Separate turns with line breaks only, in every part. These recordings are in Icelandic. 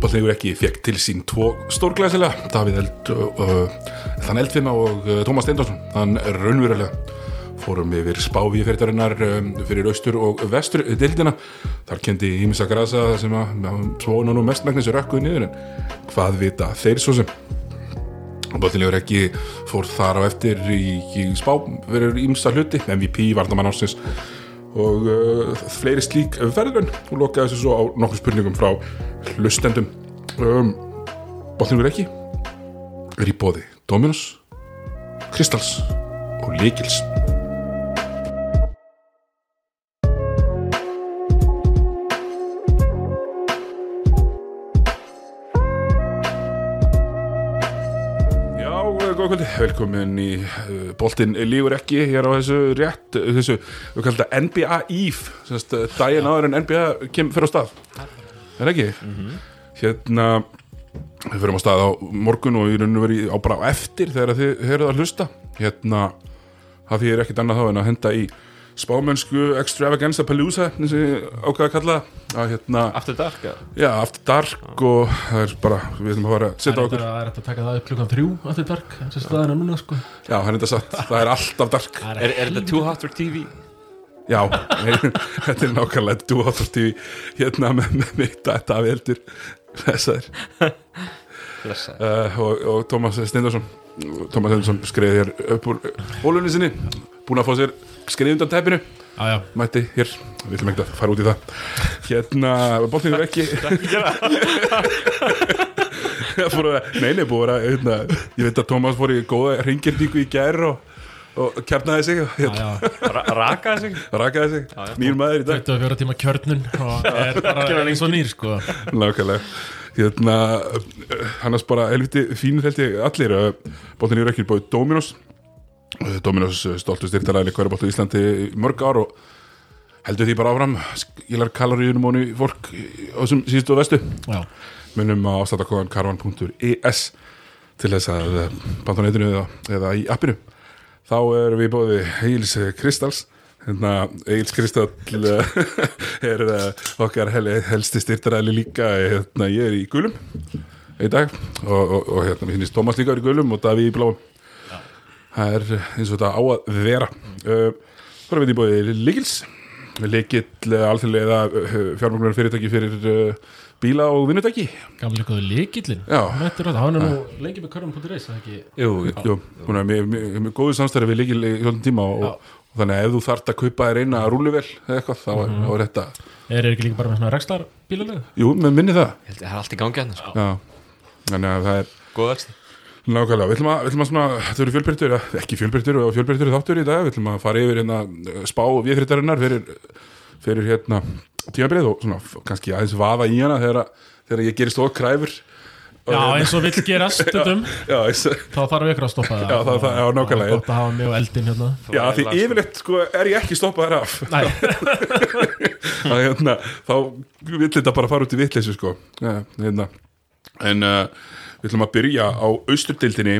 fótballlegur ekki fekk til sín tvo stórglæsilega Davíð Eld, uh, þann Eldfima og uh, Tómas Steindorsson þann raunverulega fórum yfir spávíferðarinnar um, fyrir austur og vestur dildina þar kendi Ímisa Grasa sem að svona nú mestmæknis rökkuði niður en hvað vita þeir svo sem Bóttilegur ekki fór þar á eftir í, í spá fyrir ímsa hluti MVP varnamann ársins og uh, fleiri slík ferðlun og lokaði þessu svo á nokkur spurningum frá hlustendum um, Bóttilegur ekki er í bóði Dominus Kristals og Líkils Já, eh, góða kvöldi, velkomin í uh, Boltinn lífur ekki hér á þessu rétt, eh, þessu, við kallum þetta NBA Eve, semst eh, daginn áður en NBA kem fyrir á stað, er ekki?
Mhm.
Hérna, við fyrir á stað á morgun og í rauninu verið á bara á eftir þegar þið heyrðu að hlusta, hérna, það því er ekkit annað þá en að henda í spámennsku extravaganza palooza, eins og ég ákveða að kalla það, að hérna,
After Dark eða?
já, aftur dark og það er bara, við ætlum að fara að setja á
Það
okkur.
er hægt að taka það upp klukkan þrjú Aftur dark, þess að staðina núna sko
Já, það er þetta satt, það er alltaf dark
Er, er þetta Too Hot for TV?
Já, þetta er nákvæmlega Dú áttur tífi hérna með, með mig þetta af heldur þessar
Blessa
uh, og, og Tómas Steindarsson Tómas Steindarsson skreiði hér upp úr hólunni sinni, búin að fá sér skreiði undan teppinu,
Já, já,
mætti hér við ætlum ekki að fara út í það hérna, bóttin er ekki fór að, nei, nei, búið að hérna, ég veit að Tómas fór í góða ringirningu í gær og, og kjarnaði sig og
já,
hérna,
já
Raka þessu?
rakaði sig, nýr maður í dag
24 tíma kjörnun og er bara eins og nýr sko
Nákvæmlega hérna, eh, Annars bara helviti fínir held ég allir Bóttin í rökkir bóði Dominos Eh, Dominos eh, stoltur styrtalæli hverjabótt á Íslandi í mörg ár og heldur því bara áfram skilar kaloríunum óni fólk í- á þessum síðustu og vestu
Já,
munum á afsláttakóðan karvan.is E til þess að banta á netinu eða, eða í appinu þá erum við bóði Egils Kristals hérna Egils Kristall eh, er eh, okkar hel, helsti styrtaræli líka hérna ég er í gulum í dag og, og, og hérna mér finnist Tómas líka er í gulum og Davíð í bláum það er eins og þetta á að vera uh, þá erum við í bóði Ligils Ligill eh, alþjóðlega fjármögnunar fyrirtæki fyrir uh, bíla og vinnutæki
gamli góðu líkillin
Já.
Þetta er rátt, hann er nú lengi með körnum.reis Það er ekki
Jú, jú, hún er með, með, með góðu samstæri við líkil í hjóðum tíma og, og þannig að ef þú þart að kaupa þér eina rúluvel eða eitthvað, þá
Mhm.
er, þá er þetta
Er er ekki líka bara með svona rekslar bílalegu?
Jú, með minni það
Ég held að það er allt í gangi hann sko
Já, þannig að það er
Góð vexti
nákvæmlega, við ætlum að, við ætlum að svona þetta eru fjölbyrtur, ekki fjölbyrtur og fjölbyrtur þáttur í dag, við ætlum að fara yfir hérna eh, spá viðfrittarinnar fyrir, fyrir hérna tímabrið og svona f- kannski aðeins vaða í hana þegar, að- þegar ég gerist okræfur
Já, eins og vill gera stundum
hérna- Já, eins-
Þá þarf ykkur að stoppa það
Já, það- það- já, nákvæmlega.
Það er gott að hafa mig og eldin hérna
já því yfirleitt sko er ég ekki stoppað þær af
Nei,
að hérna, þá vill þetta bara fara út í vittleysu sko ja, hérna. en uh, við ætlum að byrja á austurdildinni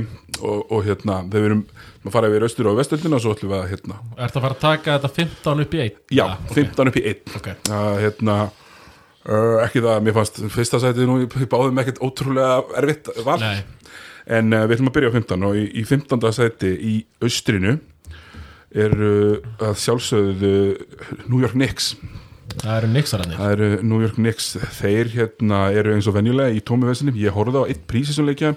og, og hérna, þegar við erum að fara yfir austur og vesturdildina og svo ætlum við að hérna,
ertu að fara að taka þetta 15 upp í 1?
já, 15 upp í 1
Ok,
að hérna uh, ekki það, að mér fannst fyrsta sætið nú í báðum ekkert ótrúlega erfitt val
nei
en uh, við ætlum að byrja á 15 og í, í 15. sæti í austrinu eru uh, að sjálfsögðu uh, New York Knicks
Það eru nixarannir
Það eru New York Knicks, þeir hérna eru eins og venjulega í tómi vesinum, ég horfði á eitt prísi sem leikja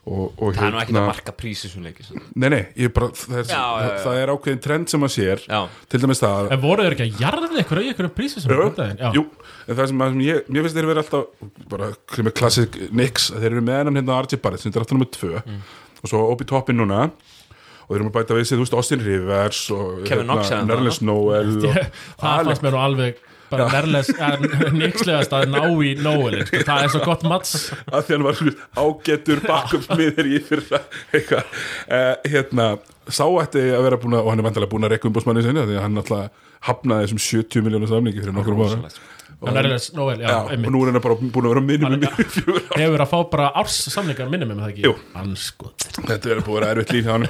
og, og hérna,
Það er nú ekkert að marka prísi sem leikis
Nei, nei, ég bara, það er,
Já, já, já.
það er ákveðin trend sem maður sér,
Já.
til dæmis það
En voru þeir ekki að jarða ykkur í ykkur prísi sem
Jú,
þetta er?
jú, en það sem, það sem ég, mér finnst þeir verið alltaf bara krimið klassik Knicks, að þeir eru með hennan hérna RJ Barrett sem er alltaf nummer tvö og svo upp í toppin núna og þeir eru með bæta við sig, þú veist, Austin Rivers og hérna,
Kevin Knox er þarna.
Nerlens Noel og
Ég- það fannst mér nú alveg bara nærles, nýkslegast að ná í Noelin sko. það er svo gott mats
að því hann var svona ágættur bakupsmiður í fyrra eitthvað uh, hérna, sá ætti að vera búin að og hann er vantilega búin að rekka umbúsmanni sinni af því að hann alltaf hafnaði þessum 70 miljónu samlingi fyrir nokkrum ára
Rosalegt, sko.
nærles Noel, já,
Já, og
einmitt
nú er hann bara búin að vera minnum í fjögur ár
hefur að fá bara árs samlingar minnum með það ekki
Jú.
hans sko
þetta er búin að vera erfitt líf hjá hann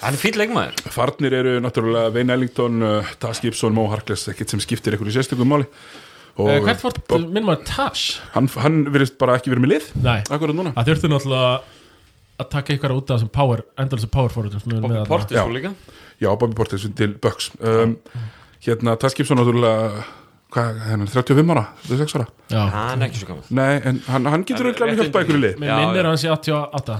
Hann er fýll leikmaður
farnir eru náttúrulega Vein Ellington, uh, Taz Gibson, Mo Harkless ekkert sem skiptir ykkur í sérstökum máli og
Eh, Hvert fórt minn maður Tash?
hann, hann virðist bara ekki verið með lið
Nei,
akkurat núna
það þurfti náttúrulega að taka eitthvað út af þessum power, endalþessu power forwardum sem við erum
Bobby
með þarna.
Portis
Já.
svo líka
já, Bobby Portis til Bucks um, hérna, Tass Gibson náttúrulega hvað, hann er 35 ára, 36 ára
Já,
Hann er ekki svo gaman
nei, en hann, hann getur ekki alveg hjálpa einhverju lið
mér
Já,
minnir
já.
að hann sé 88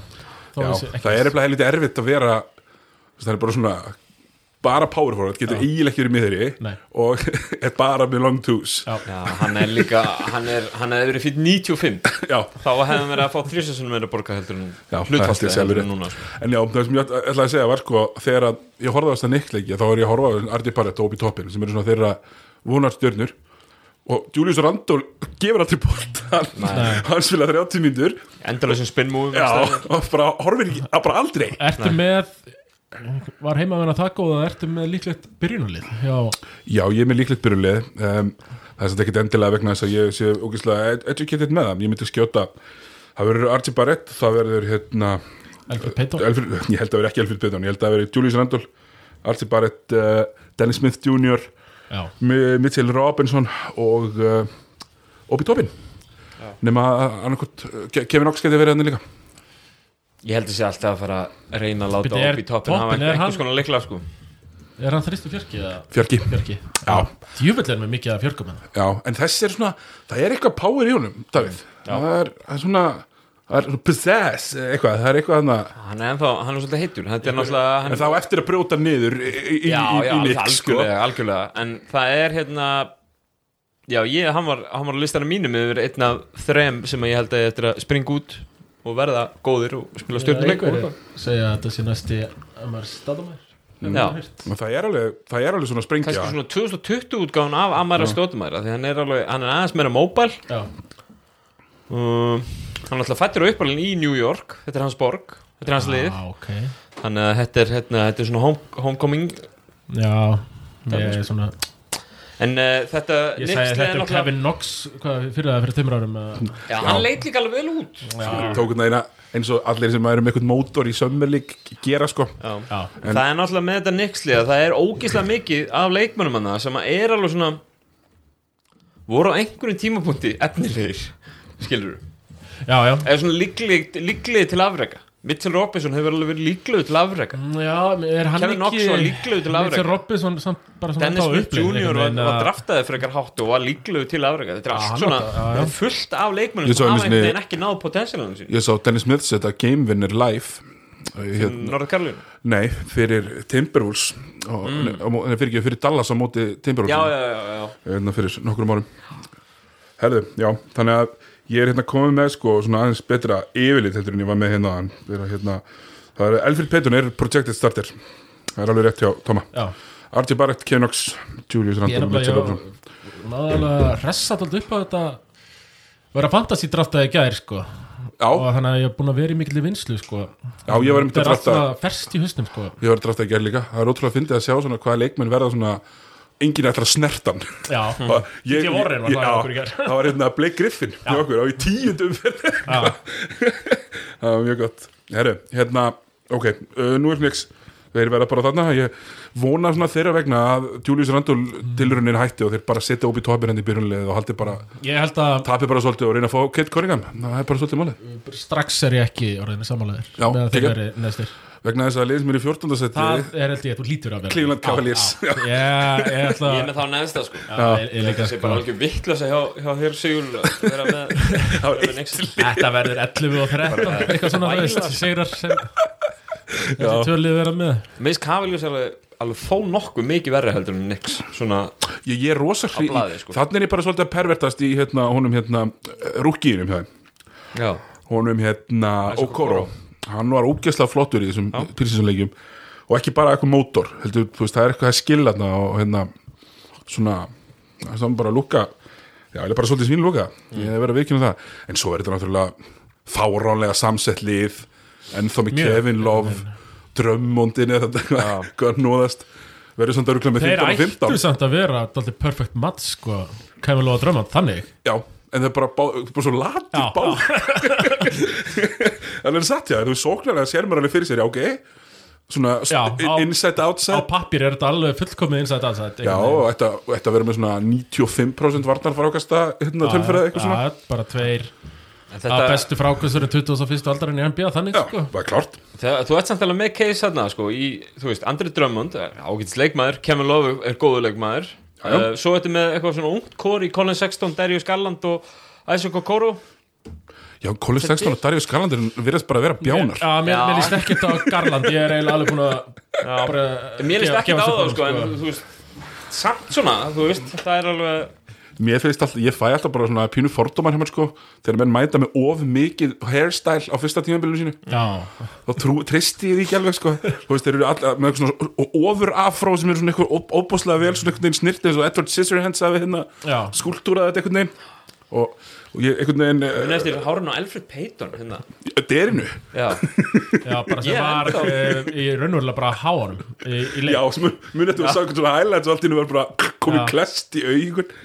þó
já,
hann sé ekki-
það er eftir helviti erfitt að vera þess, það er bara svona bara power forward, getur eiginlega ekki verið miðri
Nei.
og er bara með long twos
Já.
Já, hann er líka, hann er, hann hefði verið fyrir 95
já,
Þá hefðum verið að fá þrísessunum meira borga heldur en
Já, það held
hlutfallslega
ég sjálfur.
heldur en núna sko.
En já, það sem ég ætla- ætlaði að segja var sko þegar að ég horfði á þess að neittleikja þá var ég að horfa á þess að Ardi Barrett og Obi Toppin sem eru svona þeirra vonarstjörnur og Julius Randall gefur aldrei bólt hann, hann spila 30 mínútur
Endalössin spin move
já,
stærðar.
og bara horfir ekki, að bara aldrei
Ertu með var heimavenna það góð að ertu með líklegt byrjunarlið já,
Já, ég er með líklegt byrjulið um, það er samt ekkert endilega vegna þess að ég sé ógeðslega ed- educated með það, ég myndi skjóta það verður Ardi Barrett, það verður hérna,
Elfur Peiton
Alfred, ég held að verður ekki Alfred Pidon, ég held að verður Julius Randall Ardi Barrett, uh, Dennis Smith Jr.
já,
Mi- Mitchell Robinson og uh, Obi Topin nema annarkot Kevin Knox geti verið hann líka
Ég held að sé alltaf að fara að reyna að láta
Bíddu, er
Obi toppin hafa
toppin, er hann-
einhvers konar leikla sko.
er hann 34 eða
Fjörki,
40
Já.
djúvill er með mikið hérna. að fjörgum hennar
já, en þessi er svona það er eitthvað power í honum, Davíð það er, það er svona það er svona possess, eitthvað, það er eitthvað hann
Hann er ennþá, hann er svolítið heitur Þetta er náttúrulega hann,
en þá eftir að brjóta niður í, í, í, í,
Já, já,
í
algjörlega,
lík, sko
algjörlega En það er hérna Já, ég, hann var, hann var á listanum mínum yfir einn af þrem sem ég held að ég eftir að springa út og verða góðir og spila stjórnuleikur
Einhverjir segja að þetta sé næsti Amar Stadamær
Já.
Og það er alveg, það er alveg svona sprengja
kannski svona 2020 útgáðan af Amara Stotumæra því hann er, alveg, hann er aðeins meira móbæl
já,
um, hann er alltaf fættur og uppalinn í New York þetta er hans borg, þetta er hans lið
ah, ok
þannig að þetta er, hérna, þetta er svona home, homecoming
já, ég er svona
sko. en uh, þetta
ég
Knicks lið
segi
er
þetta um
náttúrulega-
Kevin Knox hvað, fyrir það fyrir tveimur árum eða-
já, hann leit líka alveg vel út
já,
tók hann eina eins og allir sem eru með eitthvað mótor í sömmerlík gera sko
já.
já,
það er náttúrulega með þetta Nixlið það er ógislega mikið af leikmönnum hann sem að er alveg svona voru á einhverjum tímapunkti efnilegir, skilur
já, já
eða svona líklið, líklið til afrega Mitchell Robinson hefur alveg verið líklið til afrega
Mm, Já, er hann
Kevin Knox
ekki
var líklegur til afreka.
Mitchell Robinson samt bara svona
Dennis
þá
Smith
upplið,
Jr.
einhvern
var,
veginn,
var
að-
draftaði frekar hátt og var líklegur til afrega þetta er
Já, hann
allt svona
var það, já,
það
já.
er fullt af leikmönnum
Ég sá
sem
einu
hafa einhvern
sinni-
veginn ekki náð potensialunum sín
ég sá Dennis Smith setja Game Winner live hérna,
Norður Karlun
Nei, fyrir Timberwolves og, mm. Nei, fyrir ekki, fyrir Dallas á móti Timberwolves
já, já, já, já.
Hérna fyrir nokkrum árum Herðu, já, þannig að ég er hérna komið með sko svona aðeins betra yfirlit heldur en ég var með hérna áðan. Þegar að, hérna, það er Elfrid Petun er projected starter það er alveg rétt hjá Toma
Já,
R.J. Barrett, Kenox, Julius
ég er
Randall Mitchell
nefnilega
Robinson
Náðalega ressat alltaf upp að þetta Verða fantasy draftaði í gær sko Og
Já,
þannig að ég er búin að vera í mikilli vinslu sko
já, ég var einmitt
Þetta
að
er allt
drafta
svona ferst í hausnum sko
ég var að drafta að gera líka, það er ótrúlega fyndið að sjá svona hvaða leikmenn verða svona enginn ætlar að snertan
Já,
Og ég,
T.J. Mm. Warren var
ég-
það
já,
okkur í gær.
það var hérna Blake Griffin hjá okkur á í tíundu umferð
já,
það var mjög gott Herru, hérna, ok, uh, nú er fniks þeir verða bara þarna ég vona svona þeirra vegna að Julius Randall mm. tilurunin hætti og þeir bara setja upp í topir henni í byrjunlið og haldi bara
ég held að
tapi bara svolítið og reyna að fá Kate Cunningham það er bara svolítið
Mm.
málið
strax er ég ekki orðinni samanlegaður
Já,
Með að þeir
ekki.
veri neðstir
vegna þess að liðs mér í 14.
Það
seti
er held ég að þú lítur að vera
Cleveland Cavaliers
Já, ég ég ætla
ég er
að
með þá neðsta sko
Já, ég- ég líka
það sé
sko
bara alveg vittlösa hjá, hjá þér Sigur að vera með
Það var
vera með Knicks.
Þetta verður 11 og 13 Eitthvað svona þú veist, sigrar sem Þessi tölið vera með
Mér finnst Cavaliers alveg, alveg þó nokkuð mikið verri heldur en Nix svona,
ég, ég er rosa hri
Á blaði, sko.
þannig er ég bara svolítið að pervertast í hérna, honum hérna, rúkiðinum hjá þeim
já,
honum hérna
Isaac
Okoro hann var ógeðslega flottur í þessum pilsinsleikjum og ekki bara eitthvað mótor heldur, þú veist, það er eitthvað að skilja þarna og hérna svona það er bara að lúka já, það er bara svolítið svín lúka ég er verið að vikina það en svo er þetta náttúrulega fáránlega samsett lið ennþá með
Mjög.
Kevin Love drömmondin eða þetta hvað að nóðast verður samt að rúkla með
Þeir
15 og
ættu
15
samt að vera Dalti perfect match sko Kæmur lofa drömmand, þannig
já, en það er bara, bá, bara svo lati
Já,
báð Það er satt, já, þú sóknarlega sér maður alveg fyrir sér, já, ok svona
Já, á-
inside
á
outside
pappir er þetta alveg fullkomið innsætt allsætt
Já, og þetta, og þetta verður með svona 95% varnarfrákasta hérna, tölfræði eitthvað svona
ja, bara tveir
En
að
þetta,
bestu frákvæmsturinn 21. aldarinn í NBA þannig
Já,
sko
það er klárt
það, þú ert samt alveg með case hérna sko, í, þú veist, Andri Drummond er ágætis leikmaður, Kevin Love er góður leikmaður
Já, já.
uh, svo þetta með eitthvað svona ungt kór í Colin Sexton, Darius Garland og Isaac Okoro
Já, Colin Sexton og Darius Garlandur virðast bara að vera bjánar
Já, mér,
Já.
mér líst ekkert á Garland ég er eiginlega alveg búin að bara,
mér líst
gefa-
ekki á
gefa sér
það
bara,
sko, en þú veist samt svona, þú veist, það er alveg
Mér finnst alltaf, ég fæ alltaf bara svona pínu fordómar hjá mér sko Þegar menn mæta með of mikið hairstyle á fyrsta tímabilinu sínu
Já,
þá trú, tristi ég því ekki alveg sko þú veist, þeir eru all, með eitthvað svona ofur afró sem eru svona eitthvað op- óbóðslega vel svona einhvern veginn snirt eins og Edward Scissorhands hafi hérna
já,
skúltúraði þetta einhvern veginn og, og ég einhvern veginn
hún
uh,
eftir hárun á Alfred Payton hérna.
derinu,
já,
já, bara sem
Ég
var
ennþá.
eh, í raunverulega bara háanum í, í leik
já, sem mun þetta við sá einhvern svona highlights og allt í hennu var bara komið
Já.
klest í augun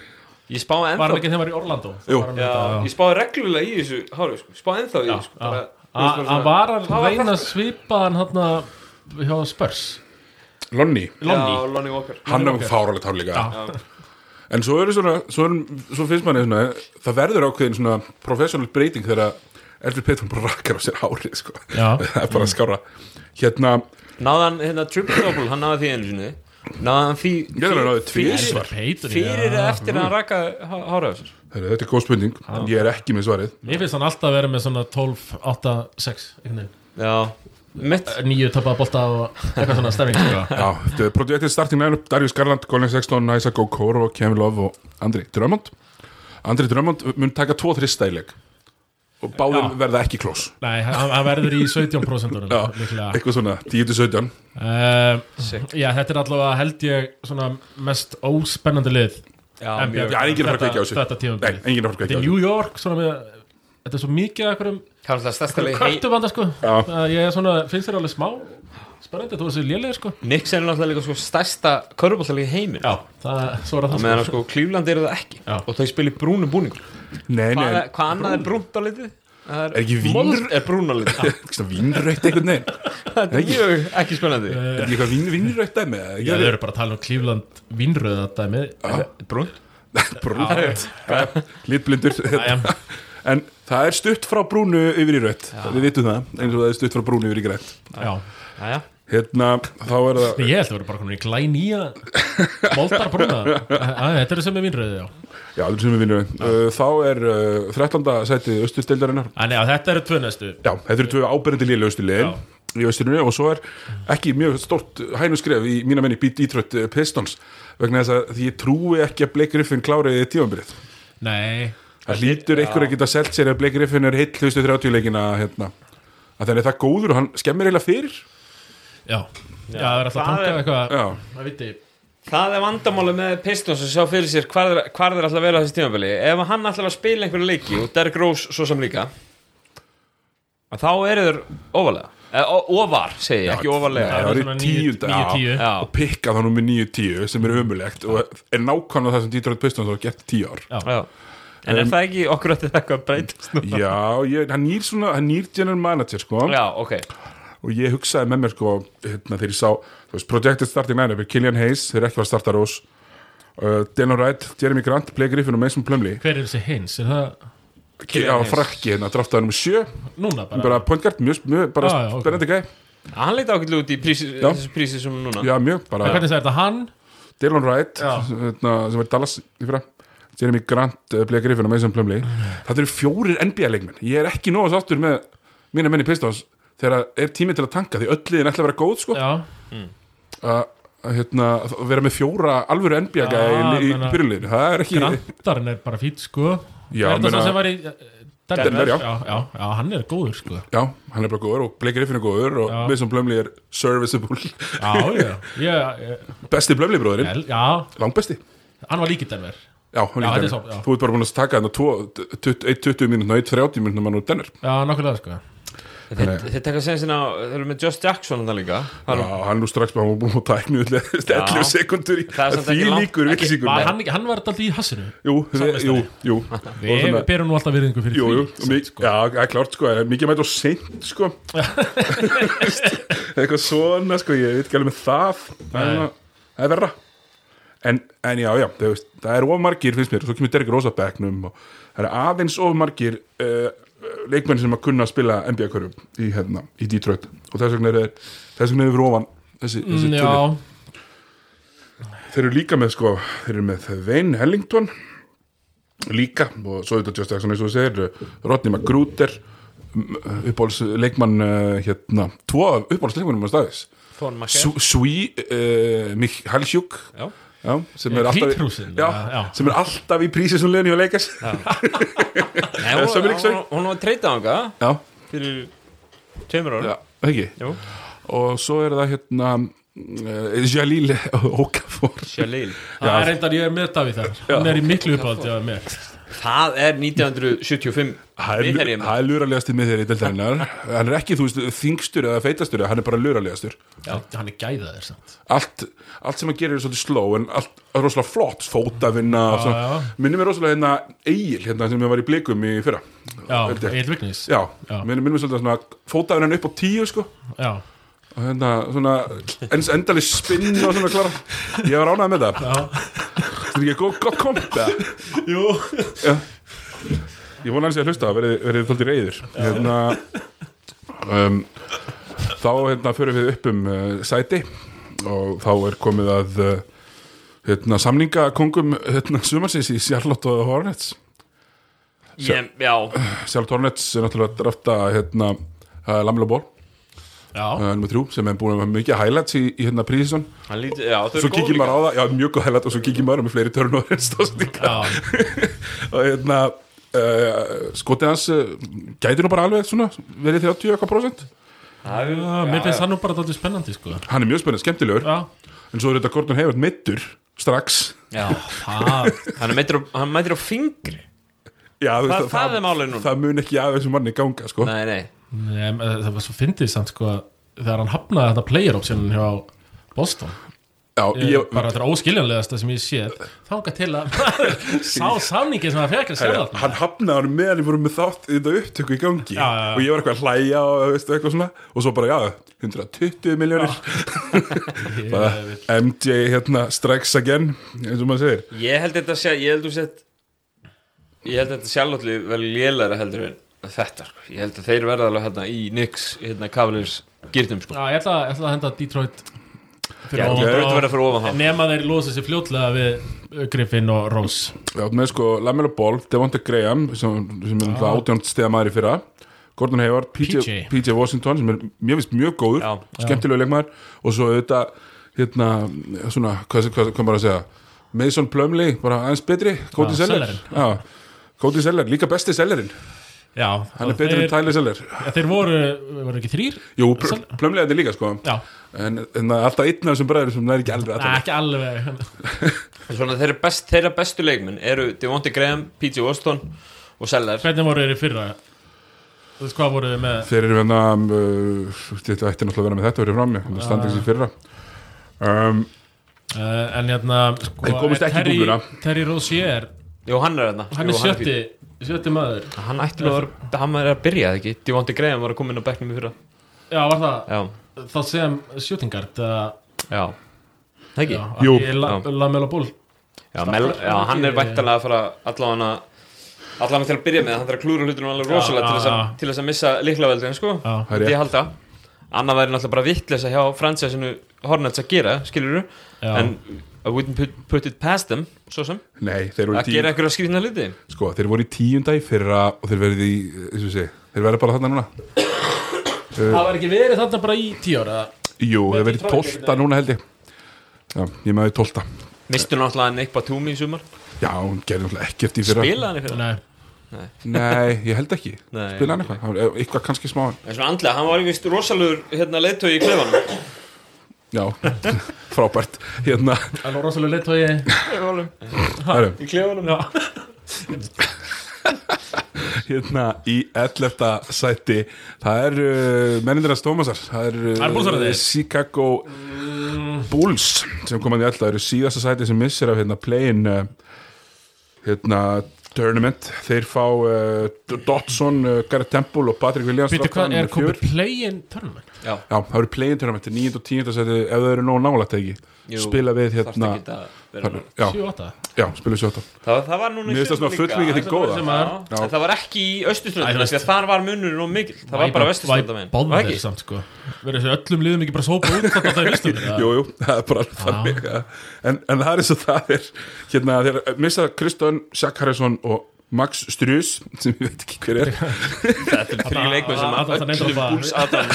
ég spáði
Var hann
ennþá
ekki þegar hann var í Orlando?
Jú.
Var hann
já,
þetta,
ég spáði reglulega í þessu háru, sko. spáði ennþá í
já,
þessu sko. bara,
já. A- Hann var að
Hvað var
reyna að svipa hann hann hjá Spurs
Lonnie,
Lonnie
já, Lonnie Walker
hann er fáralegt hár líka en svo eru svona, svo, er, svo finnst manni svona, það verður ákveðin svona professional breyting þegar Elfur Petrum bara rakkar á sér hárið sko.
Já.
það er bara að skára hérna,
náðan hérna triple double, hann náði því einu sinni náðan því
ég er að ráðið
fyrir-
tvísvar
Peyton,
fyrir eða
já.
eftir að hann rakka hára af sér
Heru, þetta er góð spurning, ég er ekki með svarið
Mér finnst hann alltaf verið með svona 12, 8, 6
já, mitt
Nýju tappaða bolta og eitthvað svona stemming sko.
Já, þetta er projektið starting line-up Darius Garland, Colin Sexton, Isaac Okoro, Kevin Love og Andri Drummond Andri Drummond mun taka tvo þrista í leik og báðir
Já.
verða ekki klós
Nei, hann hann verður í 17%
Já,
líklega
eitthvað svona 10-17
uh,
Sick.
Já, þetta er allavega held ég svona mest óspennandi lið
já,
NBA.
Já, enginn er að fara að
Þetta-
kveikja á þessu.
Þetta
Nei,
tímabilið.
enginn er að fara að kveikja á
Þetta er
þessu.
New York svona með Þetta er svo mikið af hverjum
kannski það stærsta leik hei-
kvörtum vanda sko
Já.
Að Ég er svona, finnst þér alveg smá Spennandi, þú er sér lélega sko
Knicks er náttúrulega líka sko stærsta körubóllalegi heimin
Já, það, svo er
og
það
meðan
sko.
að sko Cleveland eru það ekki
Já.
og þau spilir brúnu búningur
Nei, nei,
hvað,
er
er- hvað annað er brúnt á litið? Það
Er ekki vín?
mold er brún á litið
ekki svona vínrætt einhvern veginn
þetta er mjög ekki spennandi
Er ekki eitthvað vín, vínrætt dæmi? eða
Já,
ekki?
þau eru bara að tala um Cleveland vínröð þetta með
Ah.
brúnt
Brúnt Lítblindur
Jæja.
En það er stutt frá brúnu yfir í rött Við vitum það, eins og það er stutt frá brúnu yfir í grætt
Já,
Jæja.
Hérna, þá er það
ég held að vera bara komin í glænýja Moldar brúna Æ, Þetta eru sem er vínröði, já
Já, allir sem við vinnum uh, Þá er uh, 13. sæti austursteildarinnar
Æ, nei, já, Þetta eru tvö næstu
Já, þetta eru tvö áberandi liðlega austurliðin
Já.
í austurinnu og svo er ekki mjög stort hænuskref í mína menni Beat Detroit eh, Pistons vegna þess að því ég trúi ekki að Blake Griffin kláriði tímambrið
Nei,
Það hlýtur einhver að geta selt sér að Blake Griffin er heill 2030 leikina hérna að þannig er það góður og hann skemmir eiginlega fyrir
já Já, það er alltaf
Það
að tanka
er-
eitthvað
Já,
Það viti
það er vandamáli með Pistons að sjá fyrir sér hvar þeir- hvar þeir alltaf vera á þessi tímabili ef hann alltaf að spila einhverju leiki og Derrick Rose svo sem líka að þá eru þeir ofalega Eh, o- ofar, segi ég, ekki ofalega
það
er
eru
svona
tíu-
níu- níu,
já.
tíu.
Já.
og um pikka þá nú með 9-10 sem er ömulegt og er nákvæmlega það sem Detroit Pistons hafa gett 10 ár
Já. en
Um,
er það ekki okkur eftir eitthvað að breytast nú?
Já, ég, hann nýr svona, hann nýr general manager sko
já, ok
og ég hugsaði með mér sko hérna, þegar ég sá, þú veist, Projected Starting Lineup er Killian Hayes, þeir eru ekki var að starta Rós uh, Dylan Wright, Jeremy Grant, Blake Griffin og Mason Plumlee
Hver er þessi hins? Er það
á frakki hérna, draftaði nummer 7
núna bara?
bara point guard, mjög, mjög bara
Já, já, ok.
spennandi gæ,
Hann leita ákveðlega út í prísi, þessu prísi sem núna
já, mjög
En
bara,
Hvernig segir þetta hann?
Dylan Wright
Já.
hérna, sem var í Dallas í fyrra Jeremy Grant, uh, Blake Griffin og Mason Plumlee þetta eru fjórir NBA leikmenn ég er ekki nóg að sáttur með mína menni Pistons þegar er tími til að tanka því öll liðin ætla að vera góð sko
Já,
að að, hérna, að vera með fjóra alvöru NBA gæði
Já,
í, í
meina-
byrjulinu það er ekki
Grantarinn er bara fýt sko
Já,
Er þetta
meina-
sá sem var í eh, Denver?
Denver, já.
já, já, já, hann er góður sko
já, hann er bara góður og Blake Griffin er góður og
Já.
Mason Blömli er serviceable
Já, já, ég, ég,
besti Blömli bróðurinn,
el, já,
langbesti
hann var líki Denver
já, hann líka
Já, þetta er
Denver.
svo- já.
þú ert bara búin að taka hann 1-20 mínútna, 1-30 mínútna mann úr Denver
Já, nokkulega sko
Þeir, þeir taka sem sinna, þeir eru með Just Jackson þarna líka
Já,
Hann-
hann nú strax bara hann var búin að tæknu 11 sekundur í
Það er samt ekki
því
langt-
líkur
ekki-
vitlisíkur
Var hann, ekki- hann var alltaf í hassinu
Jú, þe- jú, jú Og
Við
svona-
berum nú alltaf virðingu fyrir
Jú, jú,
því
og mik- já, það er klárt sko, en mikið mætt og seint sko eitthvað svona sko, ég veit ekki alveg með það það er,
Nei.
svona- það er verra en, en já, já, það, veist, það er ofmargir finnst mér, svo kemur Derek Rosa bekknum og það er aðeins ofmargir uh, leikmenn sem að kunna að spila NBA-körfum í, hérna, í Detroit og þess vegna er þeir- þess vegna er yfir ofan þessi, þessi
Mm,
tölu.
Já,
þeir eru líka með sko, þeir eru með Wayne Ellington líka og svo auðvitað Just Jackson eins og þú segir Rodney McGruder uppáhalds leikmann uh, hérna, tvo af uppáhalds leikmannum á staðis
Von Macker
Su- Sui uh, Mikhalsjúk
Já.
Já, sem, er alltaf,
Hvítrúsin,
Eh, já,
já, já.
sem er alltaf í prísi sem leiðinu að leikas já,
Nei, hún,
Summer League,
hún,
sorry.
hún, hún var treytað ánga
já,
fyrir tveimur ára
já ekki
Jú.
og svo er það hérna uh, Jalil Okafor
Shalil
það er reyndar ég er með Davíð þar Hann er í miklu uppáld, já, með
Það er 1975
Það
Við
er,
herjum.
það er luralegasti með þeirri deildarinnar Hann er ekki, þú veist, þingstur eða feitastur Hann er bara luralegastur
Já, hann er gæðaðir samt
allt, allt sem hann gerir er svolítið slow En allt er rosalega flott, fótavinna og svona.
já.
Minnir mér rosalega hérna Egil, hérna sem ég var í blikum í fyrra
Já,
Held ég.
Egil Vignis
Já,
Já.
minnir minnir mér svolítið svona Fótavinnan upp á tíu, sko
Já.
Og hérna, svona, ens endalis spinn og svona klara Ég var ánægð með það Þetta er ekki gott, gott komp eða?
Jú
Ég vona hans ég að hlusta, verið, verið þóldi reyðir hérna, um, Þá hérna förum við upp um uh, sæti og þá er komið að uh, hérna, samninga kongum hérna, sumarsins í Charlotte og Hornets
ég, Já,
Charlotte Hornets er náttúrulega að drafta hérna, uh, Lamela Ball,
Já,
uh, nummer 3 sem er búin að hafa mikið highlights í, í hérna prísison
hann lítið Já, þau
Svo
eru góð
kikið
líka
maður á það, já mjög góð highlight og svo kikið maður á með fleiri törn og hérna
já
og hérna uh, skotið hans uh, gæti nú bara alveg svona verið 30 eitthvað prosent
Það er-
Já, Mér
já,
finnst það nú bara dálítið spennandi, sko
hann er mjög spennið, skemmtilegur
Já,
en svo er þetta Gordon Hayward meittur strax
Já,
það
hann er mættur á, hann mætir á fingri
Já, þú
Það-
að
það er málið núna.
það mun ekki að þessum manni ganga sko.
Nei, nei
Nei, em, eh, það var svo fyndið samt sko að þegar hann hafnaði þetta player option hjá Boston
Já,
ég,
ég,
bara þetta er óskiljanlegasta sem ég sé þanga til að sá samningi sem hann fekk að segja
hann hafnaði hann meðan við vorum með þátt þetta upptöku í gangi
Já, já, já.
og ég var eitthvað að hlæja og, veistu, eitthvað svona, og svo bara, já, 120 miljónir MJ hérna, strikes again eins og maður segir
Ég held þetta sé, ég held þú sett Ég held þetta sjálfalli vel lélæra heldur en þetta sko. Ég held að þeir verða alveg hérna í Nix hérna Cavaliers girtum sko.
Já, ég ætla, ég ætla að henda Detroit
Ég held
ofan
að
þá.
þetta verða fyrir ofan þá
nema þeir losa sér fljótlega við uh, Griffin og Rose
Já, með sko Lamelo Ball, Devonta Graham sem, sem er náttúrulega átjónt stegar maður í fyrra Gordon Hayward, PJ, PJ.
PJ.
Washington sem er mjög vist mjög góður,
Já.
skemmtilegu leikmaður og svo auðvitað hérna, svona, hvað, hvað, hvað maður að segja Mason Plumley, bara aðeins betri Cody
Já,
Seller
sellerinn.
Já, Cody Seller, líka besti Sellerinn
Já,
hann er betri en
þeir,
Tyler Seller
þeir voru, voru ekki þrýr
Jú, pl Plumley er þetta líka sko
Já,
en, en það er alltaf einn af þessum bræður sem það er ekki alveg
Nei,
alltaf
ekki alveg
Svona þeirra, best, þeirra bestu leikmenn eru Devonti Graham, PJ Washington og Seller
Hvernig voru þeir í fyrra? Þú veist hvað voru þeir með
Þeir eru hérna uh, Þetta ætti náttúrulega að vera með þetta verið fram uh. standings í fyrra um,
uh, En hérna sko,
Þeir komust
eh,
ekki í
Terry-
búðina.
Terry Rozier,
Jú, hann er hérna
hann er sjötti Sjötti maður
Hann ætti nú að, vera- hann er að byrja eða ekki Devonti Graham var að koma inn á bekknum í fyrra
Já, var það
Já,
Þá sem shootingard uh,
já Það ekki?
Já,
Jú.
ekki la,
Já.
Lamelo Ball
Já, Mel, já hann er væntanlega að fara allavega allavega til að byrja með, hann þarf að klúra hlutunum alveg
Já,
rosalega
já,
til, þess að,
já.
til þess að missa líklaveldin sko,
Já.
Það er
myndi
rétt.
ég halda annað væri náttúrulega bara vittlesa hjá fransæsinu Hornets að gera, skilur
Já.
en I wouldn't put, put it past them svo sem,
Nei, þeir voru,
að
tí,
gera einhverja skrýna hluti
sko, þeir voru í tíunda í fyrra og þeir verði í, eh, eins og sé, þeir verði bara þarna núna
Það var ekki verið þarna bara í tíu ára
Jú, þeir verði
Detroit einhvern
tólta
veginn.
núna held ég Já, ég með þau tólta
mistu náttúrulega Nick Batum í sumar
Já, hún gerði náttúrulega ekkert í fyrra
spila hann í fyrir
Nei,
Nei, ég held ekki
Nei,
Spila hann
ég held
eitthvað, Hann var- eh, eitthvað kannski smá
en svona andlega, hann var í vist rosalegur hérna leittói í klefanum
Já, frábært Hérna,
alveg rosalega leitt og ég
hærum
í klefanum, já
hérna í 11. sæti það er uh, mennindirans Tómasar það er,
Það er Bullsarnir þeir.
Chicago Bulls sem komaði í 11. það eru síðasta sæti sem missir af hérna play-in uh, hérna tournament þeir fá uh, Dotson, uh, Garrett Temple og Patrick Williams
Býttu
strákar,
hvað er
númer
komið
fjögur.
play-in tournament?
Já,
Já, það eru play-in tournament 9. og 10. sæti ef það eru nóg nálægt eða ekki
Jú,
spila við
þarfst
hérna
ekki að vera
þar-
nálægt.
já,
7-8
já, spila við 17
það, það var núna í
Mér finnst það
sumar
svona fullmikið til
Það
góða.
var sem
Já.
að- en Það var ekki í
Æ, þú
austurströndamenn
veist-
því að þar var munurinn og mikil Það var bara vesturströndamenn
Báðum
Var
þeir
ekki?
samt sko Verður þessu öllum liðum ekki bara sópa út Þetta er vistum
Jú, jú, það er bara alveg þannig ja. en, en það er eins og það er hérna, þeir missa Kristján Sjakk Harrison og Max Strjus sem ég veit ekki hver er
Þetta er þrý leikmenn sem
Adam- Adam-
að öllum
Adam-
búls Adam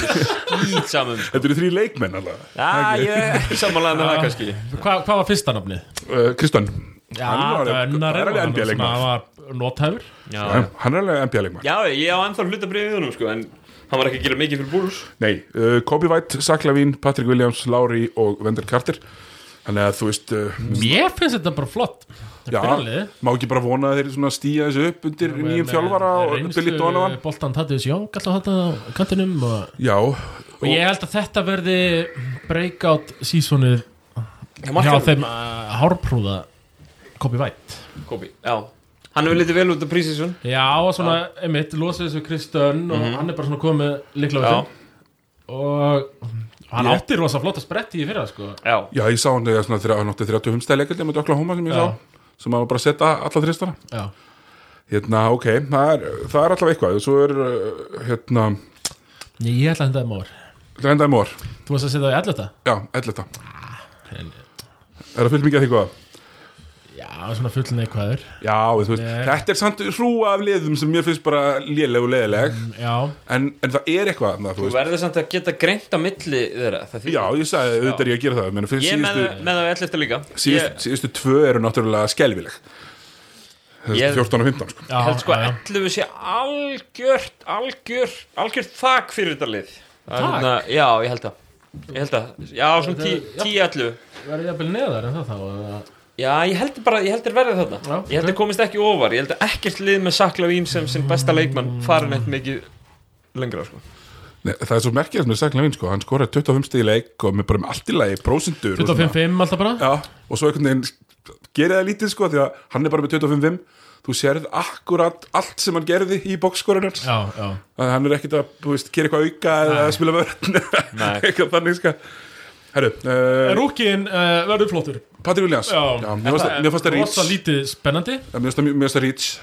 skýt saman
Þetta eru þrý leikmenn allavega
Já, ég er ekki sammálaðið með það kannski
Hvað hvað var fyrsta nafnið?
uh, Kristján,
Já,
Hann var-
Dönnar
hann er
er
alveg
hann
NBA
svona
leikmaður.
var nothæfur
Já,
hann er alveg NBA leikmenn
já ég á ennþá hlutabrið í honum sko En hann var ekki að gera mikið fyrir búls
Nei, uh, Kobe White, Zach Lavín, Patrick Williams, Lowry og Wendell Carter Þannig að þú veist, uh,
Mér finnst þetta bara flott Það
já,
er byrjalið
má ekki bara vona að þeir svona stíja þessu upp undir nýjum
eh,
þjálfara og Billy Donovan
Boltan Tatius eh, Young alltaf þetta á kantinum og,
Já,
og ég held að þetta verði breakout seasonið hjá
Markkaður.
þeim uh, hárprúða Kobe White
Kobi, já Hann hefur litið vel út af prísísun
Já, og svona, einmitt, losið þessu Kristön og
Mhm.
hann er bara svona komið líkla við
Já,
þeim og hann
Ég-
átti rosa flotta spretti í fyrra sko.
já
já, ég sá hann þegar svona þegar hann átti 35 stæði leikildi með Dökla Hóma sem ég
Já.
sá sem að bara setja alla þristana
Já,
Hérna, ok, það er, það er allavega eitthvað Svo er, uh, hérna,
ég, ég ætla að henda þeim áður
Lendaði Mór
Þú varst að setja það í allita
Já, 11. Er það fullt mikið að því hvað?
Já, svona full neikvæður
Já, en þú veist,
Nei.
þetta er samt hrúa af liðum sem mér finnst bara léleg og leðileg
Já,
en, en það er eitthvað, þarna, þú
Þú
veist
verður samt að geta greint á milli þeirra það þýðir-
Já, ég sagði, auðvitað er ég að gera það Menni,
Ég er með,
síðustu,
með það allir eftir líka
síðustu, síðustu tvö eru náttúrulega skelvileg
Ég-
Þessi 14 og 15 sko.
já,
Ég held sko
já, já.
11 sé algjört algjört, algjört þak fyrir þetta lið Það er
Þak?
hérna- Já, ég held það Ég held það, já, svona 10
Þetta-
10-11
Verði jafnvel neðar en það þá eða-
Já, ég held bara, ég held þér verðið þarna
Já,
Ég held þér komist ekki ofar, ég held að ekkert lið með sakla vín sem sem besta leikmann farin eitt mikið lengra, sko
Nei, Það er svo merkilegt með Sækla Vín, sko Hann skoraði 25 stig í leik og með bara með allt í lagi prósendur og svona.
25-5 alltaf bara
Já, og svo einhvern veginn gerir það lítið sko, því að hann er bara með 25-5 þú sérð akkurat allt sem hann gerði í bókskorunum
Já, já,
að hann er ekkert að, þú veist, gera eitthvað auka eða að spila vörn
Nei.
eitthvað þannig sko Herru, uh,
Rúkin uh, verður flottur
Patrik Williams
Já.
mér fannst það- mér fannst það
Rosa
Reach
lítið spennandi
Já, Mér fannst það- mér fannst það Reach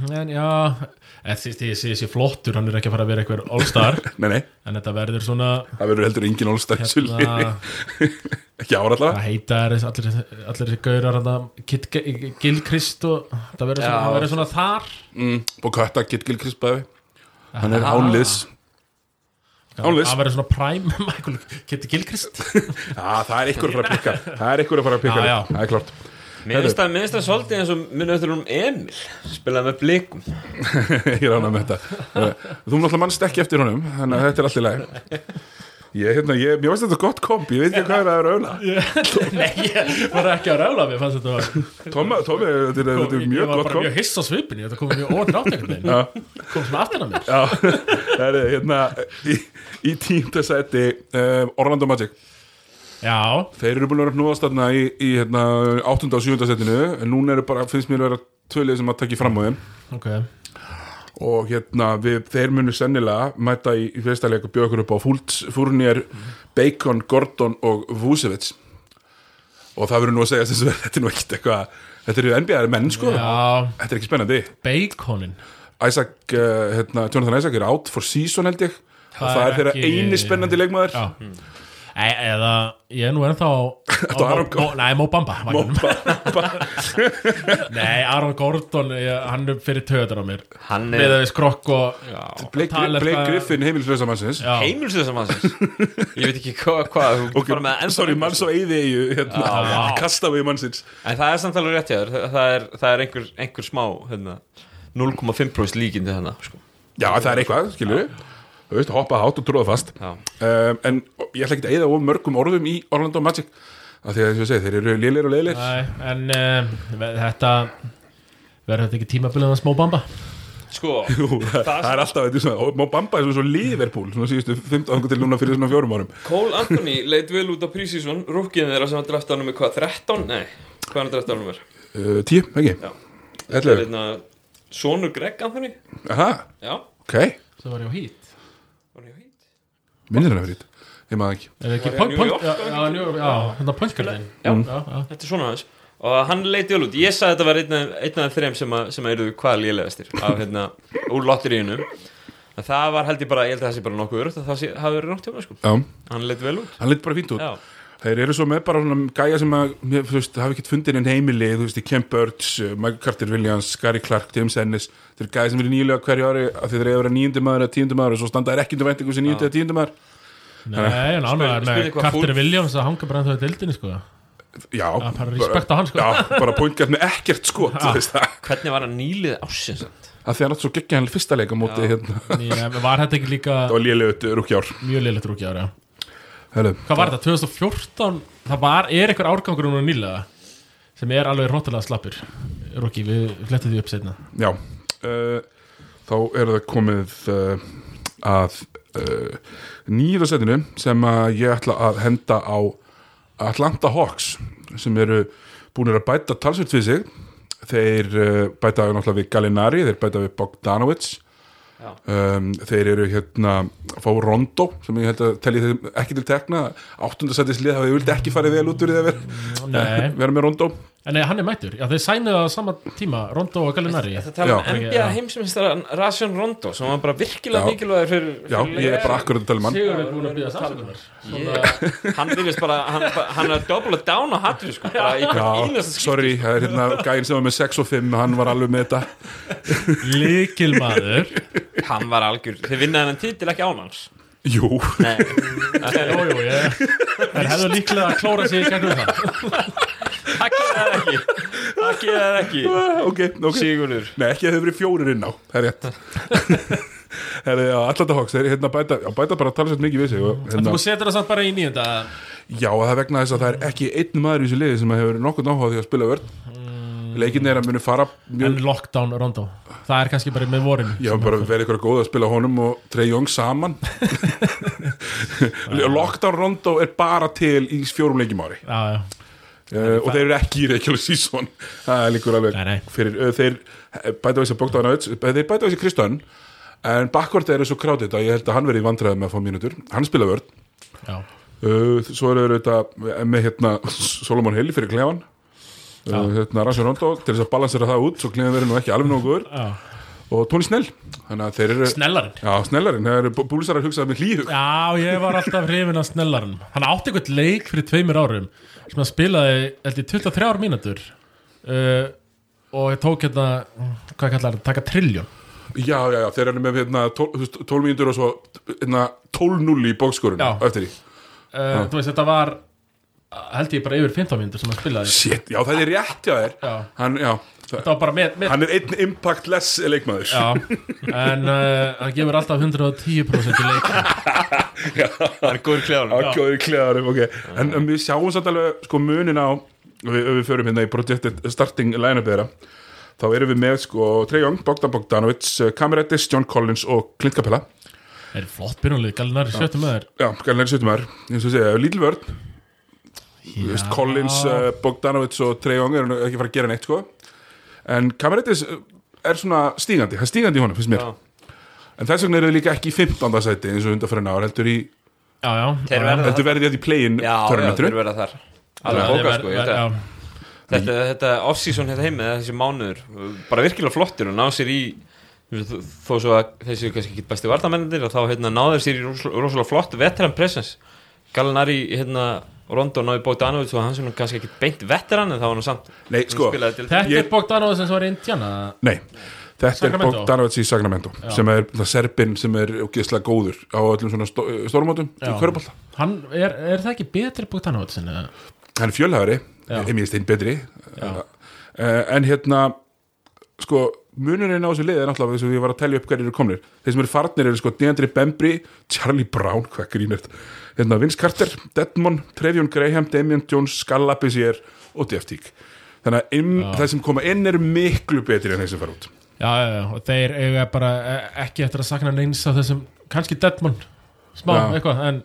En já, eh, eða því því sé sé flottur Hann er ekki að fara að vera eitthvað all-star
Nei, nei,
En þetta verður svona
það verður heldur engin allstar þessu liði
hérna,
Ekki ára allavega
Hvað heita er þess- allir, allir þessi gaurar hana, Kit, Gil Krist og það verður
Já.
svona, það verður svona þar
mm, Bokata, Kit Gilchrist bæði Hann er ánliðs Ánliðs.
Það verður svona prime Michael, Kit Gil Krist
Já, það er ykkur að fara að pikka Það er ykkur að fara að pikka
Já, já.
þig. Það er klart
Mér finnst það, mér finnst það svolítið eins og minn öllur um Emil spilaði með blikum
ég er ánað með þetta Eh, þú náttúrulega mannst ekki eftir honum þannig að þetta er allt í lagi ég, hérna, ég, ég veist þetta er gott komp ég veit ekki hvað er að rauna
Nei, ég var ekki að rála mér fannst þetta var
Tommi, Tommi, þetta er, þetta er
Ég
mjög
var
gott
bara mjög
komp
hiss á svipinni, þetta kom mjög ódrátt einhvern veginn
Já.
Kom svona aftan að mér
Já, það er hérna í, í tínda sæti um, Orlando Magic
Já,
þeir eru búin að vera uppnúðast þarna í, í hérna, 8. og 7. sætinu en núna eru bara, finnst mér að vera tvölið sem að takki fram á þeim
ok
og hérna við, þeir munu sennilega mæta í, í fyrstaleik og bjóða ykkur upp á Fúlts, Fúrnir, Bacon, Gordon og Vucevic og það verður nú að segja sem verður þetta er nú ekkert eitthvað þetta eru NBA menn sko
Já,
þetta er ekki spennandi
baconin
Isaac, uh, hérna, Jonathan Isaac er out for season held ég og
Það
það
er
er þeirra
ekki-
eini spennandi leikmaður
Já
Hmm.
e Eða, ég er nú ennþá á,
á Aron
Mó- Mó- Nei, Mó Bamba vagninum.
Bara-
Nei, Aron Gordon, ég, hann er fyrir töðar á mér
Hann
Með
er
að við skrokk og
Blake,
Tala eitthvað-
Blake Griffin heimilislösa mannsins
Já.
heimilsið sem hans Ég veit ekki hvað, hvað, þú
og
bara með ennþá-
sorry, manns og eyði eigu hérna,
Já.
kasta við mannsins
En það er samt alveg rétt hjá þér Þa- Það er, það er einhver, einhver smá hérna, 0,5% líkindi þannig sko.
já, það er eitthvað, skilur við þú veist, hoppa hátt og tróða fast
Já.
um, en ég ætla ekki að eyða of mörgum orðum í Orlando Magic af því að þess að segja, þeir eru lélir og lélir
eh, Nei, en uh, þetta verður þetta ekki tímabilið hans Mó Bamba?
sko,
það,
það
er
sem
alltaf þetta er svona, má bamba þessu svo Liverpool svona síðustu 15 ángum til núna fyrir svona fjórum árum
Cole Anthony leit vel út á prísísvon rúkkiðin þeirra sem hann drefti á nummer hvað, 13? Nei, hvað hann drefti á nummer?
uh, 10, ekki?
Já. Það er
11,
einna Sónur Greg Anthony
aha,
Já,
ok
sem var ég á hít
var hann í hít?
minnir hann að fyrir þetta, ég maður ekki
Er það ekki
Var ég á
point,
New
point,
York? Mm.
já, já, New York, já, hérna pointkartinn
Já.
já, já.
Þetta er svona hans og hann leit vel út, ég sagði þetta var einn af- einn af þeim sem, að, sem að eruðu hvað lélegastir af hérna, úr lotteríinu en það var held ég bara, ég held að það sé bara nokkuð örugt að það sé, hafi verið nokkuð tjóma sko
Já,
hann leit vel út
hann leitt bara fínt út
Já,
Þeir eru svo með bara svona gæja sem að, mér, þú veist, hafa ekkert fundið enn heimili, þú veist, í Ken Burch, uh, Michael Carter Williams, Gary Clark, James Ennis, þeir eru gæja sem eru nýjulega hverju ári af því þeir eru að vera níundum maður eða tíundum maður og svo standa þeir ekki undir væntingum sem níundum eða tíundum maður.
Nei,
Spurning-
en ánægðar með
spurning hvað
Carter
fólk-
Williams að hanga bara ennþá í dildinni sko Já,
Já,
bara respekt á hann sko
já, bara pointgætt með ekkert skot, þú veist það.
hvernig var hann nýlið ásins
Af því hann átt svo geggja hann fyrsta leika á móti, hérna,
Já, Var þetta ekki líka
það var lélegut rúkjár.
mjög liðlegt rúkja ára
Hælu,
Hvað var þetta, 2014? Það var, er einhver árgangur núna nýlega sem er alveg róttalega slappur Rúki, við flettum því upp setna
já, uh, þá er það komið uh, að uh, nýra setinu sem að ég ætla að henda á Atlanta Hawks sem eru búinir að bæta talsvöld við sig þeir uh, bæta náttúrulega við Gallinari, þeir bæta við Bogdanovic
Já.
um, þeir eru hérna fá Rondo sem ég held að telji þeim ekki til tekna áttundasættislið hafa þeir vildi ekki farið vel út úr því að vera,
Nei,
vera með Rondo
en nei, hann er mættur Já, þeir sænuðu á sama tíma, Rondo og Gallinari
Þetta tala um
Já.
NBA
Já.
heimsmyndstar Rasjón Rondo sem var bara virkilega
Já.
mikilvægur fyrir,
Já,
fyrir
ég er
leikinn.
bara akkurat að tala um hann
Sigur er búin að sko. býða samsökunar
um Ég- hann virðist bara hann, hann er doubla down á hattur sko, bara í hvern
Já,
einasta skil
sorry, það er hérna gæinn sem var með 6 og 5, hann var alveg með þetta
Líkilmaður
hann var algjör, þið vinnaði hann titil ekki án hans
Jú,
Jú, jú, ég Þeir hefðu líklega að klóra sig í gegnum
það
það
gerir það ekki það gerir það ekki
Ah, ok, ok
Sigurður
Nei, ekki að þau verið fjórir inn á, það er rétt Herri, já, alltaf hóks, þeir hérna bæta, já, bæta bara talsvægt mikið við sig og, hérna,
Þú setur það samt bara í nýjunda
Já, það er vegna þess að það er ekki einn maður í þessu liði sem hefur nokkuð náhuga því að spila vörn Leikin er að muni fara mjög,
En lockdown Rondo Það er kannski bara með vorinu
já, bara verið ykkur góð að spila honum og Trey Young saman Lockdown Rondo er bara til í fjórum leikjum ári
Já, já
uh, og þeir eru ekki í regular season það er líkur alveg
Nei, nei.
Fyrir, uh, þeir eh, bæta á þessi Bogdan Öts þeir bæta á þessi Kristján en bakkvart eru svo krátið að ég held að hann verið vandræði með að fá mínútur, hann spila vörn
Já,
uh, svo eru þetta með hérna Solomon Hill fyrir klefan uh, hérna Ransom Rondo til þess að balansera það út svo klefan verið nú ekki alveg nógu góður
já.
og Tony Snell, þannig að þeir eru
Snellarinn
Já, snellarinn, það eru búlisar að hugsa með hlýhug
Já, ég var alltaf hrifin af snellarinn Hann átti eitthvað leik fyrir tveimur árum sem hann spilaði, held ég, 23 mínútur uh, og ég tók hérna hvað kallar það, taka trilljón
Já, já, já, þeir eru með hérna 12 mínútur og svo hérna 12-0 í bókskorunum
Já.
eftir því
uh, Þú veist, þetta var held ég bara yfir 15 mínútur sem hann spilaði
Shit, já það er rétt hjá þér
Já.
Hann, já, það,
Þetta var bara með, með
hann er einn impact less leikmaður
Já, en uh, hann gefur alltaf 110% í leik
hann er góður kljáður
Ágjóður kleðarum, ok En um, við sjáum samt alveg sko munin á ef við, ef við förum hérna í projektet starting line-up þeirra Þá erum við með sko Trey Young, Bogdan Bogdanovic, Kamerettis, John Collins og Clint Capella
Er flott byrjunlið, Gallinari sjöttum öður
Já, gælinlega sjötumar, eins og segja, Little Bird Þú veist, Collins, uh, Bogdanovic og Trey Young eru nú ekki að fara að gera neitt sko En Kamerettis er svona stígandi, það er stígandi í honum, finnst mér En þess vegna eru þið líka ekki í 15. sæti eins og undanfærin ár, heldur í
Já, já
Þeir verða-
heldur verðið þetta í play-in
já, já, þeir
törnatru
verða þar alveg bóka sko, ég veit að
Já,
þetta, þetta off-season hérna heim eða þessi mánuður, bara virkilega flottir og ná sér í þó þó svo að þessi eru kannski ekki besti vartamennir og þá hérna, náður sér í ros- rosalega flott veteran presence Gallinari hérna Rondo náði Bogdanovic og hann sem kannski ekki beint veteran en þá var hann samt
Nei, sko,
spilaði til
Þetta
Ég-
er Bogdanov sem var í Indiana
nei Þetta er
Sacramento.
Bogdanovic í Sacramento sem er það serbin sem er ógeðslega góður á öllum svona stó stórmótum í
Já.
Körbólta.
Hann, er, er það ekki betri Bogdanov sem eða?
Hann er fjölhæri,
Já.
ég minnst einn betri uh, en hérna sko, munurinn á þessu liði er náttúrulega þess að ég var að telja upp hverjir eru komnir þeir sem eru farnir eru sko Deandre Bembry Charlie Brown, hvað grínert hérna Vince Carter, Detmon, Trevion Graham Damian Jones, Skallabisier og Deftík þannig að inn, það sem koma inn er miklu betri en þeir sem fara út
já, já, já, og þeir eiga bara eh, ekki eftir að sakna neins af þessum kannski Deadmon, smá
Já.
eitthvað en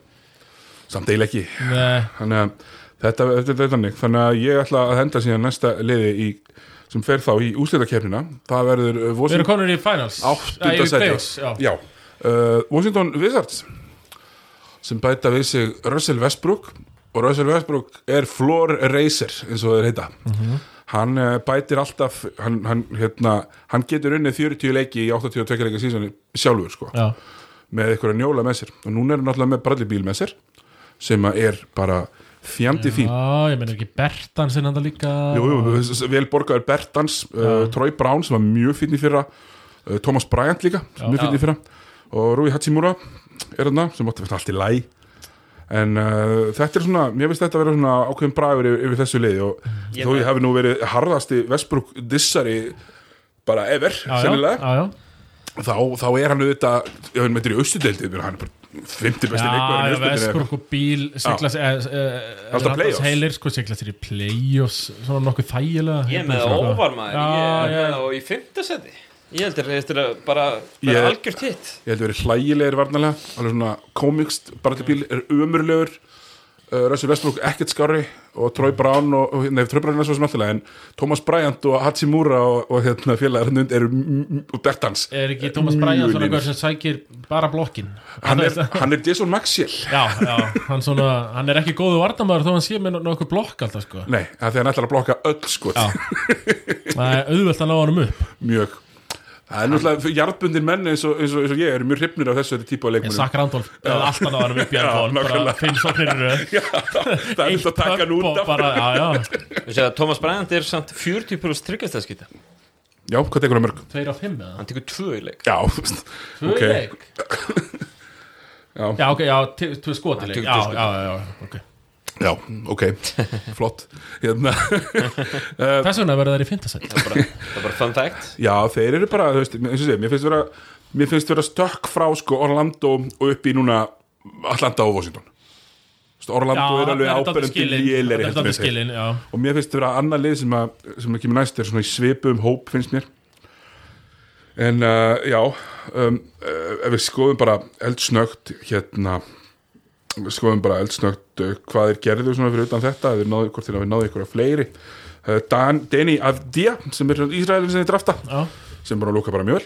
samt eil ekki
eh,
þannig að þetta, þetta, þetta er þannig þannig að ég ætla að henda síðan næsta liði í, sem fer þá í úslitakefnina það verður uh,
við erum
Washington
konur í finals Já, í playoffs,
áttundasæti
já.
já, uh, Washington Wizards sem bæta við sig Russell Westbrook og Russell Westbrook er floor racer eins og þeir heita
Mhm.
hann uh, bætir alltaf hann, hann, hérna, hann getur unnið 40 leiki í 82 leika sísoni sjálfur sko
Já.
með einhverja njóla með sér og núna er hann náttúrulega með brallibíl með sér sem að er bara fjandi fín
já, ég meina ekki Bertan sinna þetta líka
jú, jú, s- s- vel borgaður Bertans uh, Troy Brown sem var mjög fínn í fyrra uh, Thomas Bryant líka, sem mjög fínn í fyrra og Rui Hachimura er hann sem átti fyrir allt í læ en uh, þetta er svona, mér finnst þetta að vera svona ákveðin bragur yfir, yfir þessu liði og
Ég
þó
með-
ég hafi nú verið harðasti Vestbruk dissari bara ever,
já, já,
sennilega
já, já.
þá, þá er hann auðvitað ef hann meitir í austudeildi, hann er bara 50 besti
Já,
leikmaður
já, Vesburg og bíl siglast, eh, eh,
Alltaf
Ratas
playoffs.
heilir sko, siglast þér í play-offs svona nokkuð þægilega
Ég er með það
Sko.
óvar maður
Já,
Ég er
já.
með það í fymtasetti Ég heldur þetta er bara
Ég-
vera algjört hitt
ég held að verið hlægilegir varnalega alveg svona komikst, Bartlebíl er umurlegur uh, Russell Westbrook ekkert skári og Troy Brown og, og nefn, Troy Brown er svo smertilega en Thomas Bryant og Hachimura og, og hérna félagar hann undir eru m- m- og Bertans,
Er ekki Thomas
Mjög
Bræjan svona
línur.
einhver sem sækir bara blokkin
hann er, hann er Jason Maxwell
Já, já, hann, svona, hann er ekki góðu vartamæður þó hann sé með no- nokkuð blokk alltaf sko
nei, af því að hann ætlar að blokka öll skot
Já. Það er auðvelt að ná honum upp
mjög það er náttúrulega, jarðbundin menn eins og, eins, og, eins og ég eru mjög hrifnir af þessu típu af
En
leikmunum
Sack Randolph er alltaf að ná honum upp í
Já,
ennfón bara
nákvæmlega.
fimm sóknir í röð.
það er
Eitt
þetta að taka hann
pump
út
og
af
bara, já, já,
Við séum að Thomas Bryant er samt 40 pluss tryggastaskita
já, hvað tekur það mörg?
tveir á fimm eða
Hann tekur tvö í leik
já, ok
Tvö í leik.
Já.
Já, ok, já, t- tvö skotileg
Hann tekur
Já,
tvö skot.
já, já, já, ok
Eh, Já, ok, flott hérna,
Þess vegna verða þær í fintasætt
Það er bara, það er bara fun fact
Já, þeir eru bara, þú veist, eins og sé Mér finnst vera, mér finnst vera stökk frá sko Orlando og upp í núna Atlanta og Washington Þú veist, Orlando er alveg ábyrjandi léleri
Þetta er skilin, já
Og mér finnst vera annað lið sem, að, sem að kemur næst er svona í svipum hóp finnst mér En uh, já, um, uh, ef við skoðum bara eldsnögt hérna við skoðum bara eldsnögt uh, hvað þeir gerðu svona fyrir utan þetta ef þeir náðu hvort þeir hafi náðu ykkur að fleiri uh, Dan, Deni Avdia sem er Ísraelin sem þeir drafta
Já.
sem bara lúka bara mjög vel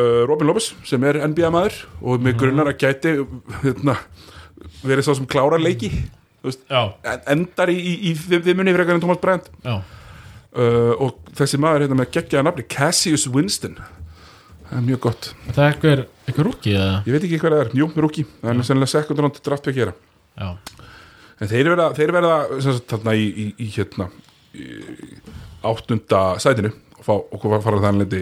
uh, Robin Lopez sem er NBA maður og með grunnar að gæti hérna, verið sá sem klárar leiki þú veist,
Já,
en- endar í, í, í þimmunni frekar en Thomas Bryant
já
uh, og þessi maður hérna með geggjaða nafni Cassius Winston það er mjög gott,
Það er eitthvað, eitthvað rúki eða
ég veit ekki hvað það er jú, rúki, það er sennilega sekundarand draftbyggera
Já,
en þeir verða, þeir verða sem sagt, þarna í, í, í hérna í áttunda sætinu og, fá, og hvað fara þannig lendi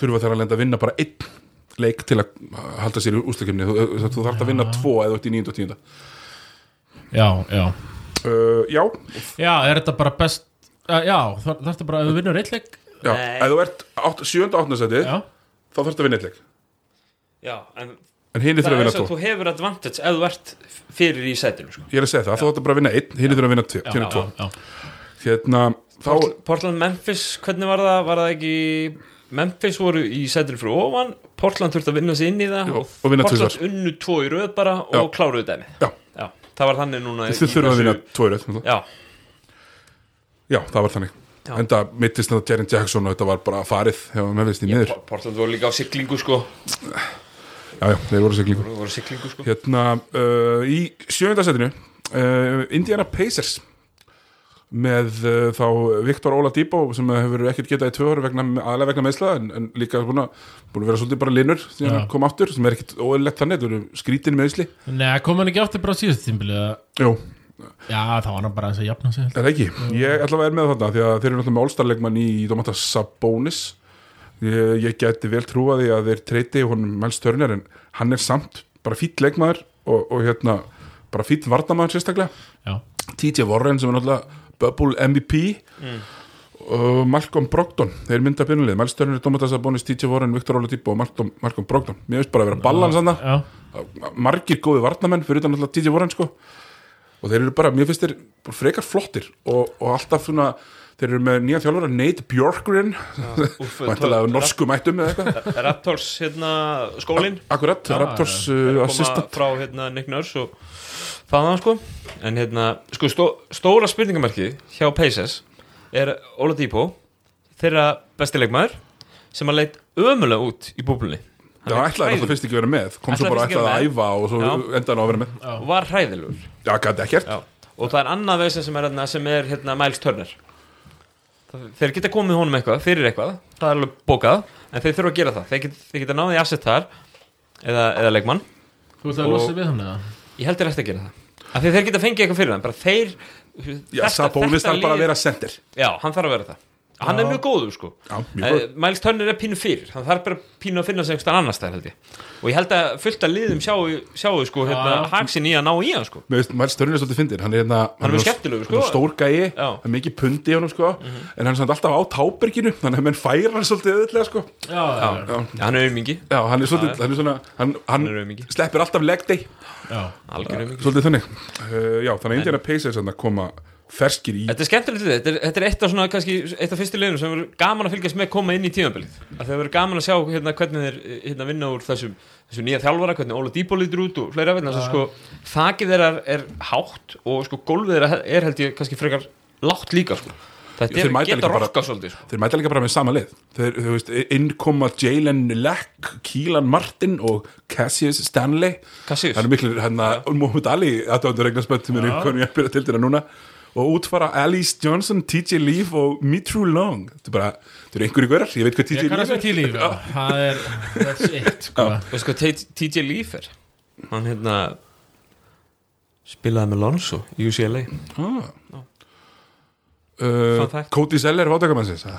þurfa þær að lenda að vinna bara einn leik til að halda sér í úslakefni þú, þú, þú þarf að vinna tvo eða þú ert í níund og tíunda
já, já
uh, já,
Já, er þetta bara best uh, Já, þar- þarftu bara að þú vinnur eitt leik
já
Nei.
ef þú ert átt, sjönda áttunda sæti
Já,
þá þarf að vinna einn leik
Já, en
en hinn
það
þurfa að
er
vinna
svo að
tvo
þú hefur advantage ef þú ert fyrir í sætinu sko.
ég er að segja það, þú þarf bara að vinna einn hinn þurfa að vinna tvo,
já,
hérna tvo.
já,
Hérna, þá,
Portland Memphis, hvernig var það? Var það ekki Memphis voru í sætinu fyrir ofan Portland þurfti að vinna sig inn í það
Já, og vinna
Portland
tvisvar.
unnu tvo í röð bara og
Já.
kláruðu dæmi
já,
Já, það var þannig núna
þið
í
þurfa að
þessu-
vinna tvo í röð náttúrulega.
Já,
já, það var þannig
Já.
enda mittist þetta Jaren Jackson og þetta var bara farið hefur með veist í miður
Por- Portland voru líka á siglingu sko
já, já, þeir voru siglingu
Voru voru á siglingu sko
hérna, uh, í sjöndasettinu uh, Indiana Pacers með uh, þá Viktor Óla Dibó sem hefur ekkert getað í tvö ára vegna, aðlega vegna meðsla en, en líka búin að, búin að vera svolítið bara linur sem
Já.
hann kom aftur, sem er ekkert óeðlegt þannig þetta eru skrítin meðsli
Nei, kom hann ekki aftur bara á síðustu tímbili Já,
Jú,
þá var hann bara eins og jafna sig held ég.
Er það ekki? Ég allavega er með þarna því að þeir eru náttúrulega með allstarleikmann í Domantas Sabonis ég, ég geti vel trúa því að þeir treyti honum Mels Turner en hann er samt bara fýtt leikmaður og, og hérna bara fýtt varnamaður sérstaklega
Já,
TJ Warren sem er náttúrulega Bubble MVP og Malcolm Brogdon, þeir mynda byrjunlið Mels Turner, Domantas Sabonis, TJ Warren, Viktor Óla Dibbo og Malcolm, Malcolm Brogdon, mér veist bara að vera ballans þarna
já,
margir góði varnamenn fyrir utan alltaf TJ Warren sko og þeir eru bara, mér finnst þeir bara frekar flottir og, og alltaf svona þeir eru með nýja þjálfara Nate Björkgren
Úff,
mæntalega norskum ættum eða eitthvað
Ra- Raptors hérna, skólin
akkurat, Raptors uh,
koma
assistant
frá hérna, Nick Nurse og þaðan sko en hérna, sko stó, stóra spurningamarki hjá Pacers er Ola Dípó þeirra besti leikmaður sem að leit ömulega út í búblunni
Já, ætlaði alltaf fyrst ekki að vera með kom svo
Ætlaði
bara
fyrst ekki að
ætlaði að
vera
æfa og svo
Já.
endaði hann á að vera með
og var hræðilegur
Já, gæti ekkert
Já. og það er annað veginn sem er, hérna, sem er hérna, Miles Turner Það- þeir geta komið honum eitthvað, fyrir eitthvað það er alveg bókað, en þeir þurfa að gera það þeir geta, þeir geta náðið asset þar eða, eða leikmann,
Þú veist að
Og-
losa við hann eða?
ég held þeir eftir að gera það af því þeir geta fengið eitthvað fyrir hann bara þeir,
Já, Sabonis þarf bara að vera sendir
já, hann þarf að vera það hann er mjög góður sko
Já, mjög góð
Eh, Miles Turner er pínu fyrir hann þarf bara pínu að finna sig einhverstað annars þar held ég og ég held að fullt að liðum sjáu, sjáu sko, hérna,
já.
haksin í að ná í hann sko
Mér veist, Miles Turner er svolítið fyndin Hann er hérna
Hann er mjög
nú-
skemmtilegur,
hann er
sko.
Stór gæi,
Já. Mhm.
það er mikið pundi í honum sko En hann er samt alltaf á táberginu Þannig að menn færa hann svolítið öðvitlega sko
Já, já, já.
hann er auðmingi,
Já, hann er svolítið, hann er svona Hann, hann,
Hann er aumingi.
sleppir alltaf leg day
já.
algjör auðmingi
Svolítið þannig uh, Já, þannig að Indiana Pacers þarna koma ferskir í
Þetta er skemmtilegt við þetta, er- þetta er eitt af, svona, kannski, eitt af fyrstu liðunum sem verður gaman að fylgjast með koma inn í tímabilið að það verður gaman að sjá hérna, hvernig þeir hérna, vinna úr þessum, þessum nýja þjálfara hvernig Óla Dýbó lítur út og fleira vegna þess að, sko, þakið þeirra er hátt og sko, gólfið þeirra er held ég kannski frekar látt líka sko.
Já,
þetta
þeir
er
mæta líka
geta
bara-
rokka svolítið sko.
Þeir mæta líka bara með sama lið Þeir, þú veist, innkoma Jalen Leck Keelan Martin og Cassius Stanley
Cassius,
Það eru miklu hérna Mohamed Ali aðdóndur regnarspönd sem eru konu ég að byrja til þeirra núna og útfara Alice Johnson, TJ Leaf og Mitru Long Þetta er bara, þetta eru einhverju görar, ég veit hvað TJ
Ég
Leaf
kannast
er
við til í, já. Það er, that's it, sko.
veistu hvað T- TJ Leaf er hann hérna spilaði með Lonzo í UCLA
ah.
Fun
uh,
fact.
Cody Seller, vátakamannsins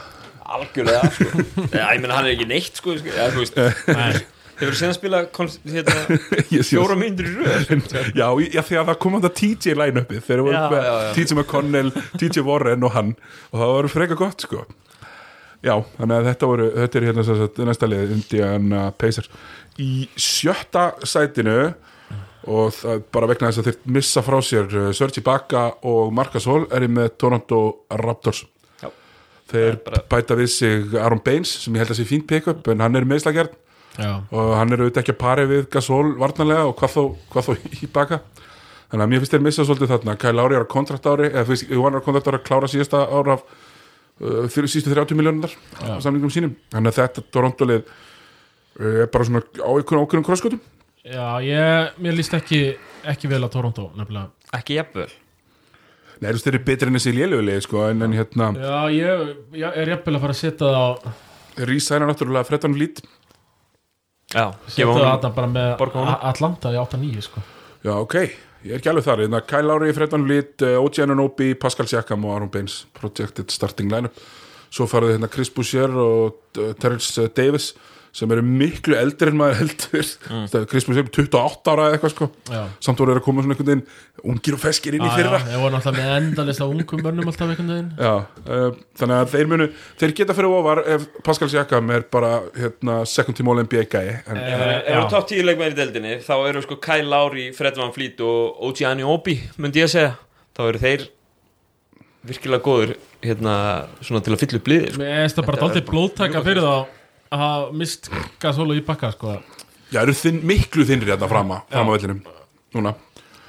algjörlega sko. Já, ég meina hann er ekki neitt sko, sko. Já, þú veist
Nei.
Hefur þú séðan spila konst, hérna,
Ég sé
fjóra myndir í röð?
Já, í- já, þegar það kom hann að TJ line uppi þegar voru
Já,
með
já, já.
TJ McConnell, TJ Warren og hann og það var freka gott sko Já, þannig að þetta voru þetta er hérna sem sagt, næsta lið Indiana Pacers í sjötta sætinu og það, bara vegna þess að þeir missa frá sér uh, Sergi Baka og Marcus Hall er í með Toronto Raptors
Já.
Þeir
bara-
bæta við sig Aaron Baines sem ég held að sé fínt pick-up en hann er meðslagjarn
Já.
og hann er auðvitað ekki að pari við Gasol varnarlega og hvað þó, hvað þó í baka þannig að mér finnst þeir missa svolítið þarna Kyle Ári er á kontraktári eða fyrst, hann er á kontraktári að klára síðasta ára af uh, fyrir, sístu 30 miljónunar á samlingum sínum þannig að þetta Torontolið uh, er bara svona á einhvern ákveðnum krosskotum
Já, ég, mér líst ekki, ekki vel á Toronto, nefnilega.
Ekki jafnvel
Nei, þú veist, þeir eru betri en þessi lélögulegi sko, en, en hérna,
Já, ég, ég er jafnvel að fara að setja það á,
Rísa er náttúrulega 13 lít
Já,
setja
gefa
það
hún
þarna bara með
borga honum.
A- Atlanta í 8-9, sko.
Já, ok, ég er ekki alveg þar Þannig að Kyle Lowry, Fredon Lít, OG Ananobi, Pascal Siakam og Aaron Baines Projected starting lineup Svo farið hérna Chris Boucher og eh, Terrence eh, Davis sem eru miklu eldri en maður heldur mm. Chris Boucher er 28 ára eða eitthvað sko
Já.
Samt voru þeir að koma svona einhvern veginn ungir og feskir inn í
Já,
fyrra
já, ég var náttúrulega með endalist á ungum börnum alltaf einhvern veginn.
Já, uh, þannig að þeir munu þeir geta fyrir ofar ef Pascal Siakam er bara hérna, second team all-NBA gæi en,
Eh.
Ef Eh, ef
Já.
eru top 10 leikmenn í deildinni þá eru sko Kyle Lowry, Fred Van Fleet og OG Aniobi, myndi ég að segja þá eru þeir virkilega góður hérna svona til að fylla upp liðið sko.
Mér finnst það bara
Þetta er
daldið blóðtaka
mjög
fyrir þá að hafa mist gasólu í bakka sko.
Já, eru þinn, miklu þinnri hérna frama, frama vellinum Núna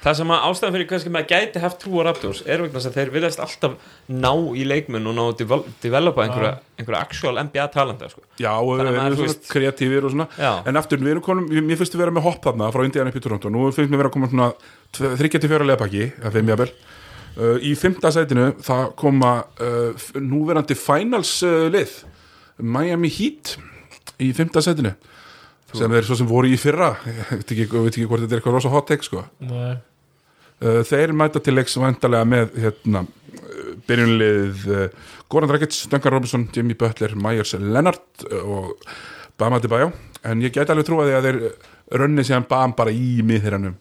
Það sem að ástæðan fyrir kannski maður gæti haft trúa Raptors er vegna þess að þeir virðast alltaf ná í leikmenn og ná að devel- developa einhverja, einhverja actual NBA talenda sko.
Já, og við
Þannig að maður,
erum
þú
svona
veist-
kreatífir og svona
Já.
En aftur, við erum konum, mér finnst við vera með hopp þarna frá Indiana upp í Toronto Nú finnst mér vera að koma svona 34 leðbaki, að þeim jafnvel uh, Í fimmta sætinu, það koma uh, f- núverandi finals uh, lið Miami Heat í fimmta sætinu sem þeir svo sem voru í fyrra ég veit ekki, ég veit ekki hvort þetta er eitthvað rosa hot take sko.
Nei.
Uh, þeir mæta til leiks vandalega með hérna, uh, byrjunlið uh, Goran Dragic, Duncan Robinson, Jimmy Butler Myers Leonard uh, og Bama Adebayo, en ég gæti alveg trúa því að þeir uh, runni síðan Bam bara í miðherranum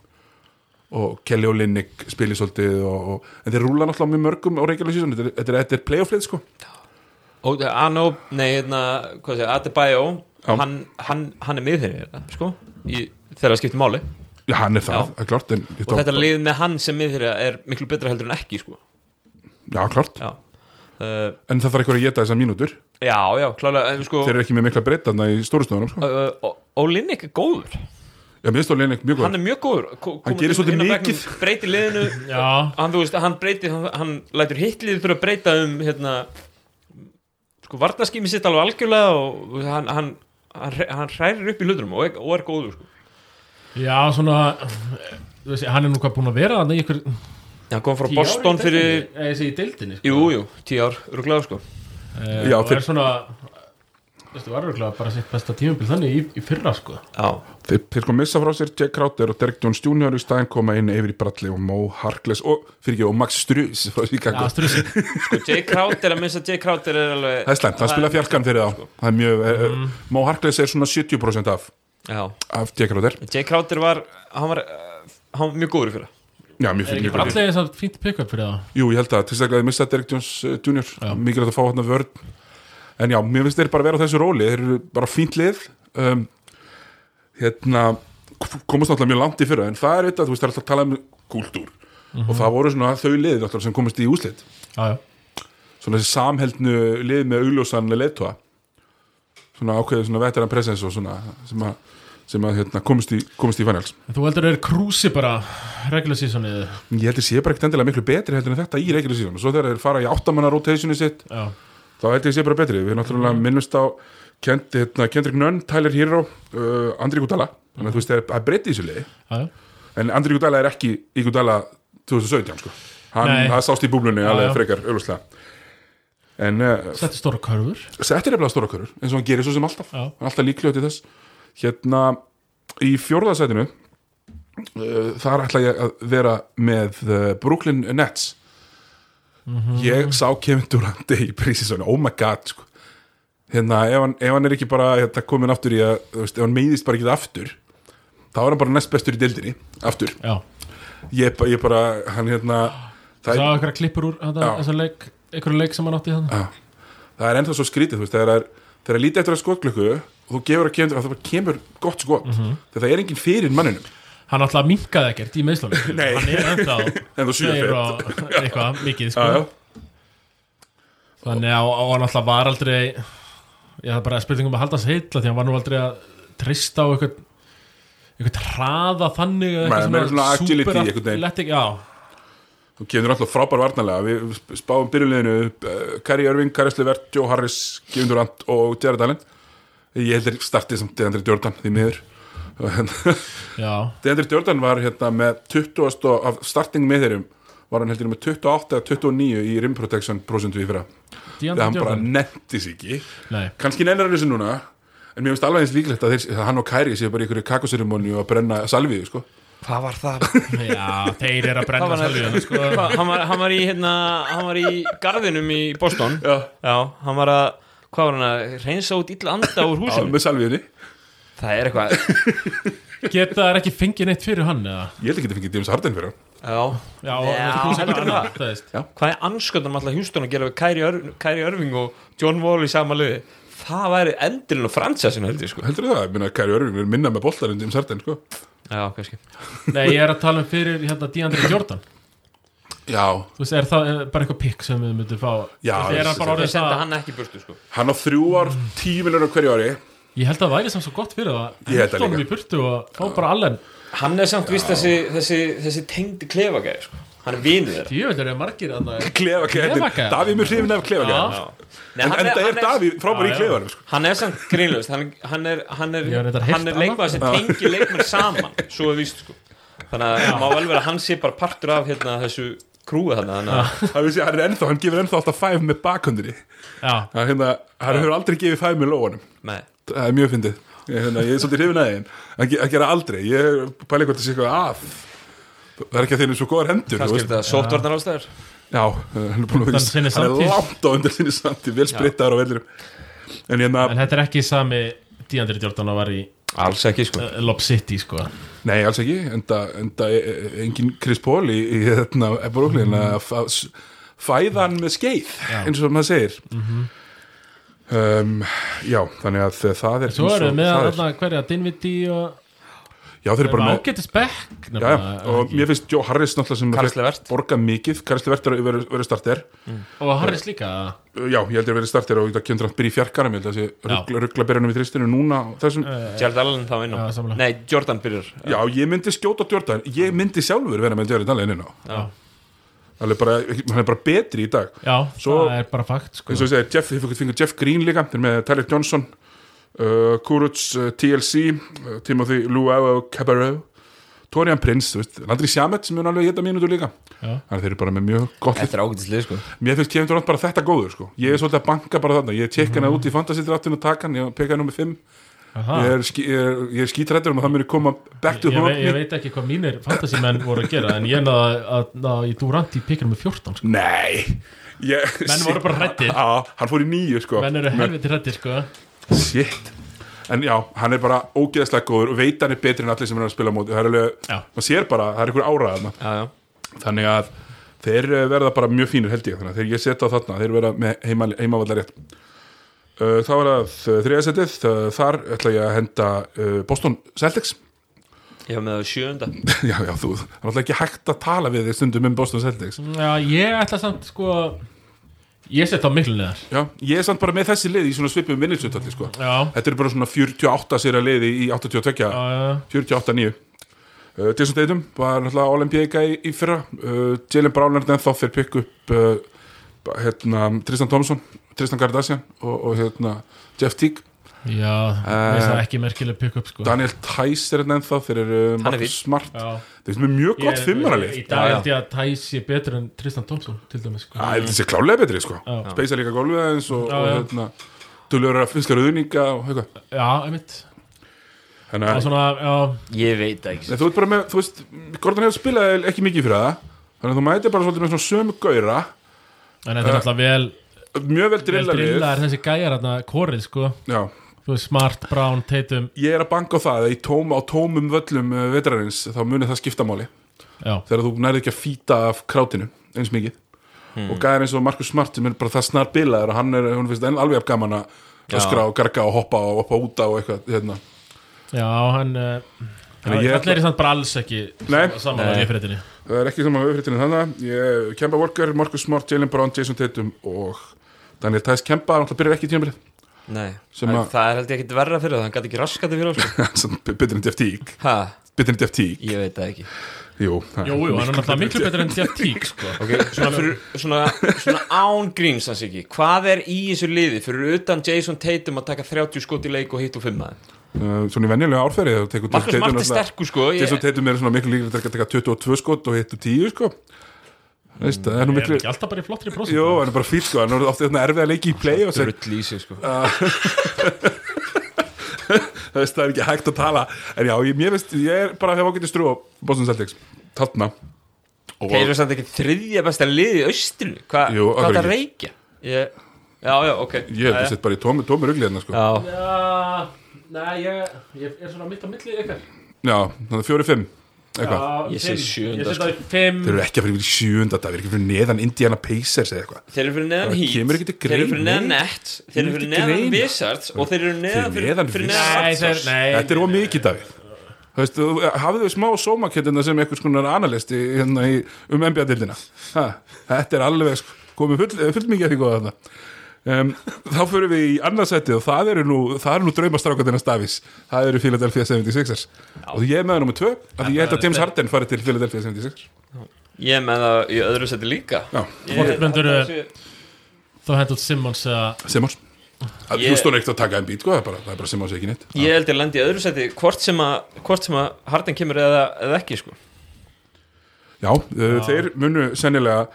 og Kelly og Linnick spili svolítið og, og, en þeir rúla náttúrulega mjög mörgum á regular season þetta er, þetta er, þetta er playoff-lið sko
Og Anó, nei, hérna, hvað segja, Adebayo,
Já.
hann, hann, hann er miðherri, hérna, sko, í, þegar það skiptir máli.
já, hann er það,
Já.
það er klart en, ég
Og
tók-
þetta lið með hann sem miðherri er miklu betra heldur en ekki, sko.
já, klart,
Já. uh,
en það þarf eitthvað að geta þessar mínútur
já, já, klálega en sko,
þeir eru ekki með mikla breytaðna í stóru stöðunum sko.
uh, Ólinnik er góður
já, minnst á Leinik mjög góð
hann er mjög góður Ko-
Hann
komið
gerir
inn-
svolítið
inn á bekknum,
mikið.
breytir liðinu
Já,
hann, þú veist, hann breytir, hann, hann lætur hittlið þurfa að breyta um hérna, sko, vartaskými sitt alveg algjörlega og þú veist, hann, hann, hann, hre- hann hrærir upp í hlutunum og, er- og er góður sko.
já, svona þú veist, Hann er nú hvað búin að vera Þannig ykkur
hann kom frá Boston fyrir
Ég segi í deildinni sko.
jú, jú, tíu ár, rúglega sko.
Eh,
Já,
og
fyrir-
er svona Þú veist, var örgulega bara sitt besta tímabil þannig í, í fyrra sko
já,
þeir, þeir sko missa frá sér Jack Crowder og Derek Jones Jr. í staðin koma inn Avery Bradley og Mo Harkless og fyrir ekki og Max Struz frá Chicago
Já, strussi
sko, Jay Crowder að minnst að Jay Crowder er alveg
það er slæmt, það spila fjarkan fyrir þá það er mjög, mm. Mo Harkless er svona 70% af,
já,
af Jack Crowder
Jay Crowder var hann var, uh, hann var mjög góður fyrir
já, mjög
Er
fyrir
ekki
mjög
bara
fyrir
allir þess að fínt pick-up fyrir það
jú, ég held að, til þess að þeir missa Derek Jones eh, Jr. mikilvægt að fá hann að vörð en já, mér finnst þeir bara vera á þessu róli þeir eru bara fínt lið um, hérna komast náttúrulega mjög langt í fyrra en það er þetta, þú veist, það er alltaf að tala um kultúr og það voru svona þau lið náttúrulega sem komast í úslit
Já, já
svona þessi samheldnu lið með augljósan leiðtóa svona ákveðið svona veteran presence og svona sem að, sem að hérna, komist, í, komist í finals
En Þú heldur að er krúsi bara regular seasonið
ég held að sé bara ekkert endilega miklu betri heldur en þetta í reikinu síðan og svo þegar þeir fara í áttamanna rotationu sitt
Já,
þá held ég sé bara betri við náttúrulega
Mhm.
minnumst á Kent, hérna, Kendrick Nunn, Tyler Hero uh, Andri Gudala þannig að þú veist það er- það er breytti í þessu liði
já, já
en Andri Gudala er ekki í Gudala 2017 sko hann
Nei.
það sást í búblunni alveg
já.
frekar augljóslega en uh,
Þetta er stóra körfur
Þetta er nefnilega stóra körur, eins og hann gerir svo sem alltaf
Já.
Hann er alltaf líklegur til þess Hérna, í fjórðasætinu uh, Þar ætla ég að vera með uh, Brooklyn Nets
Mhm.
Ég sá Kevin Durant í prísisónu, oh my god sko. Hérna, ef hann, ef hann er ekki bara hérna, komin aftur í að, þú veist, ef hann meiðist bara ekki aftur þá er hann bara næst bestur í deildinni aftur,
Já
ég, ba- ég bara hann hérna, það
Sá
er
eitthvað klippur úr þetta-
Já.
þessa leik Eitthvað leik sem hann átti þannig
það er ennþá svo skrítið þú veist, þegar það er, þegar er lítið eftir að skotklöku og þú gefur að kemur, það bara kemur gott skot
Mhm.
þegar það er enginn fyrir manninum
Hann alltaf minkaði ekkert í meðslunum
Nei.
Hann er ennþá
en þú sýður
Tveir
fyrir
og eitthvað mikið sko.
já, já.
Þannig að og hann alltaf var aldrei Já, það er bara spurningum að halda sig heitla Því hann var nú aldrei að treysta á eitthvað eitthvað hraða þannig eða
Nei, meira svona agility,
super
einhvern veginn.
athletic- Já,
þú kemur alltaf frábær varnalega við spáum byrjuleginu uh, Kari Irving, Kari Slevert, Joe Harris Kevin Durant og Jared Allen ég heldur startið sem Deandre Jordan því miður
já,
Deandre Jordan var hérna með 20 og- af starting með þeirrum var hann heldur með 28 eða 29 í rim protection prosentu í fyrra
Deandre
þegar hann bara
Jordan.
nettis ekki
Nei,
kannski neinar þessu núna en mér finnst alveg eins líklegt að, þeir, að hann og Kæri séu bara í ykkur kakoseremóni og að brenna salviðu sko.
hvað var það?
já, þeir eru að brenna salvíðan sko.
Hvað, hann, var, hann, var í, hérna, hann var í garðinum í Boston
Já.
hann var að hvað var hann að reynsa út illa anda
Á,
úr húsinu
með salviðinni,
það er eitthvað
Geta þær ekki fengið neitt fyrir hann eða?
ég held ekki að fengið James Harden fyrir hann
já,
Já,
Já, heldur
hann,
það.
það veist
hvað er anskjöndan alltaf Hjústón að gera við Kyrie Irving- Kyrie Irving og John Wall í sama liði það væri endurinn og fransasinu heldur ég, sko.
heldur það, minna Kæri Örving er minna með boltar en James Harden sko.
já, kannski
Nei, ég er að tala um fyrir hérna Deandre Jordan
já,
Þú veist, er það er bara eitthvað pikk sem við myndum fá
Já,
Þú veist, er hann bara
þau
orðið
senda
það
hann ekki í burtu sko.
hann á þrjú ár tíu miljonar hverju ári
Ég held að það væri samt svo gott fyrir það
Ég held það
Hendum
líka.
í burtu og fá bara allen
hann er samt vist þessi, þessi, þessi tengdi klefagæði sko. hann er vinur þeirra
Djöfell eru margir að það
klefakæðin,
Klefagæðin.
Davíð er mjög hrifin af klefakæðin
Já. Nei,
en
hann
enda er
hann
Davíð frábær
Já,
í
já.
klefakæðin sko.
Hann er samt grínlust, hann, hann er, hann er,
Ég hef reyndar heyrt
hann er leikmaður sem tengir leikmenn saman, svo er víst sko. Þannig að það má vel vera að hann sé bara partur af hérna, þessu krúi þarna, þannig að
hann, vissi- hann, er ennþá- hann gefur ennþá alltaf fæf með bakhundinni
Já,
hann, hérna, hann hefur aldrei gefið fæf með lóanum
Nei.
það er mjög fyndið ég, hérna, ég er svolítið hrifin aðeins en að gera aldrei, ég pæli hvort að sé eitthvað að það er ekki að þeir eru svo góðar hendur þú
kannski er
veist.
þetta sóttvarnar ástæður
já, hann er búin að
Undan sinni
vera hann
samtíð.
er langt á undan sinni samtíð vel sprittaður á vellurum en hérna,
en þetta er ekki sami Deandre Jordan að var í
Alls ekki sko
uh, Lob City sko
nei alls ekki enda, enda e- e- engin Chris Paul í, í hérna, Brooklyn að fá- s- fæða hann með skeið eins og maður segir um, já, þannig að það er
Svo
eins og
eru við með
það
að
er.
þarna hverja Dinviti og
já þeir eru bara með
ágætis eh, bekk
já, já, og mér finnst Joe Harris náttúrulega sem
Karl Levert.
borga mikið, Karlsli Vert er að vera- vera starter
og Harris líka
Uh, já, ég held ég að vera starter og það kemur hann byrja í fjarkarum ég held að þessi ruggla, ruggla berjunum í þristinu núna og þessum,
Gerald Allen þá inn á
Já, sammála.
Nei, Jordan byrjar
já ég myndi skjóta Jordan, ég myndi sjálfur vera með Jared Allen inn á
Já.
hann er bara, hann er bara betri í dag
já,
Svo-
það er bara fakt sko.
eins og ég segi, Jeff, þið fengur Jeff Green líka þeir eru með Tyler Johnson uh, Kuruc, uh, TLC uh, Timothy Luau, Cabarro Torian Prince, þú veist, Landry Sjamet sem er alveg geta mínútur líka
Já.
þannig að þeir eru bara með mjög gott lið
Þetta er ágætislið sko
mér finnst Kevin Durant bara þetta góður sko. ég er svolítið að banka bara þarna, ég tek hana út í fantasy draftin og taka hann, ég peka hann nummer 5
Mhm. Aha.
ég er, ski- ég er, ég er skítrættur um að það muni koma back to
ég, ve ég
haunt
veit ekki hvað mínir fantasímenn voru að gera en ég náði að, að, að ég Durant í pikir með 14 sko.
nei ég,
menn voru bara hrættir
á, hann fór í nýju sko
menn eru helviti hrættir sko.
Shit En já, hann er bara ógeðslega góður og veit hann er betri en allir sem er að spila á móti Það er alveg,
Já.
maður sér bara, það er einhver áraðan
Já, já
Þannig að þeir eh, verða bara mjög fínir held ég Þannig að þegar ég setja á þarna, þeir verða með heima, heimavallar rétt Uh, Það var að þriðasettið, Eh, þar ætla ég að henda uh, Boston Celtics
Ég hef með það sjönda
Já, já, þú, það er alltaf ekki hægt að tala við þig stundum um Boston Celtics
já, ég ætla samt sko ég set þá miklu neðar
Já, ég er samt bara með þessi lið í svona svipum vinningsutalli, sko
já,
Þetta er bara svona 48 sér að liði í 82
já, já,
48-9 uh, Jason Tatum var náttúrulega Olympiaika í, í fyrra uh, Jalen Brown er ennþá fyrir pikk upp uh, ba- hérna, Tristan Thompson Tristan Gardassian og, og hérna, Jeff Teague
já
Eh,
uh, það er ekki merkileg pick up sko.
Daniel Tice er hérna ennþá fyrir uh,
Hann er
Marcus
fínn.
Smart
já
þeir sem er mjög gott
Ég-
fimmaralið
í dag
Já, já.
held ég að Thais sé betur en Tristan Thompson til dæmis sko.
það er þessi klálega betri sko
Já.
Space er líka gólfið aðeins og,
Já,
og
já.
hérna, dullur að finnska rauðninga og eitthvað
já, einmitt
þannig að
og svona, já,
Ég veit það ekki
Nei, þú veit bara með, þú veist, Gordon hefur spilað ekki mikið fyrir það þannig að þú mætir bara svolítið með svona sömu gauðra
en þetta er alltaf vel
mjög vel
vel
drilla Eh, lið
drilla er þessi gæjar hérna korið sko
Já,
Þú veist, Smart, Brown, Tatum
ég er að banka á það að í tóm, á tómum völlum eh, vetrarins þá muni það skipta máli
já,
þegar þú nærið ekki að fýta af krátinu eins mikið
Hmm.
og gæðir eins og Markus Smart sem er bara það snar bilaður og hann er, hún finnst enn alveg af gaman að öskra og garga og hoppa og hoppa út á og eitthvað hérna.
já, hann uh,
Þannig að ég
allir
ætla-
er samt bara alls ekki
Nei.
saman að
Nei.
ég fyrirtinni
það er ekki saman auðvitað þannig ég, Kemba Walker, Markus Smart, Jalen Brown, Jason Tatum og Daniel Tice Kemba hann byrjar ekki í tímabilið
Nei,
Sem
það,
að-
það er held ég ekkit verra fyrir það Hann gæti ekki raskat fyrir það sko.
betur en Jeff Teague
Ha,
betur en Jeff Teague
ég veit það ekki
jú, það-
Jú, jú, hann er náttúrulega miklu betur en Jeff Teague sko.
okay, svona, fyrir, svona, svona án gríns hans ekki Hvað er í þessu liði fyrir utan Jason Tatum að taka 30 skot í leik og hitt og fimma
Uh, svona í venjulega árferði þá tekur Jeff Tatum
Marcus Smart er
náttúrulega-
sterkur sko ég,
Jason Tatum er svona miklu líklega að taka 22 skot og hittu 10 sko Veist, það er nú
Er hann
miklu
ekki alltaf bara í flottri prosent
Jó, hann er bara fýrt sko, hann er ofta erfið að leiki í play og sér,
Drull í sig sko
Uh, það veist, það er ekki hægt að tala En já, ég, mér veist, ég er bara að hefa ágætið strú á Boston Celtics, taltna Og
Þeir eru samt ekki þriðja besta liði í austinu Hva,
Jú,
Hvað
akkur
það reykja ég, Já, já, ok
ég hef
Jæja.
sett bara í tómi, tómi rugli hérna sko Já,
Já,
Já, nei, ég, ég er svona mitt á milli ykkar
þannig að fjóri fimm, eitthvað
Ég sé sjöunda,
Ég sé
sko.
það í fimm
Þeir eru ekki að fyrir yfir í sjöunda dag, þeir eru ekki fyrir neðan Indiana Pacers eða eitthvað
þeir eru fyrir neðan
Það
Heat
kemur ekki til
Þeir eru fyrir
greina.
neðan Nets Þeir eru
Kemur
fyrir
ekki til
neðan
greina.
Wizards Og þeir eru neðan
Fyrir neðan
fyrir
Wizards.
neðan
Nei, þeir,
Raptors.
nei
Þetta er ómikið dag Þú veist, þú- hafið þau smá sómakettina sem einhvers konar analisti hérna í, um NBA-dildina Þetta er alveg sko, komið full, full mikið að því góða þarna um, Þá förum við í annarsætti og það eru nú, það eru nú draumastrákatina Stafís Það eru Philadelphia 76ers Og ég er með það nummer 2 af því ég held að James Harden fari til Philadelphia 76ers
Ég er með það í öðru seti líka
Já,
Ég-
Myndirðu-
það sé-
Þá hendur Simmons að
Simmons Það
Ég-
er stund ekkert að taka einn bít, sko, það er bara, það er bara Simmons ekki neitt
Ég held ég lendi í öðru seti Hvort sem að, hvort sem að Harden kemur eða, eða ekki sko.
Já, uh, þeir munu sennilega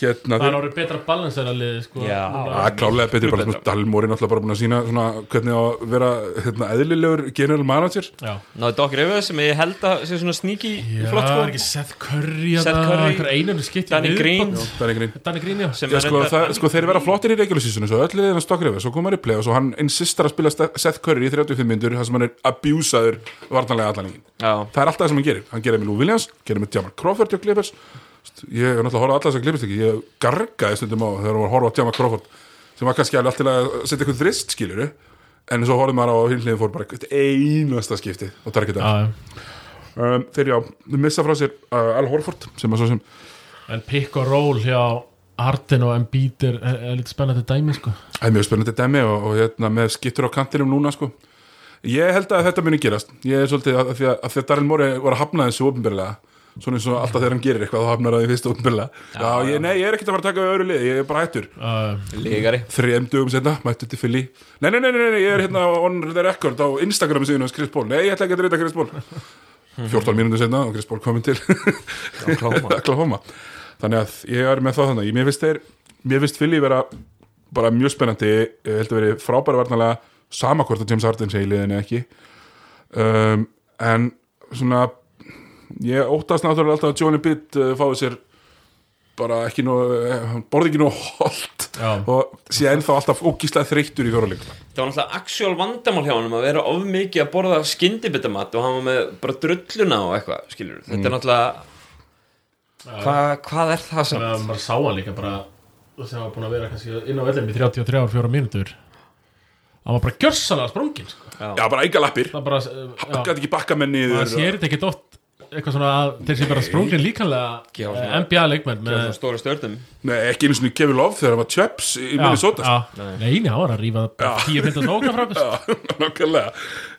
hérna,
það
þeir-
er orðið betra balans en að liði sko
Já.
Núna.
Já, klálega betri bara,
betra.
svona, Dalmóri náttúrulega bara búin að sína svona, hvernig á að vera hérna, eðlilegur general manager
Já
Náðu Dokkir Evið sem ég held að sé svona sníki
Já,
flott
það
sko.
er ekki Seth Curry
Seth
hérna,
Curry,
einhver einunni skitti
Danny Green.
það er einhvern veginn
Danny Green, já
sem
Já,
er
sko,
reyndar-
það, sko, þeir vera flottir í regular season svo öll liðin að stokkrifið, svo koma þeir í play og svo hann insistar að spila Ste- Seth Curry í 35 myndur þar sem hann er abjúsaður varnanlega allan líkin
Já.
það er alltaf það sem hann gerir, hann gerir með Lou Williams gerir með Jamal Crawford og Clippers ég er náttúrulega að horfa á alla þess að Clippers ekki ég gargaði stundum á þegar hann var að horfa á Jamal Crawford sem var kannski alveg alltaf að setja eitthvað þrist skiluru en svo horfði maður á hinliðin fór bara eitt einasta skipti og targeta
Já, já
um, þeir já, missa frá sér uh, Al Horford sem að svo sem
En pick og roll hjá Harden og Embiid er, er, er lítið spennandi dæmi sko.
Það er mjög spennandi dæmi og, og hérna, með skittur á kantinum núna sko. Ég held að þetta muni gerast Ég er svolítið að, að, því að, að því að Daryl Morey var að hafna þessu ofnbyrlega Svona eins og alltaf þegar hann gerir eitthvað þá hafnar það í fyrst ofnbyrlega já, ég, Nei, ég er ekkert að fara að taka öðru lið, ég er bara hættur
uh,
Lígari
Þrejum dögum senna, mættu til Fili nei nei, nei, nei, nei, ég er hérna on the record á Instagram síðan hans Chris Paul Nei, ég ætla ekki að reyta Chris Paul 14 mínútur senna og Chris Paul komin til Oklahoma Þannig að ég er með það þannig Mér finnst þeir, mér finnst Philly vera bara mjög spennandi, Eh, ég held að veri frábæra varnalega, sama hvort að James Harden segi liðinu ekki um, en svona ég óttast náttúrulega alltaf að Johnny Bitt uh, fáið sér bara ekki nú, hann borði ekki nú holt
Já.
og sé ennþá alltaf ógíslega þreyttur í fjóralegla
Það var náttúrulega actual vandamál hjá hann að vera of mikið að borða skyndibitamat og hann var með bara drulluna og eitthvað, skilur Þetta
Mm.
er náttúrulega hva, hvað er það sem
Þannig að maður sá hann líka bara þú veist, hann var búin að vera kannski inn á vellum í 33 ár, 4 mínútur hann var bara gjörsalega sprungin sko.
Já, bara eiga lappir,
það bara, uh,
hann
já,
gæti ekki bakka menni
maður sér þetta ekki dótt eitthvað svona að þeir sem bara sprungin eh,
Ekki á
líkanlega
svona-
NBA leikmenn
með
með
stóri stjörnum
Nei, ekki einu sinni Kevin Love þegar hann var Chaps í Minnesota sko.
já. Nei, nei, hann var að rífa
Já.
10-15 nógna frá okkur.
Já, nákvæmlega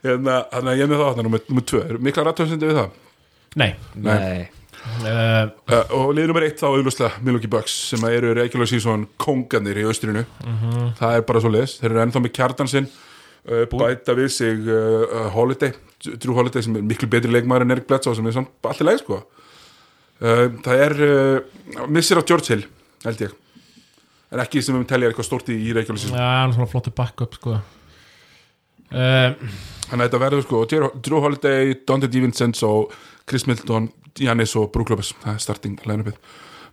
Hérna, Þannig að ég er með það hann, nummer 2 Mikla rættöfnsendi við það
Nei
Nei,
uh,
Uh, og lið nummer eitt þá auðvitað Milwaukee Bucks sem eru regular season konganir í austrinu það er bara svo leis, þeir eru ennþá með kjartan sinn uh, bæta við sig uh, uh, Holiday, Drew Holiday sem er miklu betri leikmaður en Erik Bledsoe sem er samt allir leið sko uh, það er uh, missir á George Hill held ég en ekki sem við telja eitthvað stórt í, í regular season
Já, hann er svona flottur backup sko uh,
þannig að þetta verður sko Jer- Drew Holiday, Dante DiVincenzo Chris Middleton, Jannis og Brook Lopez það er starting line-upið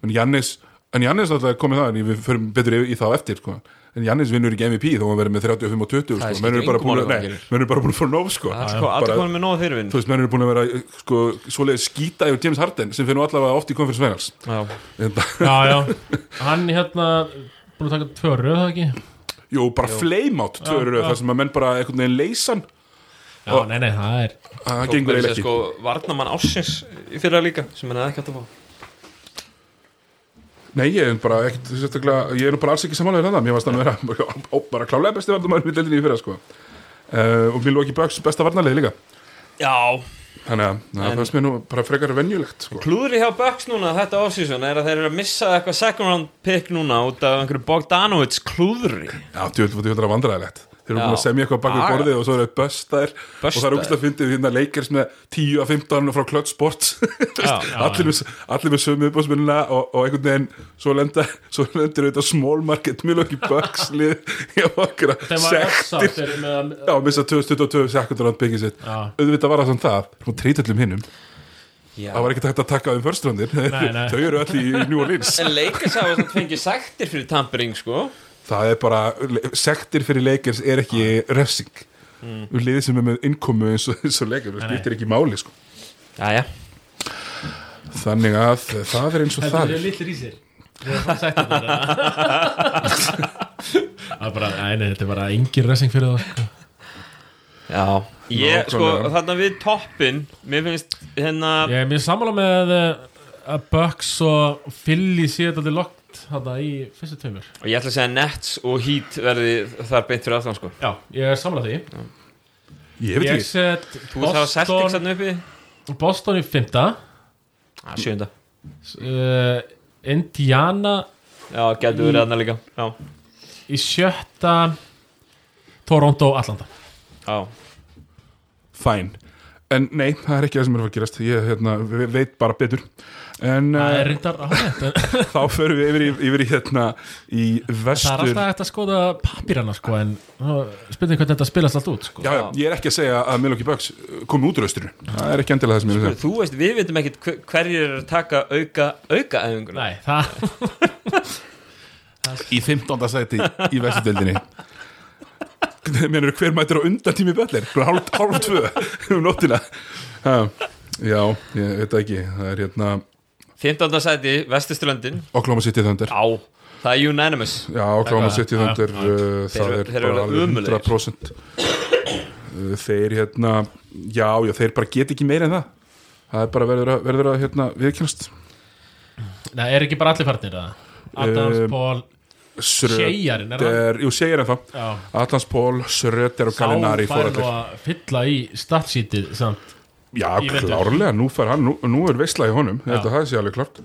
en Jannis, en Jannis náttúrulega komið það en við förum betur í, í það á eftir sko. en Jannis vinnur ekki MVP þó hann verður með 35 og 20
Það
sko.
skiptir
menn eru bara búin
engu máli
að-
hvað hann
nei,
gerir.
menn eru bara búin að fór nóg sko.
það er sko allir
Bara-
konum með nóg fyrirvinn
þú veist, menn eru búin að vera sko, svoleiði skýta yfir James Harden sem finnum allavega oft í konferens Finals
Já,
Þetta-
Já, já, hann hérna búin að taka tvö röð, það ekki?
jú, bara flame out törur,
já.
þar sem að menn bara einhvern veginn leysan
Já, nei, nei, það er
það gengur eiginlega ekki
sko varnamann ásins í fyrra líka sem hann hefði ekki átt að fá
Nei, ég er bara ekkert sérstaklega, ég er nú bara alls ekki samanlega þetta, mér varst hann að vera ó, bara klálega besti varnamæður í deildinni í fyrra, sko. Uh, og mér lóki Bucks besta varnarlega líka.
Já,
Þannig að na, það fannst mér nú bara frekar venjulegt, sko.
klúðri hjá Bucks núna þetta offseason er að þeir eru að missa eitthvað second round pick núna út af einhverju Bogdanovits klúðri
Já, djöld, djöld er að vandræðilegt. Þeir eru
Já.
búin að semja eitthvað bakið
Ah,
borðið og svo eru böstaðir og það er
Bustaðir.
ógst að fyndið hérna leikers með 10 að 15 frá Clutch Sports Þú
Já,
veist,
já,
allir, með, allir með sömu uppásmynina og, og einhvern veginn svo, lenda, svo lendir auðvitað small market mjög lóki Bucks lið í okkra
Þeim var
sektir
össáttir með
Já, missa 2022 sekundur á byggið sitt
Já.
auðvitað var það samt það, frá trítallum hinnum
Já.
það var ekkert hægt að taka um förstrandir
Nei, nei.
þau eru allir í New Orleans
En leikast hafa svona fengið sættir fyrir tampering sko
það er bara, sektir fyrir leikers er ekki refsing
Mm.
við liðið sem er með innkomu eins og, eins og leikir, það skiptir ekki máli sko.
Jæja
þannig að það er eins og það
Heldur þið
er
lítlir í sér? Það er bara, nei, nei, þetta er bara engin resing fyrir það sko.
Já Ég, sko,
Nákvæmlega.
þarna við toppin Mér finnst hérna
Ég er mér sammála með eh, að Bucks og Philly séu þetta aldrei lokt þarna í fyrstu tveimur
Og ég ætla að segja Nets og Heat verði þar beint fyrir aftan sko
Já, ég er sammála því
ég veit
Ég
ekki,
set
Þú veist það var Celtics
Boston,
þarna uppi
Boston í fymta
Já, sjönda
uh, Indiana
Já, getur verið þarna líka Já,
í sjötta Toronto, Atlanta
já
fæn en nei, það er ekki það sem er að fara að gerast ég hérna, ve- veit bara betur en
Það er
uh,
reyndar áhætt en
þá förum við yfir í, yfir í hérna í
Það er
vestur
alltaf hægt að skoða papírana sko en spynnið hvernig þetta spilast allt út sko
Já, já, ég er ekki að segja að Milwaukee Bucks uh, komi út úr austurinu, það er ekki endilega það sem ég vil segja
Þú veist, við veitum ekkit hver- hverjir eru að taka auka, auka æfinguna
Nei, það
í 15. sæti í vestudöldinni Mér eru hver mættur á undan tími böllir hálf, hálf tvö um nóttina ha, Já, ég veit það ekki það er hérna
15. sæti, Vestusturlöndin
Oklahoma City Thunder
Já, það er unanimous
Já, Oklahoma
Eitthvað,
City
já,
Thunder
já.
uh, það
Þeir-
er
þeir eru
bara alveg
ömulegir.
100% Uh, Þeir hérna Já, já, þeir bara get ekki meira en það það er bara verður að, verður að hérna, viðkjast
Nei, er ekki bara allir farnir það? Adams,
Um,
Paul, Seijarinn, er
er, Jú, segir ennþá
já
Adams Paul, Sröter og Kalinari
Sá fær
fór
nú
allir
að fylla í statsítið samt
Já,
í vetur.
klárlega, nú, fær hann, nú, nú er veisla í honum
Já.
Þetta það sé alveg klart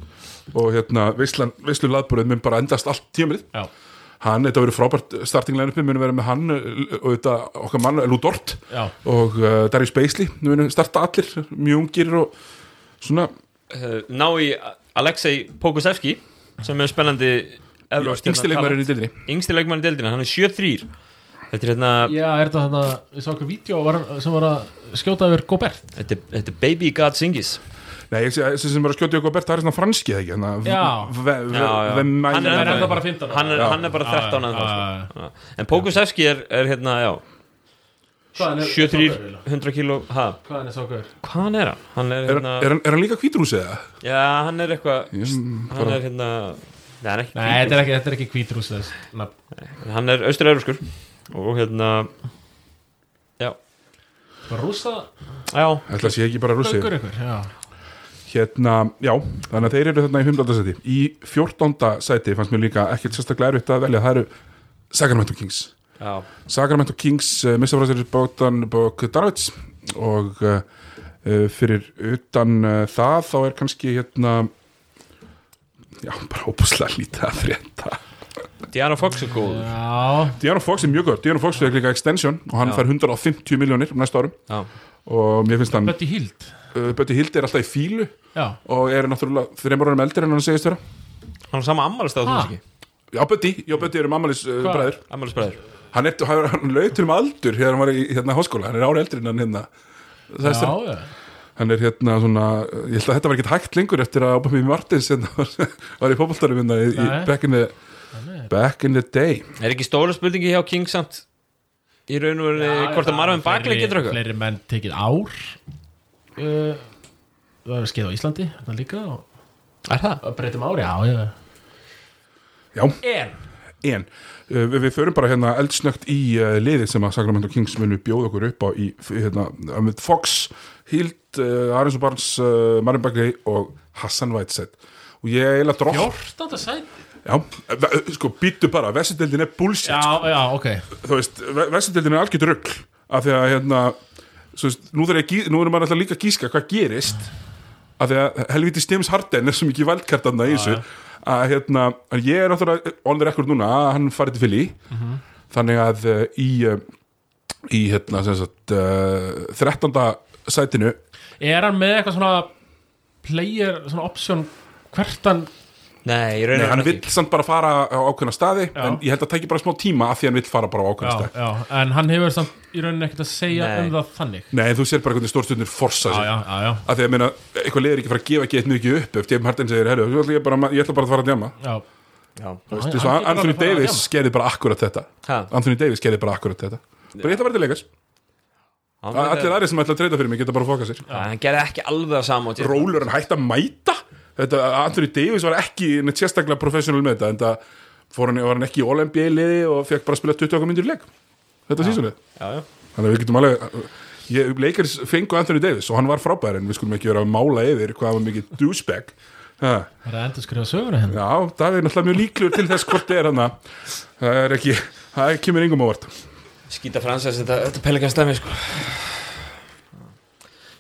Og hérna, veislan, veislu laðbúrið minn bara endast allt tímrið
Já,
Hann, þetta verður frábært startinglega uppi Munu vera með hann, uh, og þetta okkar mann Ludort
já,
og uh, Darius Beisley Nú erum starta allir, mjög ungir og svona
Eh, ná í Alexei Pokusevski sem er spennandi evrópskt hérna
yngstilegmarinn
talent.
í dildinni
yngsti leikmann í deildina, hann er 7-3 þetta er hérna
já, er þetta þannig að ég sá okkur vídeo var, sem var að skjóta yfir Gobert
þetta, er- þetta er Baby God Singis
Nei, ég sé þessi sem er að skjóta ykkur Bert, það er svona franski eða ekki hérna,
Já.
v- v- v-
Já, já.
vem-
Hann
Það
er
er
ennþá
þetta bara 15
hann er,
Já.
hann er bara
Já,
13
já,
ennþá,
já,
sko. Já. en Pokusevski er, er hérna já, 7-3 100 kíló, ha,
Hvaðan er sá okkur?
hvaðan er hann? hann er
Er,
hérna,
er, hann- er hann líka hvítrúsi eða?
já, hann er eitthvað
Ég-
hann
bara-
er hérna Nei, hann er ekki
Nei, þetta er ekki, þetta er ekki hvítrús þess nafn.
hvítur. hann er austur-euróskur og hérna
Bara Rússa
já,
Ætla að sé ekki bara rússi
Gaukur ykkur, já
Hérna, já, þannig að þeir eru þarna í 15. seti Í 14. seti fannst mér líka ekkert sérstaklega erfitt að velja Það eru Sacramento Kings
já,
Sacramento Kings uh, missa frá sér bóttan bók Darvits og uh, uh, fyrir utan uh, það þá er kannski hérna já, bara óbúslega lítið að frétta
Diana Fox er góð
Já,
De'Aaron Fox er mjög góð, De'Aaron Fox er líka extension og hann
Já.
fær 150 miljónir um næsta árum
já,
og mér finnst hann,
Bötti Hild
uh, Bötti Hild er alltaf í fílu
Já,
og er náttúrulega þreymur árum eldri en hann segist vera
hann er sama ammálstað þú
Ha?
veist ekki,
Já, Bötti, já, Bötti er um ammalis uh,
Hvað?
bræður
ammálsbræður
Hann, er, hann, hann laut um aldur hérna hann var í hérna háskóla, hann er ári eldri en hann hérna
já,
þessar,
já
hann er hérna svona uh, ég held að þetta var ekkert hægt lengur eftir að Obami Martins hérna var, var í fótboltarum hérna í, í
Nei.
back, in the, back in the day
Er ekki stóra spurningi hjá King samt í raun og verið hvort að Marvin Bagley getur eitthvað?
Fleiri menn tekið ár uh, Það er skeið á Íslandi Það líka og
Er það?
og breytum ári, já, já
Já,
En
en uh, við, við förum bara hérna eldsnögt í uh, liðið sem að Sacramento Kings munu bjóða okkur upp á í f- hérna, um, Fox, Hild uh, Arins og Barnes, uh, Marin Bagley og Hassan Whiteside og ég eiginlega drótt
14. sæti
já, ve- sko býttu bara, Vessendeldin er bullshit
Já, já, ok
þú veist, Vessendeldin er algjör rugg af því að hérna svo veist, nú, þarf ég, að gí- nú erum maður alltaf líka að gíska hvað gerist af því að helviti Stims Harden er svo mikið valdkartanna í þessu
Já, já.
að hérna, að ég er náttúrulega on the record núna að hann farið til fylgi
Mhm.
þannig að uh, í uh, í hérna sem sagt uh, 13. sætinu
Er hann með eitthvað svona player, svona option hvert hann
Nei, í raun
Nei,
og
hann
verið
vill
ekki
samt bara fara á ákveðna staði
Já.
en ég held að það tæki bara smá tíma af því hann vill fara bara á ákveðna
já,
staði
já, en hann hefur samt í rauninni ekkert að segja
Nei.
um það þannig
Nei, þú sér bara hvernig stórstundin forsa
Já,
sig
já, já, já,
að því að meina, eitthvað leiðir ekki að fara að gefa ekki eitt mikið upp ef James Harden segir, herru, ég, ætla bara- ég ætla bara að fara að djama
já.
Þú
Já
Hann-
veist, eins og
hann getur
Anthony
alveg farið að
Davis
djamma.
skerði bara akkurat þetta
Ha?
Anthony Davis skerði bara akkurat þetta bara ég ætla að vera til leikast,
Hann,
allir aðri sem ætla að treyta fyrir mig geta bara að foka sér
Já, hann gerði ekki alveg að sama á tíma.
Rólur hann hætti að mæta þetta, Anthony Davis var ekki neitt sérstaklega professional með þetta, en það fór hann, var hann ekki í All-NBA liði og fekk bara að spila 20 okkar myndir í leik, þetta sísunni
Já, já
þannig að við getum alveg ég, leikars fengu Anthony Davis og hann var frábær en við skulum ekki vera að mála yfir hvað hann var mikið douchebag ha.
Það er að endur skrifa söguna henni
Já, Davíð er náttúrulega mjög líklegur til þess hvort þið er hann það er ekki, það kemur engum ávart
Skýta fransæs, þetta, þetta pelikast dæmi, sko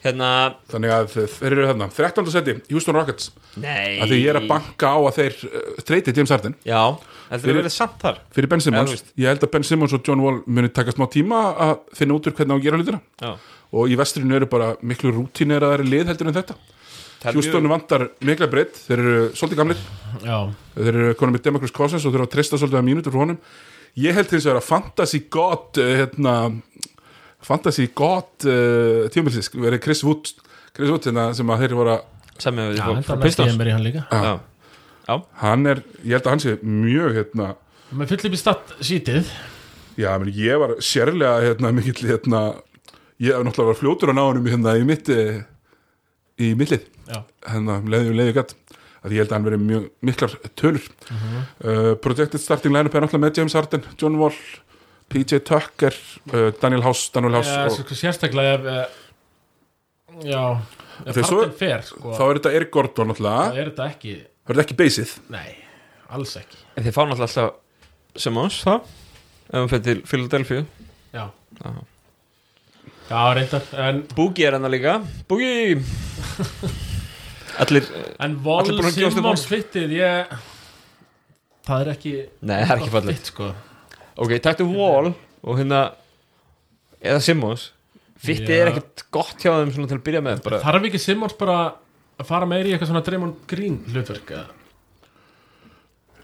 Hérna
þannig að þeir eru þarna 13. seti, Houston Rockets
Nei
að því ég er að banka á að þeir uh, treyti James Harden
Já, heldur
Fyrir-
við verið samt þar
fyrir Ben
Já, þú
Simmons
veist.
ég held að Ben Simmons og John Wall muni taka smá tíma að finna út úr hvernig á að gera hlutina
Já
og í vestrinu eru bara miklu rútinir að það eru lið heldur en þetta
Það er
Houston
mjög-
vantar mikla breytt, þeir eru svolítið gamlir
Já,
þeir eru konum með Demokrus Cousins og þeir eru að treysta svolítið að mínútur frá honum ég held hins vegar að Fantasy God uh, hérna, Fantasy God uh, tímilsis, verið Chris Wood Chris Wood hérna, sem að þeir voru að
Samið við
já
frá-
enda
frá
hann ekki
Pistons
emir í hann líka
Já
hann er, ég held að hann sé mjög hérna,
Með fyll upp í statt sítið
já, menn ég var sérlega hérna, mikill hérna, ég hef náttúrulega var fljótur á náunum hérna í mitt eh, í millið,
Já,
hérna, leiðum leiðu gætt að ég held að hann verið mjög miklar tölur uh Projected Starting Lineup er náttúrulega með James Harden, John Wall PJ Tucker, uh, Daniel House Daniel House
Já,
og,
sko, sérstaklega ef, eh, já ef
Þegar svo-
Harden fer sko,
þá er þetta Eric Gordon náttúrulega
þá er þetta ekki
þá er þetta ekki basið
nei, alls ekki
En þið fá náttúrulega alltaf Simmons þá ef hann fyrir til Philadelphia
já,
Já.
já reyndar en,
Boogie er hann líka Boogie Allir
en
Allir búin
Vol
að gefast upp á-
Simmons fittið ég það er ekki
Nei, það er ekki fallið
fitt, sko.
Ok, taktu Wall og hérna eða Simmons Fittið
Já.
er ekkert gott hjá þeim svona til að byrja með bara.
þarf ekki Simmons bara að fara meiri í eitthvað svona Draymond Green hlutverk eða?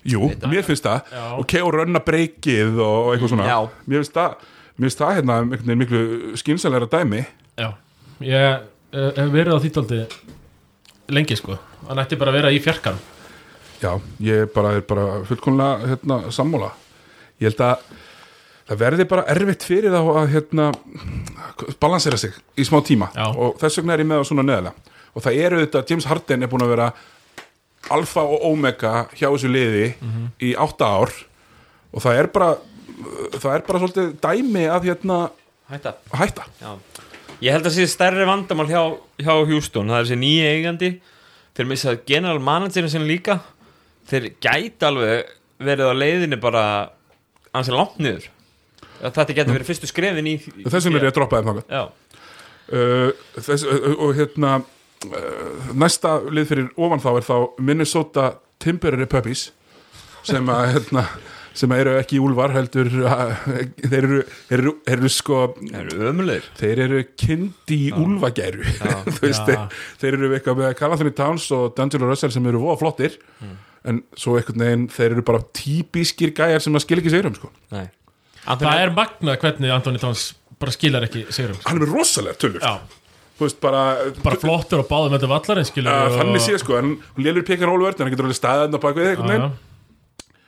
jú, mér finnst það
Já.
og K.O. rönna breykið og eitthvað svona
Já.
mér finnst það mér finnst það hérna einhvern veginn miklu skynsalega dæmi
Já, ég uh, hef verið á þýttaldi lengi sko hann ætti bara að vera í fjarkan
já, ég bara er bara fullkomlega hérna, sammála ég held að það verði bara erfitt fyrir þá að hérna, balansera sig í smá tíma
Já.
og þess vegna er ég með það svona neðalega og það eru þetta, James Harden er búin að vera alfa og omega hjá þessu liði í átta ár og það er bara það er bara svolítið dæmi að hérna
Hætta
hætta
Já. Ég held að sé stærri vandamál hjá, hjá Houston, það er þessi nýja eigandi þeir missað general managerin sinni líka þeir gæti alveg verið á leiðinni bara ansi langt niður Að þetta getur verið fyrstu skrefin í
þess vegna Mm. er ég að droppa þeim þangað
Já,
Uh, þess, uh, og hérna uh, næsta lið fyrir ofan þá er þá Minnesota Timberry Puppies sem að hérna, sem að eru ekki úlvar heldur uh, þeir eru, þeir eru, þeir eru sko
það eru ömulegir
þeir eru kyndi í úlvagæru þú veist,
Já.
þeir, þeir eru eitthvað með Carl Anthony Towns og D'Angelo Russell sem eru voða flottir
Mm.
en svo einhvern veginn þeir eru bara típiskir gæjar sem að skil ekki sigurum sko.
Nei
það
Anthony,
er magnað hvernig Anthony Towns bara skilar ekki sigurum sko.
hann er með rosalega tölur
Já,
þú veist bara,
bara flottur og báðum þetta vallarinn skilur
Uh,
og...
þannig sé sko, en hún lélur pekar hólvörð en hann getur alveg staðan á bakvið einhvern
Já,
veginn
já.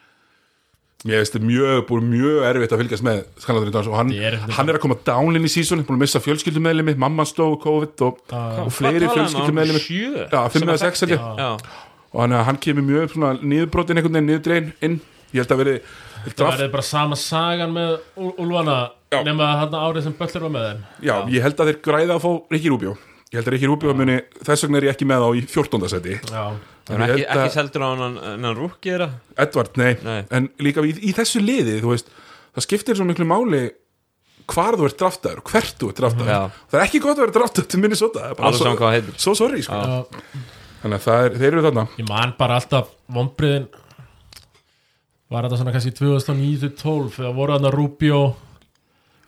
Mér veist, þetta er mjög, búið mjög erfitt að fylgjast með Skanlandur í dans og hann,
Þetta er erfitt.
hann er að koma down inn í sísónu, búin að missa fjölskyldumeðlimi mamma stó og COVID og,
Já.
og fleiri
Hvað talaði hann um?
fjölskyldumeðlimi
Sjö?
Já,
Sem
5 eða
að
6 held ég
Já.
já,
og hann, hann kemur mjög svona niðurbrotin einhvern veginn, niðurdrein inn ég held að verði
það
draft,
verður bara sama sagan með Úl- Úlfana
Já.
nema hann árið sem Böllur var með þeim
já, ég held að þeir græða að fá Rikki Rúbjó ég held að Rikki Rúbjó muni, þess vegna er ég ekki með þá í 14. seti
Já,
það er ekki,
Ég held að-
ekki seldur á hann en hann rúkki þeirra
Edvard, nei,
Nei.
en líka í, í þessu liði, þú veist, það skiptir svo miklu máli hvar þú ert draftaður og hvert þú ert draftaður,
Já.
það er ekki gott að vera draftaður til Minnesota, það er bara
Alveg saman hvað það heitir.
svo sorry, sko,
Já.
þannig að það er, þeir eru þarna
ég man bara alltaf vombriðin var þetta svona kannski 2009-12 þegar voru hann að Rubio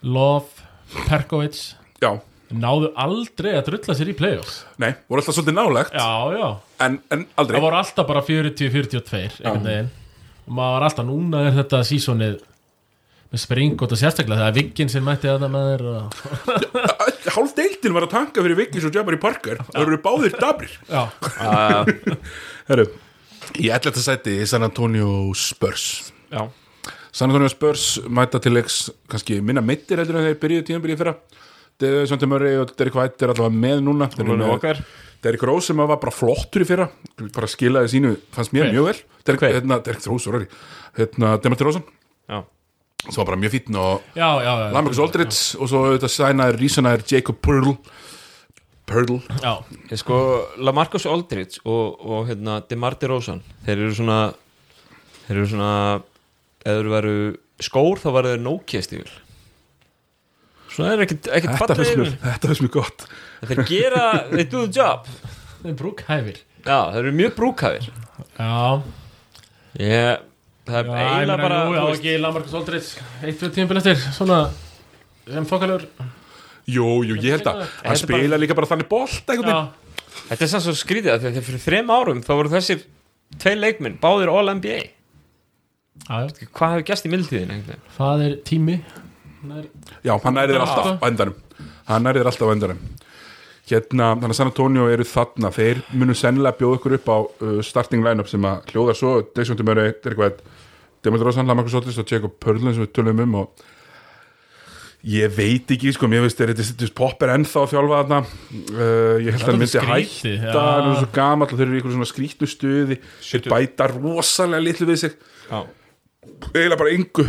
Love, Perkovic
já,
náðu aldrei að drulla sér í play-offs
nei, voru alltaf svolítið nálegt
Já, já,
en, en aldrei,
það voru alltaf bara 40-42 einhvern veginn og maður var alltaf, núna er þetta sísonið með spring og þetta sérstaklega það er viggin sem mætti að það með þér og...
hálf deildin var að tanka fyrir Viggins og Jabari Parker, það eru báðir dabrir
Já,
herru, í 11. sæti San Antonio Spurs
Já,
San Antonio Spurs mæta til leiks kannski minna meittir heldur en þeir byrjuðu tíðanbyrjuð fyrra Deðu Svante Murray og Derek White er allavega með núna Þeir eru
Lonnie
með-
Walker.
Derrick Rose sem var bara flottur í fyrra bara skilaði sínu, fannst mér mjög vel Derrick,
Hver?
hérna, Derrick Rose, sorry hérna, Demetri Rosen,
já
sem var bara mjög fítn og
já, já, já,
Lamarcus Aldridge og svo auðvitað sænaðir, rísanaðir Jacob Pearl Pearl,
já.
Ég sko, Lamarcus Aldridge og, og hérna, DeMar DeRozan þeir eru svona þeir eru svona eða þeir veru skór þá varu þeir Nokia stíl svona þeir eru ekkit, ekkit
þetta finnst
fallið
mér þetta finnst mér gott
þeir gera, they do the job
það er brúkhæfir
já, þeir eru mjög brúkafir
Já,
ég, það er
já ég
eiginlega
meina
bara
nú,
þú
já,
veist,
ekki Lamarcus Aldridge eitt fyrir tímpil eftir, svona sem fokalur
Jú, jú, ég held að hann
Þetta er bara-
spila líka bara þannig bolt einhvern veginn
Já,
þetta er sann svo skrítið af því að þegar fyrir þrem árum þá voru þessir tvei leikminn, báðir All-NBA
já,
hvað hefur gæst í mildtíðin einhvern
það er tími Nær...
Já, hann nærið er alltaf á endanum Hann nærið er alltaf á endanum Hérna, þannig að San Antonio eru þarna Þeir munum sennilega bjóða ykkur upp á uh, starting line-up sem að hljóðar svo Dexjóndi Mörri, Dirk Vætt Demetri Rósan, Lamarcus Sotis og Jacob Pörlun sem við tölum um og ég veit ekki, sko, mér veist er þetta þetta er popper ennþá að þjálfa þarna uh, ég held að
Það er
hann myndi
skrítið,
hætta
já.
hann er svo gamall og þeir eru í ykkur svona skrítu stuði þeir bæta rosalega litlu við sig
veginn
eiginlega bara yngu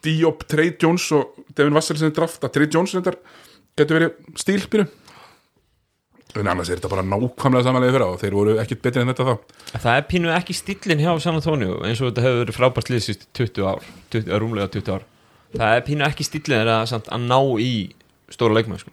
Diop, Trey Jones og Devin Vassel sem er drafta Trey Jones þetta getur verið stílpínu en annars er þetta bara nákvæmlega samanlega fyrir á þeir voru ekkit betri en þetta þá
Það er pínu ekki stíllin hjá San Antonio eins og þetta hefur verið frábært lið síst 20 ár 20, eða rúmlega 20 ár Það er pínu ekki stíllin þeirra samt að ná í stóra leikmenn sko.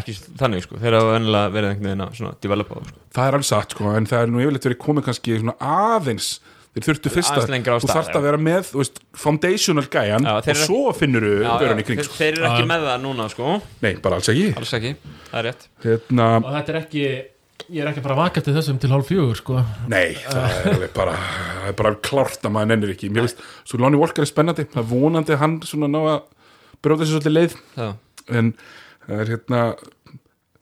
ekki s- þannig sko þeirra hafa vennilega verið einhvern veginn að svona developa þá, sko.
það er alveg satt sko, en það er nú yfirleitt verið komið kannski svona aðeins þeir þurftu fyrst
Aðeins
að,
lengra á
þú
stað,
þarft
já.
að vera með þú veist, foundational gæjan
Já,
og
þeir eru-
svo finnur þú början í kring
þeir,
sko.
þeir eru ekki
Já.
með það núna sko
nei, bara alls ekki
alls ekki, það er rétt
hérna,
og þetta er ekki ég er ekki bara vakað til þessum til hálf fjögur sko.
nei, það er alveg bara það er bara klárt að maður nennir ekki mér veist, svo Lonnie Walker er spennandi það er vonandi að hann svona ná að bróta sér svolítið leið
það.
en það er hérna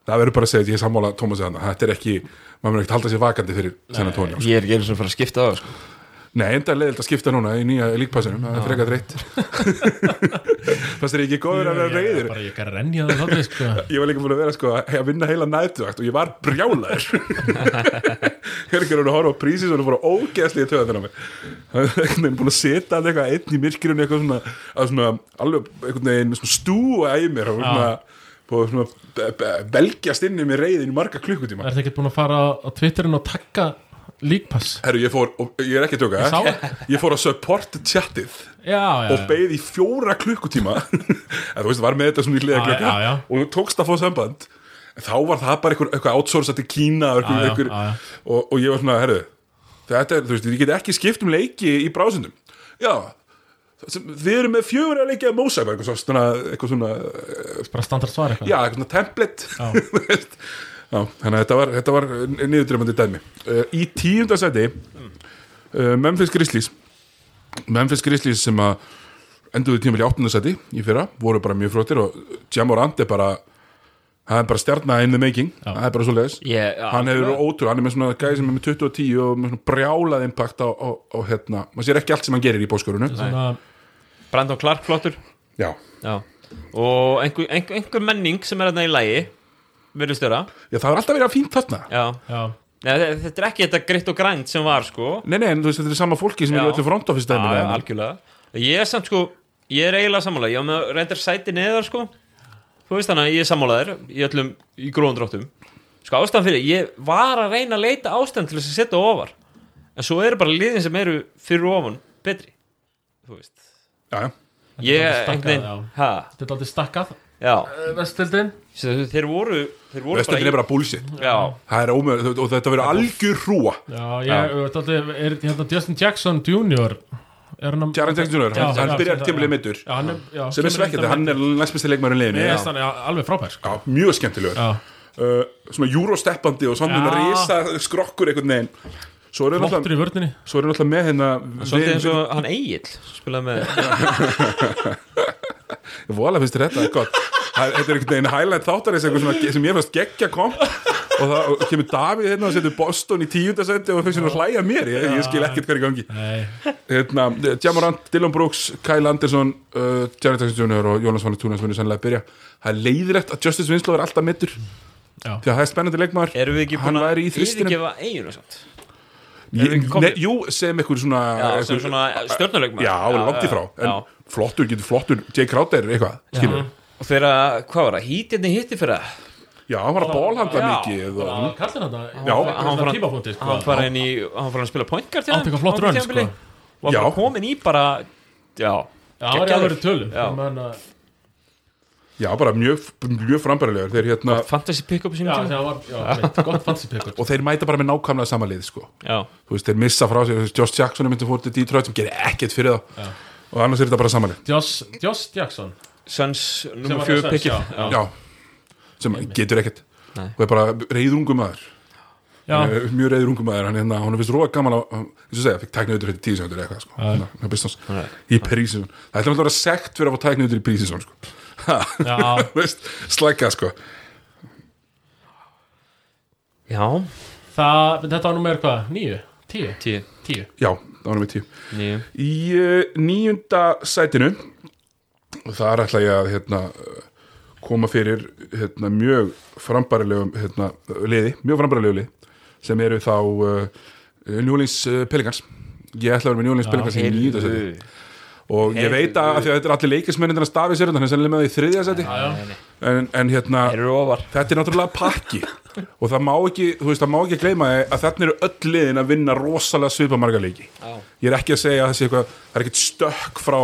það verður bara að segja að ég er sammála Tómasi hann þetta er ekki, maður verður ekkert halda sér vakandi fyrir San Antonio
Ég er ekki eins og fara að skipta á það sko.
Nei, enda er leiðilt að skipta núna í nýja líkpassinum, það er frekar reitt Fannst þér ekki góður að vera
ég er
reyðir
bara ég er að renja það þáttir sko.
Ég var líka búin að vera sko að vinna heila nættuvakt og ég var brjálaður Hvernig er hún að horfa á prísi sem hún fór að ógeðslega töða þennan mig Það er einhvern veginn búin að setja alltaf eitthvað einn í myrkirunni eitthvað svona, að svona alveg einhvern veginn svona stúa í mér og svona, og svona be- be- belgjast inn í mér reyðin í marga klukkutíma
er það ekki búin að fara á Twitterin og takka líkpass
Herru, ég fór, og ég er ekki að tjóka
Ég sá
eh? Ég fór að support chatið
já, já,
og beið í fjóra klukkutíma en þú veist, var með þetta svona í hliða
Já,
klukka
já, já.
og þú tókst að fá samband en þá var það bara einhver, eitthvað outsource til Kína og
Já,
einhver,
já,
einhver,
já, já.
Og, og ég var svona, herðu þetta er, þú veist, ég get ekki skipt um leiki í brásundum já, sem, þið eru með fjóra leiki að mósa eitthvað svona, svona, eitthvað svona
bara standard svar eitthvað
já, eitthvað svona template þú veist Já, þannig að þetta var, þetta var niðurdrefandi dæmi uh, Í tíundasæti uh, Memphis Grizzlies Memphis Grizzlies sem að enduðu tímil í áttundasæti í fyrra voru bara mjög fróttir og Jamorant er bara hann er bara stjarnar in the making það er bara svo leiðis
Ég- já,
hann hefur
algjörlega.
verið ótrú, hann er með svona gæði sem er með 20 og 10 og með svona brjálað impact á, á, á hérna, maður sér ekki allt sem hann gerir í bóskorunu
svona,
Brandon Clark flottur
Já,
Já. og einhver, einhver, einhver menning sem er þarna í lægi verið störa
Já, það er alltaf verið að fínt þarna
Já.
já,
Nei, þe- þetta er ekki þetta greitt og grænt sem var sko
Nei, nei, en þú veist, þetta er sama fólki sem
Já.
er öllu front office
Já,
dæmi
já, algjörlega Ég er samt sko, ég er eiginlega sammála Ég var með reyndar sæti neðar sko Þú veist þannig að ég er sammálaður Í öllum, í gróðum dráttum Sko ástæðan fyrir, ég var að reyna að leita ástæðan Til þess að setja ofar En svo eru bara liðin sem eru fyrir ofan betri Þú veist
já, já.
Ég,
er alveg stakkað,
einhvern veginn, hæ,
þetta er aldrei stakkað
já
Eh, vestildin
Svo Þeir voru, þeir voru
Vestöldin er bara bullshit
í- Já,
Það er ómöð og þetta verður algjör hrúa
já, ég, þetta er aldrei er, hérna, Justin Jackson Jr. er hann að
Jaron Jackson Jr. hann,
Já,
hann
já,
byrjar
já,
tímulið
já.
mittur
já, hann er, já,
sem er svekkjandi, hann er næstmestir leikmærin leiðinni
Mér
já.
finnst hann alveg frábær sko.
já, mjög skemmtilegur
já,
uh, svona júrósteppandi og svona
Já.
risa skrokkur einhvern veginn svo eru
flottur
náttúrulega
í vördinni
svo eru náttúrulega með hérna
svolítið eins
vin-
og hann Egil Spilaði með,
vola finnst þér þetta gott Það- þetta er einhvern veginn highlight þáttarins eitthvað svona ge- sem ég fannst geggja kom og það og kemur Davíð hérna og setur Boston í tíundasendi og finnst hérna að hlæja að mér ég, ég skil ekkert hverju gangi
Nei,
hérna, Jamorant, Dylan Brooks, Kyle Anderson uh, Jared Jackson Jr. og Jonas Vanna Tunas munir sannlega að byrja. Það er leiðilegt að Justice Winslow er alltaf mittur
Já.
því að það er spennandi leikmaður
erum við ekki
hann
búin að
væri í þristinum
yfirgefa Egil og samt erum við
Ég-
ekki komnir?
nei, Jú, sem einhver svona
Já, sem
einhver-
svona stjórnuleikmaður
Já, langt í frá en flottur, getur flottur, Jake Crowder eitthvað, skilur já.
Og þeirra, hvað var það, hítinni hitti fyrir það
já, hann var að bólhandla
Já.
mikið og,
Sko, hann kallir hann það
Já,
Hann var
tímapunkti sko.
hann fara inn í, hann fara að spila pointgar til
Átti eitthvað flott
á
run,
tímabili.
sko.
Og hann
Já.
bara komin í bara, já
Já, hann var í
geggjaður.
alveg tölum
Já.
Ég meina,
Já, bara mjög, mjög frambærilegur þeir hérna,
Fantasy pick-up í
Já,
sínum
það
tíma
var já, mitt, gott fancy pick
og þeir mæta bara með nákvæmlega sama lið sko.
Já,
þú veist, þeir missa frá sér, þú veist, Josh Jackson er myndið fór til Detroit sem gerir ekkert fyrir þá og annars er þetta bara sama lið
Joss, Joss Jackson
Suns
Sem
nummer
var
fjögur
Suns,
pick-up
já,
Já.
já.
já, sem getur ekkert
Nei.
og er bara reyðrungum aður
Já,
mjög reyðrungum aður, hann, hérna, hann finnst róa gaman á, hann- eins og segja, fikk tæknið auðvitað fyrir tíu sekundur eða eitthvað, sko, hérna, hann býst hans í prísísun, það ætlum alltaf að vera sekt fyrir að fá tæknið auðvitað í prísísun, sko
Já.
Þú veist, slækka, sko
já,
það, þetta var númer hvað, nýju? Tíu?
tíu,
Tíu
já, það var með tíu
nýju
í uh, nýjunda sætinu þar ætla ég að hérna, uh, koma fyrir hérna, mjög frambarilegum hérna, liði, mjög frambarilegum liði sem eru þá uh, Njólins uh, Pelikans ég ætla að vera með Njólins Pelikans í nýjunda sæti
Heyrðu.
og ég veit að, af því að þetta er allir leikismennin að stafi sér undan, hann er sennilega með það í þriðja sæti
Já, já
en, en hérna
Þeir eru ofar
þetta er náttúrulega pakki og það má ekki, þú veist, það má ekki gleyma því að þarna eru öll liðin að vinna rosalega svipamarga leiki
Já.
ég er ekki að segja að það sé eitthvað það er ekkert stökk frá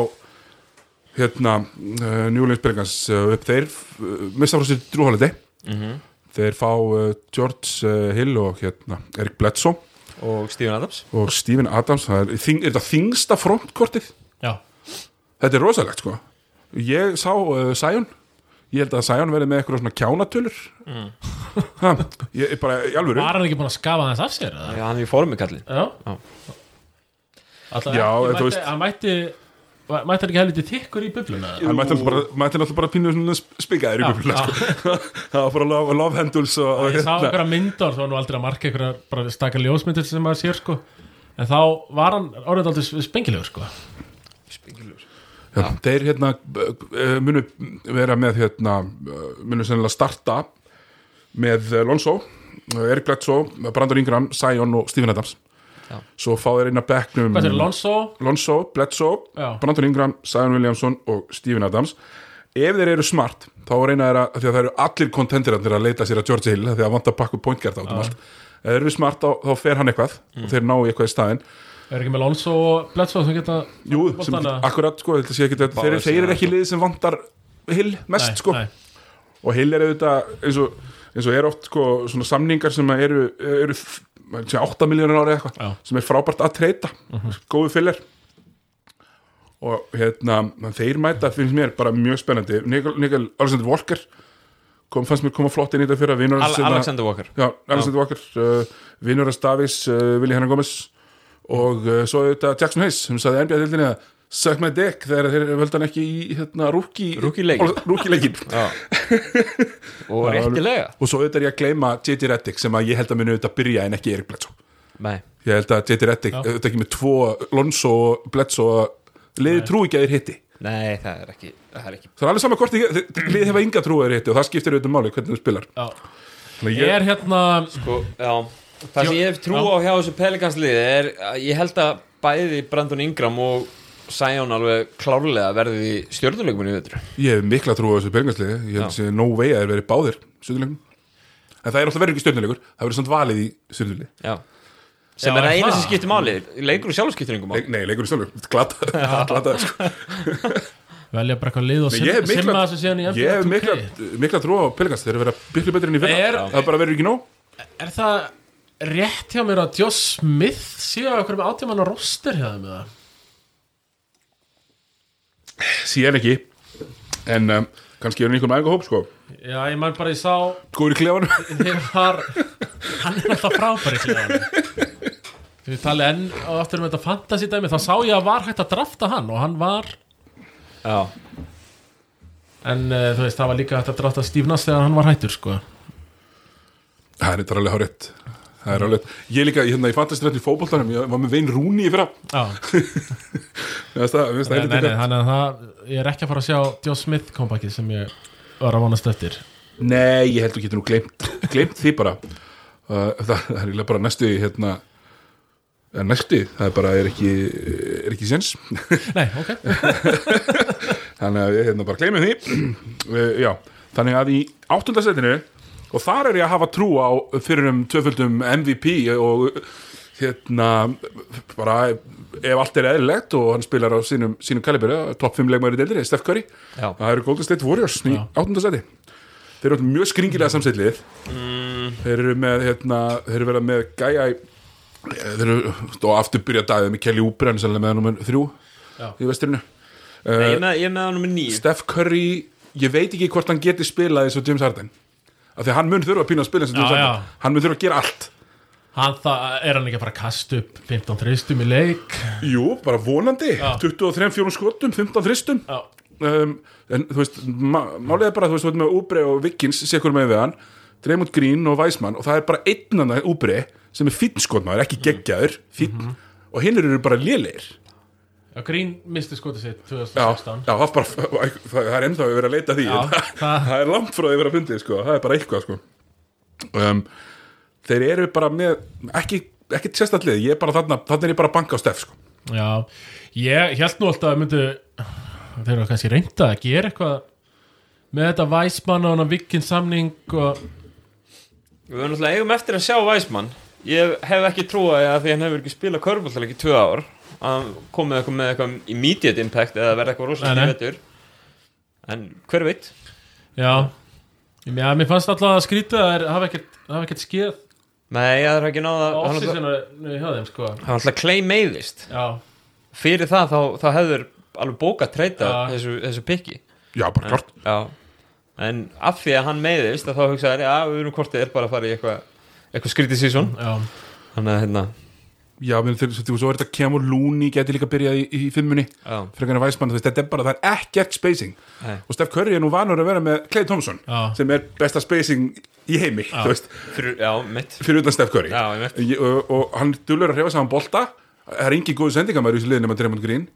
hérna, uh, Newlands Bergans uh, upp þeir, uh, mista frá sér drúhaldi
Mhm.
þeir fá uh, George uh, Hill og hérna Erik Bledsoe
Og Steven Adams
og Stephen Adams það er, þing, er þetta þingsta frontkortið
Já,
þetta er rosalegt sko ég sá uh, Sion ég held að Sion verði með eitthvað svona kjánatölur ha, ég er bara í alvöru
Mm. var hann ekki búin að skafa þess af sér? eða?
Já, hann er í formi kallinn
Já,
Já.
Alla,
Já,
ekki,
en þú
mætti,
veist-
Hann mætti var- Mætti hann ekki helviti tikkur í bubluna?
hann mætti náttúrulega bara, mætti náttúrulega bara pínu svona sp- spikaður í gubbuna sko. það var bara love, love handles og, og
Ég sá
hérna.
einhverja myndar, það var nú aldrei að marka einhverja bara stakka ljósmyndir sem maður sér sko En þá var hann orðið aldrei spengilegur sko
Spengilur
Já, þeir hérna b- eh, munu vera með hérna, eh, munu sennilega starta með eh, Lonzo eh, Erik Bledsoe, Brandon Ingram, Sion og Stephen Adams
Já.
svo fá þeir inn að bekknum
Hvað er Lonzo?
Lonzo, Bledsoe,
Já.
Brandon Ingram Sion Williamson og Stephen Adams ef þeir eru smart, þá reyna þeir að af því að það eru allir kontenderarnir að leita sér að George Hill af því að vanta að pakka upp pointgert á allt ef þeir eru smart, þá, þá fer hann eitthvað
Mm.
og þeir ná í eitthvað í staðinn
Er ekki með Lonzo og Bledsoe sem geta
Jú,
Bótt
sem,
hana?
akkurat sko, þetta sé ekki, þeir,
Báðir
þeir
síðan,
eru ekki liðið sem vantar Hill mest
Nei,
sko
nei.
og Hill er auðvitað eins og, eins og er oft sko, svona samningar sem að eru, eru f- maður sé 8 miljónur ári eitthvað
Já. Mhm.
sem er frábært að treyta góðu fyllir og hérna, þeir mæta finnst mér bara mjög spennandi Nikol, Nikol Alexander Walker kom, fannst mér koma flott inn í þetta fyrir að vinur hans hérna-
Alexander Walker
Já, Alexander Walker, uh, vinnur að Stavis, uh, Willi Hennan Gómez og uh, svo auðvitað Jackson Hayes sem saði NBA-dildinni að Suck my dick þegar þeir völdu hann ekki í hérna, rúki,
Rookie leikinn.
leikin
Já Og réttilega
og svo auðvitað er ég að gleyma J.T. Reddick sem að ég held að muni auðvitað byrja en ekki Erik Bledsoe
Nei
ég held að J.T. Reddick
Já.
auðvitað ekki með tvo Lonzo og Bledsoe liði trú ekki að þeir hitti
Nei, það er ekki Það er ekki
það er alveg sama hvort þeir- þeir- liðið hefa enga trú að þeir hitti og það skiptir auðvitað máli hvernig þú spilar
Já.
Þannig að
Ég er hérna
Sko, já Það sem ég hef trú á hjá þessu pelikansliði er að Ég held að bæði Brandon Ingram og Sion alveg klárlega verði í stjórnuleikuminu í vettur
Ég hef mikla trú á þessu byrjingarsliði Ég held
Já.
að no way að þeir verið báðir stjórnuleikum En það er alltaf verið ekki stjórnuleikur Það verið samt valið í stjórnuleik
Já Sem
Já,
er
er
að eina
það?
sem skiptir máli Leikur og sjálf skiptir yngum máli
Nei, leikur í stjórnuleikum, glata, glata sko.
Velja bara eitthvað lið og
Ég hef
sim- simma
mikla,
þessu síðan í
ég hef
NBA 2K.
mikla, mikla trú á Pelikans Þeir eru verið miklu betri enn í
Er-
fyrra Það bara verið ekki nóg
Er það rétt hjá mér að Josh Smith síðan okkur með átjámanna roster hjá þeim eða?
Síðan ekki En um, kannski er hann einhver með einhver hóp sko
Já, ég man bara ég sá
Góður í klefanum
ég var hann er alltaf frábæri klefanum við talið enn og aftur um þetta fantasy dæmi þá sá ég að var hægt að drafta hann og hann var
Já
en uh, þú veist það var líka hægt að drafta Steve Nass þegar hann var hættur sko
Það er þetta alveg hárétt Það er alveg, ég líka, hérna, ég fantast rétt í fótboltanum, ég var með Vein Rúni í fyrra,
já,
Mér finnst það, mér finnst það
nei, nei,
helviti
nei,
gott.
þannig að það, ég er ekki að fara að sjá Joe Smith kompakið sem ég var að vonast eftir
Nei, ég held að geta nú glemt, glemt því bara uh, það, það er eiginlega bara næstu í, hérna eh, næstu, í, það er bara er ekki, er ekki séns
nei, ok,
þannig að ég hérna bara gleymið því uh, já, þannig að í áttundasetinu og þar er ég að hafa trú á fyrir um tvöföldum MVP og hérna bara ef allt er eðlilegt og hann spilar á sínum, sínum kalibri topp 5 leikmæri deildri, Steph Curry
Já.
það eru Golden State Warriors í
Já.
áttundaseti þeir eru mjög skringilega samsettlið þeir eru með hérna, þeir eru verið með gæja í- eh, þeir eru og aftur byrja dagið með Kelly Oubre hann er sennilega með nummer þrjú
Já.
í vestirinu
Nei, ég er með, ég er með hann nummer nýju
Steph Curry, ég veit ekki hvort hann geti spilað eins og James Harden af því að hann mun þurfa að pína að spila eins og James
Já,
Harden hann mun þurfa að gera allt
hann það er hann ekki að fara að kasta upp 15 tristum í leik
Jú, bara vonandi,
Já.
23, 4 skotum 15 þristum
já,
um, en þú veist, ma málið er bara þú veist, þú veist með Úbre og Vikins, sekur með við hann Dreymond Green og Weismann og það er bara einn annar Úbre sem er fínn skotmaður ekki geggjaður, fínn
Mhm.
og hinn eru bara lélegir
já Green misti skotið sitt
já, já,
2016
það, er bara, það er ennþá að vera að leita að því
Já, það-
það er langt frá því að vera að fundið sko. það er bara eitthvað sko. um, þeir eru bara með ekki, ekki sérstallið, ég er bara þarna þarna er ég bara að banka á stef sko.
Já, ég held nú alltaf að myndu þeir eru kannski reynda að gera eitthvað með þetta Væsmann og hann vikinn samning og
Við höfum náttúrulega eigum eftir að sjá Væsmann Ég hef ekki trúið að því hann hefur ekki spilað körbóltalega í tvö ár að hann komið eitthvað með eitthvað immediate impact eða verða eitthvað rosalega
Nei, nei.
vettur En hver veit?
já, ég meina, mér fannst alltaf að skrýta það er- hafa ekkert, hafa ekkert skeð
Nei, það er ekki náða
á
Hann náttúrulega-
offsísinu hjá þeim sko
hann náttúrulega claim meiðist
já,
Fyrir það þá, þá hefur alveg bókað treyta
Já.
þessu, þessu pikki
já, bara klart
Já En af því að hann meiðist að þá hugsaði Já, við erum kortið er bara að fara í eitthvað eitthvað skrítið sísón
já,
Þannig að hérna
já, menn þegar þú svo er þetta kemur lúni geti líka byrjað í, í fimmunni
Já,
frekar en væsmann, þú veist, þetta er bara, það er ekkert spacing
Nei.
og Steph Curry er nú vanur að vera með Clay Thompson
Já.
sem er besta spacing í heimi, þú veist,
fyrir, já mitt
fyrir utan Steph Curry
Já, einmitt.
Ég- og, og hann dullur að hrefa saman bolta það er engin góð sendingamæður í þessu liðin nema Dremond Green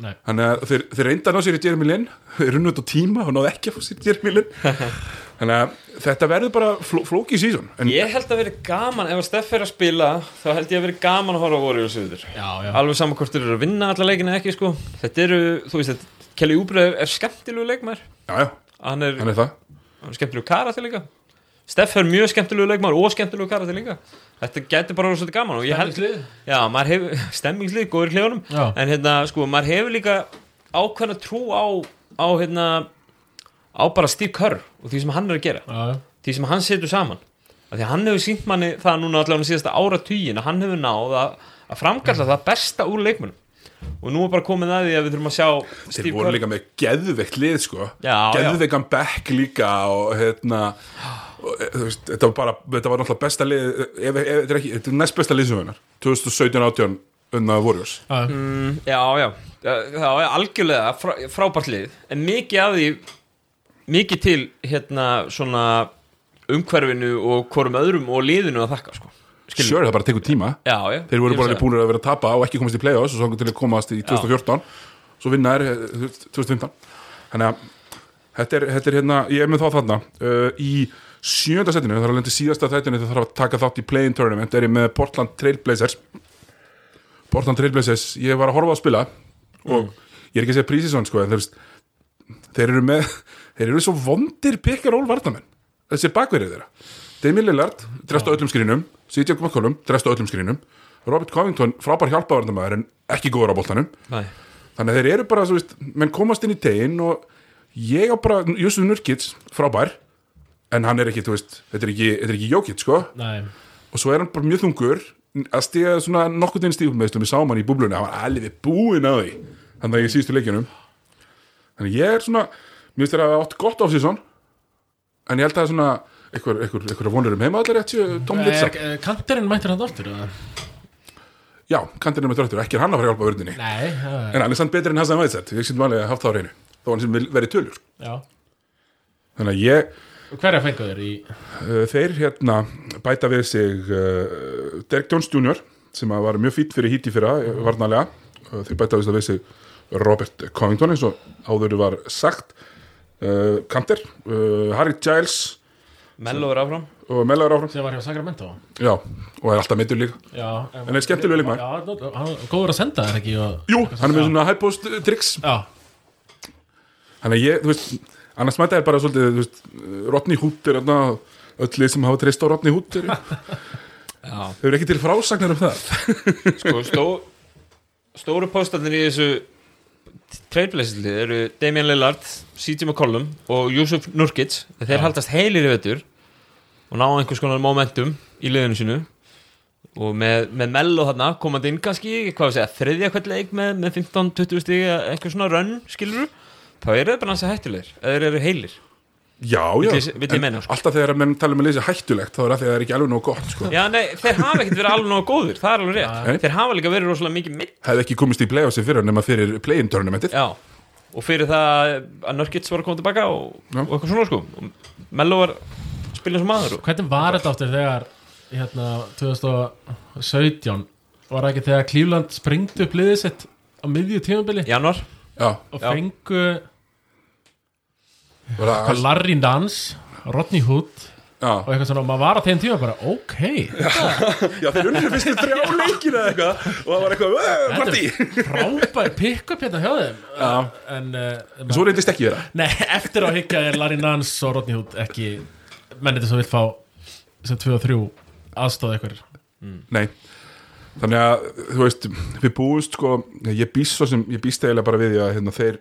nei
þannig að þeir, þeir reynda að ná sér í Jeremy Lin þeir runnu út á tíma og náðu ekki að fá sér í Jeremy Lin þannig að þetta verður bara fló, flóki sísón en
Ég held að verið gaman, ef að Steff er að spila þá held ég að verið gaman að horfa á Warriors yfir
já, já,
Alveg saman hvort þeir eru að vinna alla leikina eða ekki sko Þetta eru, þú veist þetta Kelly Oubre er skemmtilegu leikmær
já, já,
Hann er,
hann er það
hann er skemmtilegu kara til líka Steff er mjög skemmtilegu leikmær og skemmtilegu kara til líka Þetta getur bara verið svolítið gaman og ég held
Stemningslið.
Já, maður hefur, stemmingslið, góður hljónum
Já.
En hérna, sko, maður hefur líka ákveðna trú á, á hérna á bara Steve Kerr og því sem hann er að gera
já, já.
því sem hann setur saman af því að hann hefur sínt manni það núna allavega síðasta ára tíin að hann hefur náð að, að
Mm.
framkalla það besta úr leikmunum og nú er bara komið að því að við þurfum að sjá
þeir voru líka með geðveikt lið sko
Já,
geðveikan back líka og hérna og, e, þú veist, þetta var bara, þetta var náttúrulega besta lið ef, ef, þetta er ekki, þetta er næst besta liðsumvinnar 2017-18 unna Warriors
já.
Mm, já, já, það var algjörlega frá, frábært lið en mikið af því mikið til hérna svona umhverfinu og hvorum öðrum og liðinu að þakka sko. Skilur.
sure, það bara tekur tíma
já, já,
þeir voru
ég
bara
hugsa
alveg búinir að vera að tapa og ekki komast í play-offs og svo til að komast í 2014 svo vinna eh, er 2015 þannig að þetta er, þetta er hérna, ég er með þá þarna uh, í sjönda setinu, það er alveg til síðasta þættinu þegar það þarf að taka þátt í play-in tournament er ég með Portland Trailblazers Portland Trailblazers, ég var að horfa á að spila og ég er ekki að segja prísisón sko, en þeir, þeir eru með þeir eru svo vondir pikkar ól vartamenn þessi bakverið þeirra Demi Lillard, drefst á öllum skrínum CJ McCollum, drefst á öllum skrínum Robert Covington, frábær hjálpavarnamæður en ekki góður á boltanum
það. Nei.
þannig að þeir eru bara, svo veist, menn komast inn í tegin og ég á bara, Jusuf Nurkic frábær, en hann er ekki þú veist, þetta er ekki, þetta er ekki Jokic sko
nei
og svo er hann bara mjög þungur að stiga svona nokkurn veginn stífum meðslum við sáum hann í búblunni, hann var alveg búinn að því þannig að ég síðustu leikjunum þannig ég er svona, mér finnst þér að hafa átt gott off season en ég held að svona einhver, einhver, einhver vonur um heima allir rétt séu Tom
Er-
Litsa,
er- Kanturinn mættir eh, hann aftur eða?
já, kantirinn er með dröttur ekki er hann að fara að hjálpa vörðinni,
Nei, já,
en hann er samt betur en Hassan Vætsett, ég sýndum alveg að haft það á reynu þó hann sem vil verið tölur,
já.
þannig að ég
Hverja fengu þér í
Uh, þeir hérna bæta við sig uh, Derek Jones Jr. sem að var mjög fýtt fyrir híti fyrra mm. varnalega, uh, þeir bæta við sig- við sig Robert Covington eins og áður var sagt uh, Kanter, uh, Harry Giles
Mello er áfram
og Mellar áfram
sem var hjá Sacramento?
já, og er alltaf meittur líka
Já,
En er skemmtilegur leikmaður.
Já, hann- hann er góður að senda þér ekki og...
jú, hann er með svona high post uh, tricks
Já,
þannig að ég, þú veist annars mæta er bara svolítið, þú veist uh, Rodney Hood er þarna öll lið sem hafa treyst á Rodney Hood eru-
já
þau eru ekki til frásagnar um það
sko, stó, stóru póstarnir í þessu trailblazerlið eru Damian Lillard, CJ McCollum og Yusuf Nurkic þeir haldast heilir í vettur og ná einhvers konar momentum í liðinu sínu og með, með Mello þarna komandi inn kannski, hvað við segja, þriðja hvert leik með, með 15-20 stíg eitthvað svona rönn, skilur þá eru þeir bara hans að hættulegir, eða þeir eru heilir
Já, já,
Vill ég- vill ég
En
meina, sko.
alltaf þegar menn tala með lýsi hættulegt þá er það þegar það er ekki alveg nóg gott sko.
Já, nei, þeir hafa ekkert verið alveg nógu góðir, það er alveg
Nei.
rétt þeir hafa líka verið rosalega mikið mitt
hefði ekki komist í playoffsi fyrir nema fyrir play-in tournamentið
Já, og fyrir það að Nurkic var að koma tilbaka og,
Já.
og eitthvað svona sko Og Mello var spilin sem maður og,
hvernig var þetta aftur þegar hérna 2017 var það ekki þegar Cleveland springdi upp liðið sitt á miðju tímabili
Januar,
Já,
og
já.
fengu
var það
Larry Nance, Rodney Hood og eitthvað svona, og maður var á þeim tíma bara ok,
Já, þeir unnur fyrstu þrjá leikina eða eitthvað og það var eitthvað, "Ö,
þetta
partí
er frábær pick-up hérna hjá þeim
Já.
en uh,
Svo reyndist ekki vera
Nei, eftir á að higgja er Larry Nance og Rodney Hood ekki menniti sem vil fá sem 2 og 3 aðstóð ykkur
Nei Þannig að, þú veist, við búumst sko, ég býst svo sem, ég býst eiginlega bara við því að hérna, þeir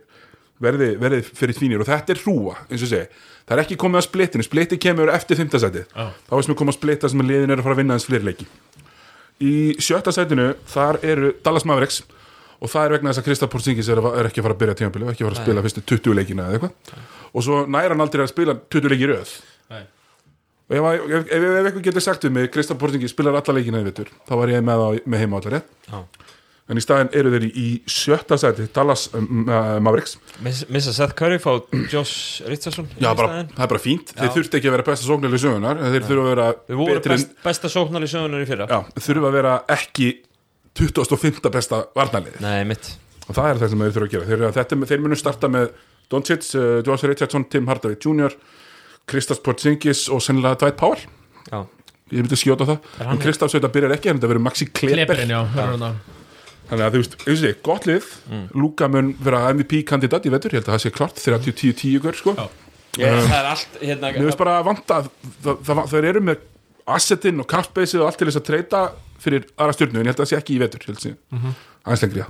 verði, verði fyrir tvínir og þetta er hrúa, eins og ég segi það er ekki komið að splittinu, splitti kemur eftir fimmtasætið,
Já.
þá veist mér komið að splitta sem að liðin er að fara að vinna eins fleiri leiki í sjötta sætinu, þar eru Dallas Mavericks og það er vegna þess að Kristaf Porzingis er, að- er ekki að fara að byrja tímabili og ekki að fara að spila fyrstu 20 leikina eða eitthvað og svo næra hann aldrei að spila 20 leiki í röð
Nei.
og ef, ef, ef, ef eitthvað getur sagt við mig Kristaf Porzingis spilar alla leikina í vittur þá var ég með, á, með heima allar rétt
Já.
en í staðin eru þeir í, í sjötta sæti Dallas um, uh, Mavericks
Miss- Missa Seth Curry fá Josh Richardson í
Já, bara,
staðinn.
það er bara fínt, þeir þurft ekki að vera besta sóknileg sögunar, en þeir þurfa að
Við
vera
vorum
betri en
best, besta sóknar í sögunar í fyrra
já, þurfa að vera ekki 25. besta varnalið
Nei, mitt
og það er það sem þeir þurfa að gera þeir, þetta, þeir munu starta með Doncic, uh, Josh Richardson, Tim Hardaway Jr Kristaps Porzingis og sennilega Dwight Powell,
Já,
ég myndi skjóta það
Er hann-
en Kristaps auðvitað byrjar ekki, en þetta verður Maxi Kleber
Kleberinn, já, hörður hann á
þannig að þú veist, þú veist, gott lið mm. Luka mun vera MVP-kandidat í vetur ég held að það sé klart, 30-10-10 gaur, sko
Já.
ég, það er allt hérna,
Mér finnst bara að vanta að það- það- þeir eru með assetin og capspaceið og allt til þess að treyta fyrir aðra stjórnu, en ég held að það sé ekki í vetur mm -hmm.
Mhm.
aðeins lengri, já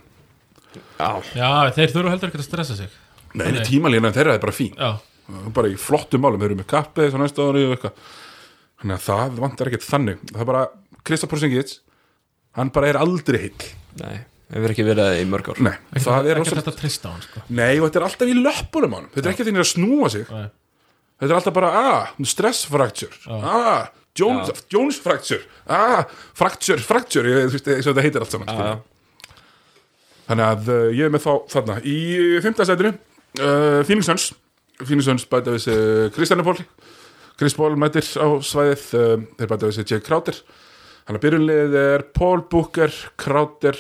Já,
Já, þeir þurfa heldur ekkert að stressa sig
Nei, Nei. tímalínan þeirra er bara fín
Já,
bara í flottum málum, þeir eru með kappið og næsta ári og eitthvað þannig að það vantar ekkert þannig það er bara, Kristaf Porzingis hann bara er aldrei heill
nei, við verðum ekki verið í mörg ár
Nei, það er
ekki
rosa...
þetta trista á hann sko.
Nei, og þetta er alltaf í löppunum hann þetta er ekki að þeirnir að snúa sig
Nei.
þetta er alltaf bara, ah, stress fracture ah, Jones, Jones fracture ah, fracture, fracture ég, þú veist, eins og þetta heitir allt saman
Já,
skilur. Þannig að uh, ég er með þá þarna Í eh, fymtasætinu uh, Phoenix Suns Phoenix Suns bæta við sig Kristjana Pól Chris Paul mætir á svæðið uh, Þeir bæta við sig Jake Crowder Þannig að byrjunlið er Paul Booker Crowder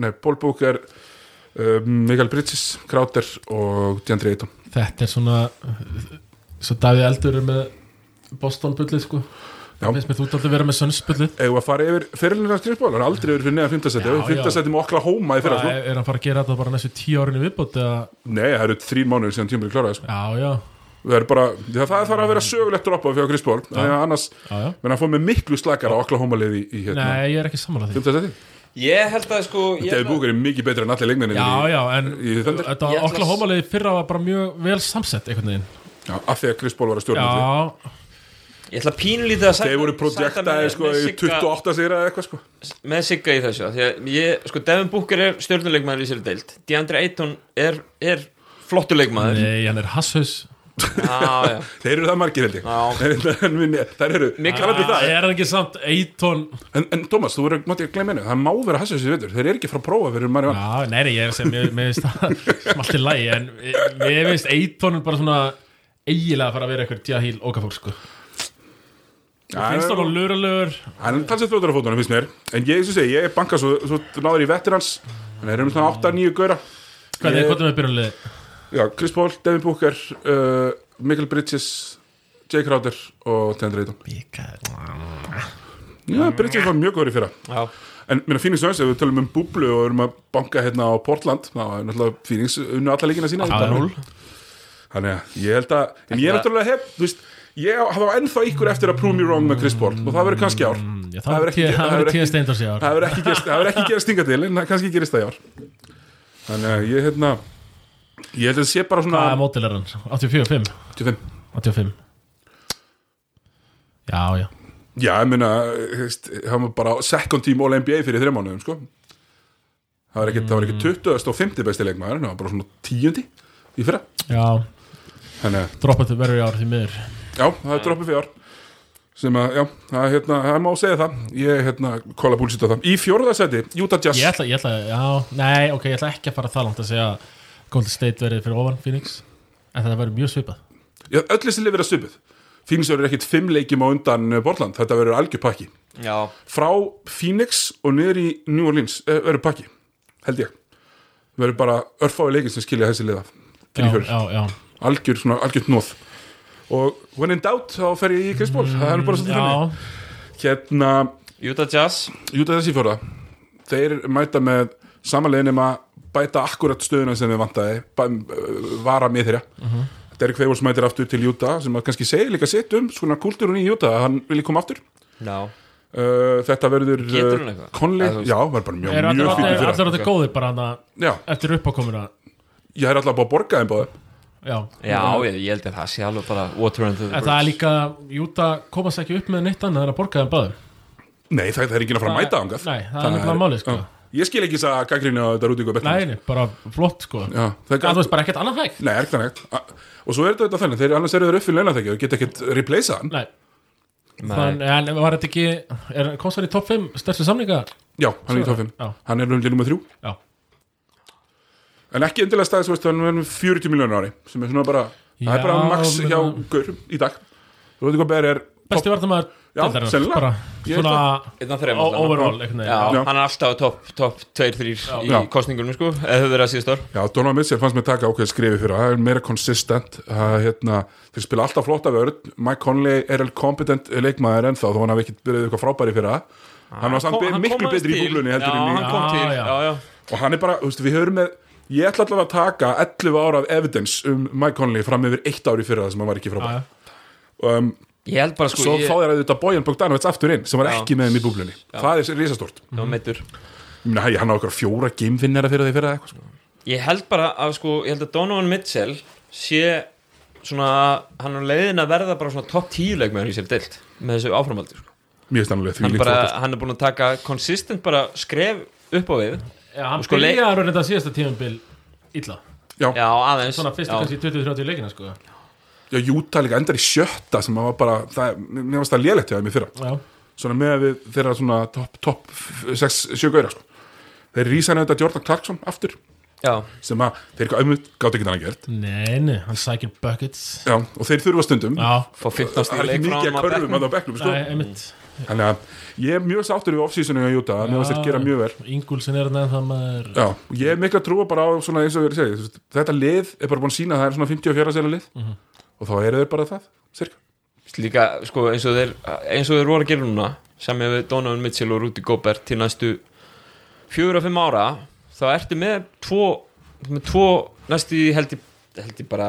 Nei, Paul Booker uh, Mikael Bridges Crowder og Deandre Ayton
Þetta er svona uh, svo Davíð Eldur er með Boston bullið sko
Já.
Það finnst mér þú ert aldrei vera með Suns bullið
Eða að fara yfir fyrirlina Chris Paul Hann er aldrei yfir fyrir neðan
Já,
fymtasæti
já.
Fymtasæti með okla hóma í fyrra
Er
sko.
er hann fara að gera þetta bara næstu tíu árin í viðbót eða...
Nei, það eru þrír mánuðir síðan tímur í kláraði sko.
Já, já,
Það er bara, það það þarf að vera sögulegt dropa fyrir Chris Paul, þannig að annars
já, já.
menn hann fór með miklu slakar á Oklahoma liði í, í hérna
Nei, ég er ekki sammála því
5. seti
Ég held að sko
David
ég held að-
Booker er mikið betur en allir leikmennin
Já, já, en
í Thunder?
Ég ætla
þetta
að-
okla hómalegi fyrra var bara mjög vel samsett einhvern veginn
já af því að Chris Paul var að stjórna því
Já,
Ég ætla pínlítið að sætta
þeir voru
sætta
projektaði
mig
sko
með
í
Sigga-
28 sigra eða eitthvað sko
Með Sigga í þessu af Því að ég, sko, Devin Booker er stjórnuleikmaður í sér deild Deandre Ayton er, er flottur leikmaður
nei, hann er hasshaus
Já, já
þeir eru það margir held ég
Já.
En- en minni- þær eru
Mikið-
talandi um það.
Er hann ekki samt Eitón
en, en Thomas þú verður mátti að glemja henni það má vera hassu þessi veitur þeir eru ekki frá prófa fyrir manni vann
Já, nei, nei, ég er sem, mér mér finnst það sem allt í lagi, en mér- mér finnst Eitón bara svona eigilega að fara að vera eitthvað djahíl okafólk, sko Finnst hann á luralur
hann er talsið þjóttur á fótunum finnst mér en ég eins og segi ég er banka svo, svo náður í veterans en þeir eru um svona 8-9 gauðra
Hvað er
Ég-
hvað er með byrjunlið?
já Chris Paul Devin Booker uh, Michael Bridges Jake Crowder og Tendra Ayton Já, Bridges var mjög góður í fyrra
Já,
En minna Phoenix Suns, ef við tölum um búblu og erum að banka hérna á Portland þá er náttúrulega Phoenix unnu alla líkina sína
Já, já.
Þannig að ég held að En ég er náttúrulega hef, þú veist Ég hafa ennþá ykkur eftir að prove me wrong með Chris Paul og það verður kannski í ár
Mm, Já,
Það
Það
hefur ekki- það hefur
verður
ekki-
tíða steindars í ár
Það verður ekki gerst- það hefur ekki gerst stinga til en það kannski gerist það í ár Þannig að ég hérna Ég held að það sé bara svona
Hvað er mótil er hann? 84-5
85.
85 Já, já
Já, ég meina þú veist, hann var bara second team all NBA fyrir þreim mánuðum sko Það var ekki, það var ekki
Mm.
20. og 50. besti leikmaður það var bara svona 10. í fyrra
Já,
Þannig að
droppað verður í ár því miður
Já, það er droppið fjár sem að, já, það, er, hérna, það má segja það ég, hérna, kóla búlsitt á það í fjórðarsæti, Utah Jazz
Ég ætla, ég ætla, já, nei, ok, ég ætla ekki að fara það langt að segja að Golden State verið fyrir ofan Phoenix en það verið mjög svipað
Já, öll þessi lið verið að stupuð Phoenix verður ekkit fimm leikjum á undan eh, Portland þetta verður algjör pakki
já
frá Phoenix og niður í New Orleans eh, verður pakki, held ég verður bara örfái leikir sem skilja þessi liða
Já,
fyrir fjör,
já, já,
algjör, svona, algjör nóð og when in doubt þá fer ég í Chris Paul það er bara svolítið
Mm, Já,
þannig hérna,
Utah Jazz
Júta þessi fjóra þeir mæta með samanlegin um að bæta akkurat stöðuna sem við vantaði ba- uh, vara með þeirra
Mhm.
Derek Favors mætir aftur til Júta sem að kannski segir líka sitt um svona kúltúrun í Júta að hann vilji koma aftur
Já
uh, þetta verður eh,
Getur hann eitthvað?
Conley,
Eða þú veist-
já, var bara
er
mjög,
allir
mjög fyrir
allir
fyrra
allir góðir bara hana
já,
eftir uppákomina
ég er alltaf búið að borga þeim báðum
Já,
Já, ég, ég held að það sé alveg bara Water and the
En það er líka, Júta komast ekki upp með neitt annað en að borga þeim báðum
Nei, það, það er enginn að fara að
Það-
mæta angað
nei, það er nefnilega málið, sko.
Ég skil ekki þess að gaggrínu að þetta er út ykkur
Nei, nei, bara flott sko
Já, það er
Það þú
gæt
veist bara ekkert annað hægt
Nei, er þannig Og svo er þetta þannig, þeir annars eru þeir uppfyrir launaþekki og geta ekkert replacea hann
Nei,
Nei,
þannig, en var þetta ekki er, komst hann í topp 5 stærstu samninga?
Já, hann er í
Svo er
toffin
það, já.
Hann er rundið nummer þrjú
Já,
En ekki endilega staðið, þú veist, hann er með 40 miljónur ári sem er svona bara, það er
Já,
bara max
menn-
hjá Gaur í dag Þú veit hvað ber er
besti vartamæður
Já, sennilega.
bara,
Ég
Svona
Einn af þrem
o-
allavega.
overall einhvern
Já,
veginn.
Já.
hann er alltaf top, top 2-3 í
Já.
kostningunum sko eða þau verið að síðast ár
Já, Donovan Mitchell fannst mér taka ákveð skrifi fyrir það er meira consistent það, hérna, þeir spila alltaf flotta vörð Mike Conley er alveg competent leikmaður ennþá þó hann hafi ekki byrjuð eitthvað frábæri fyrir það hann var samt
Kom-
be-
Ah, hann kom
miklu
aðeins
betri í
til.
búlunni heldur
Já,
en
hann
í
kom
Já,
til,
já.
já, já
og hann er bara, þú veist, við höfum með ég ætla allavega að taka 11 ára af evidence um Mike Conley fram yfir eitt ári fyrir það sem hann var ekki frábæri
Já,
um,
Ég held bara Ah, sko
svo
ég,
fá þér að þetta Bojan Bogdanovic aftur inn sem var
Já.
ekki með þeim í búlunni það er risastort
Já, meiddur.
hann á okkur fjóra gamefinnera fyrir því fyrir það eitthvað, sko.
ég held bara að sko ég held að Donovan Mitchell sé svona hann er á leiðin að verða bara svona top 10 leikmæður í sér deilt með þessu áframaldi sko.
mjög stannlega því
hann, bara, hann er búin að taka konsistent bara skref upp á við
já hann
Og sko, leik-
byrjaði að raunin þetta síðasta tímabil illa
já aðeins
Svona
já.
fyrstu kannski 20-30 leikina sko Já,
Já, Júta líka endar í sjötta sem að var bara, það, mér varst það lélegt hjá þeim í fyrra, svona með að við þeirra svona topp, topp, f- sex, sjö gauðra sko. þeir rísa nefnda Jordan Clarkson aftur,
já,
sem að þeir eitthvað ömmu gátt ekki þannig að gert,
nei, nei, hann sækir buckets
já, og þeir þurfa stundum
Já,
fá 15
það
stíl
er ekki
leik frá
mikið
hann
að
á
körfum að það
bekknum.
á bekknum, sko
nei, einmitt
þannig að ég er mjög sáttur við off-seasonu hjá Júta, mér varst þeir gera mjög vel
Ingúlsson er þannig að það maður
Já, ég er mikla trúa bara á svona eins og við erum segið, þetta lið er bara búin að sína að það er svona 54 sérna lið
Mhm.
og þá eru þeir bara það, cirka
líka sko eins og þeir eins og þeir voru að gera núna sem við Donovan Mitchell og Rudy Gobert til næstu 4-5 ára þá ertu með tvo þú ert með tvo næstu því held ég held ég bara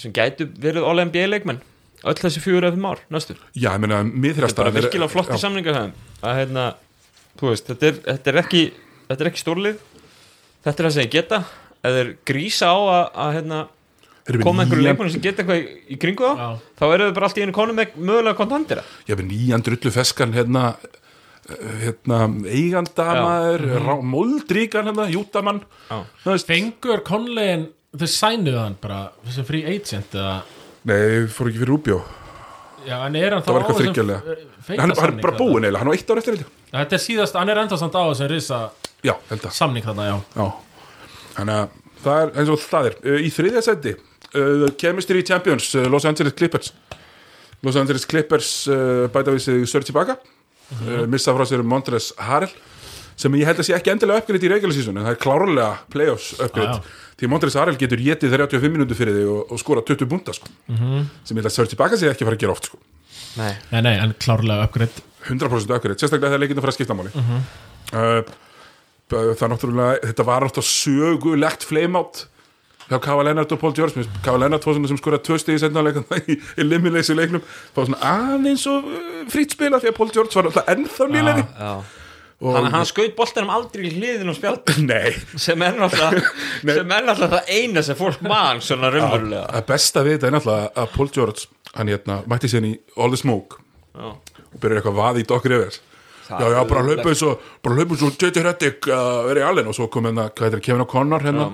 sem gætu verið all-NBA leikmenn öll þessi 4-5 ár næstu
Já, ég meina, mið
þetta er bara virkilega flott í samlinga að hérna, þú veist þetta er, þetta er ekki, þetta er ekki stórlið þetta er það sem ég geta eða þeir grísa á að, að hérna, koma einhverju leikmenn sem geta eitthvað í, í kringu þá
Já.
þá eru þau bara allt í einu konum með mögulega kontantira
ég hef nýjan drullu feskan hérna eh, hérna, eigandamaður mm
Mhm.
-hmm. móldríkan hérna, jútamann
Já.
Þú veist,
Fengur Conleyin, þau sænuðu hann bara þessi free agent eða
nei, fór ekki fyrir Rubio
Já, en er hann
Það
þá
var eitthvað
á þessum
þryggjarlega.
f-
Nei,
feita
hann, er- hann er
samning
bara
þarna?
búinn eiginlega, hann á eitt ár eftir þetta
Já, Þetta er síðast, hann er enda samt á þessum risa
já, held að
samning þarna, já
já. þannig að það er eins og það er Eh, í þriðja seti, uh, Chemistry Champions uh, Los Angeles Clippers Los Angeles Clippers uh, bæta við sig Sergi Baga
Mhm.
uh, missa frá sér Montres Harrell sem ég held að sé ekki endilega uppgriðt í regular season en það er klárlega playoffs
Já,
uppgriðt
já.
því Montres Harrell getur getið 35 minútu fyrir þig og, og skora 20 búnda sko.
Mhm.
sem ég held að Sergi Baga sé ekki að fara að gera oft sko.
Nei.
Nei, nei, en klárlega uppgreitt
100% uppgriðt, sérstaklega þegar leikindum fara að skipta máli uh, það er náttúrulega þetta var náttúrulega sögulegt flameout hjá Kava Lennart og Paul George mér finnst Kava Lennart fór svona sem skora tvö stegi setna leikum í eliminleysi leiknum fór svona aðeins og frýtt spila því að Paul George var náttúrulega ennþá nýleiri Og-
hann, hann skaut boltanum aldrei í hliðin og spjald
Nei,
sem er náttúrulega
Nei.
sem er náttúrulega það eina sem fólk mann svona raunverulega
að besta við þetta er náttúrulega að Paul George, hann hérna, mætti sér í All the Smoke
Já.
og byrjar eitthvað vaði í Doc Rivers
Það
Já, já,
er
bara
ömurlegt.
hlaupa eins og bara hlaupa eins og J.J. Reddick að uh, vera í allen og svo kom hérna, hvað heitir, Kevin O'Connor hérna,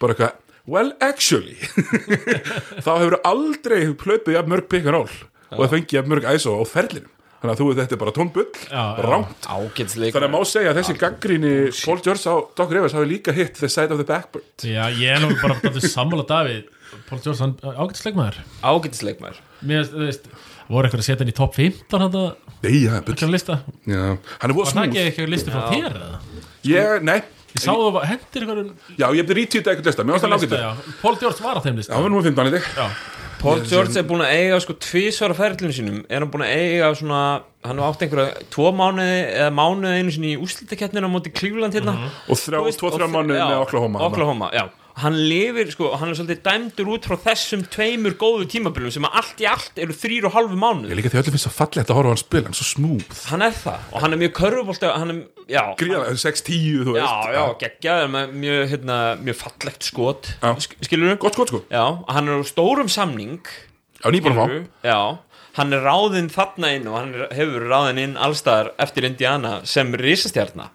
bara eitthvað, well actually þá hefur aldrei hlaupið jafn mörg pick and roll og það fengi jafn mörg ISO á ferlinum þannig að þú veit þetta er bara tónbull
Já, já.
rámt
ágætsleik
Þannig að má segja að þessi gaggrinni Paul George á Doc Rivers hafi líka hitt The Side of the Backboard
Já, ég er nú bara að sammála Davíð Paul George, hann ágætisleikmaður
ágætsleik maður
Mér, þú veist, voru eitthvað að setja hann í topp 15 hann að
Nei, já, bull
hann lista
Já, hann er voða
Var það
snúð
ekki eitthvað listi frá þér eða?
Ég, nei,
Ég sá þú var- hendir eitthvað um
já, ég hefði rítið eitthvað lista Mér varst það nákvæmt
lista, já Paul George var á þeim lista
Það var nú 15 í þig
Já,
Paul George er búin að eiga sko tvísvara ferðlunum sínum er hann búin að eiga svona hann hefur átt einhverja tvo mánuði eða mánuði einu sinni í úslitakeppnina á móti Klífland hérna
Mhm. Og þrjá,
Þú veist,
tvo,
og
þrjá
þr-
mánuði
já,
með Oklahoma þarna.
Oklahoma, já hann lifir, sko, hann er svolítið dæmdur út frá þessum tveimur góðu tímabilum sem að allt í allt eru þrýr og halvu
Ég
mánuð
líka því öllum finnst svo fallegt að horfa á hann spila, hann er svo smúð
hann er það, og hann er mjög körfubolt hann er, já,
Gríðan, 6-10, þú veist
já, já, geggjaður með mjög, hérna, mjög fallegt skot
Já.
Sk- skilurðu?
Gott skot sko,
já, hann er á stórum samning
já, nýbúin að fá
skilurðu? já, hann er ráðinn þarna inn og hann er, hefur verið ráðinn inn allstaðar eftir Indiana sem risastjarna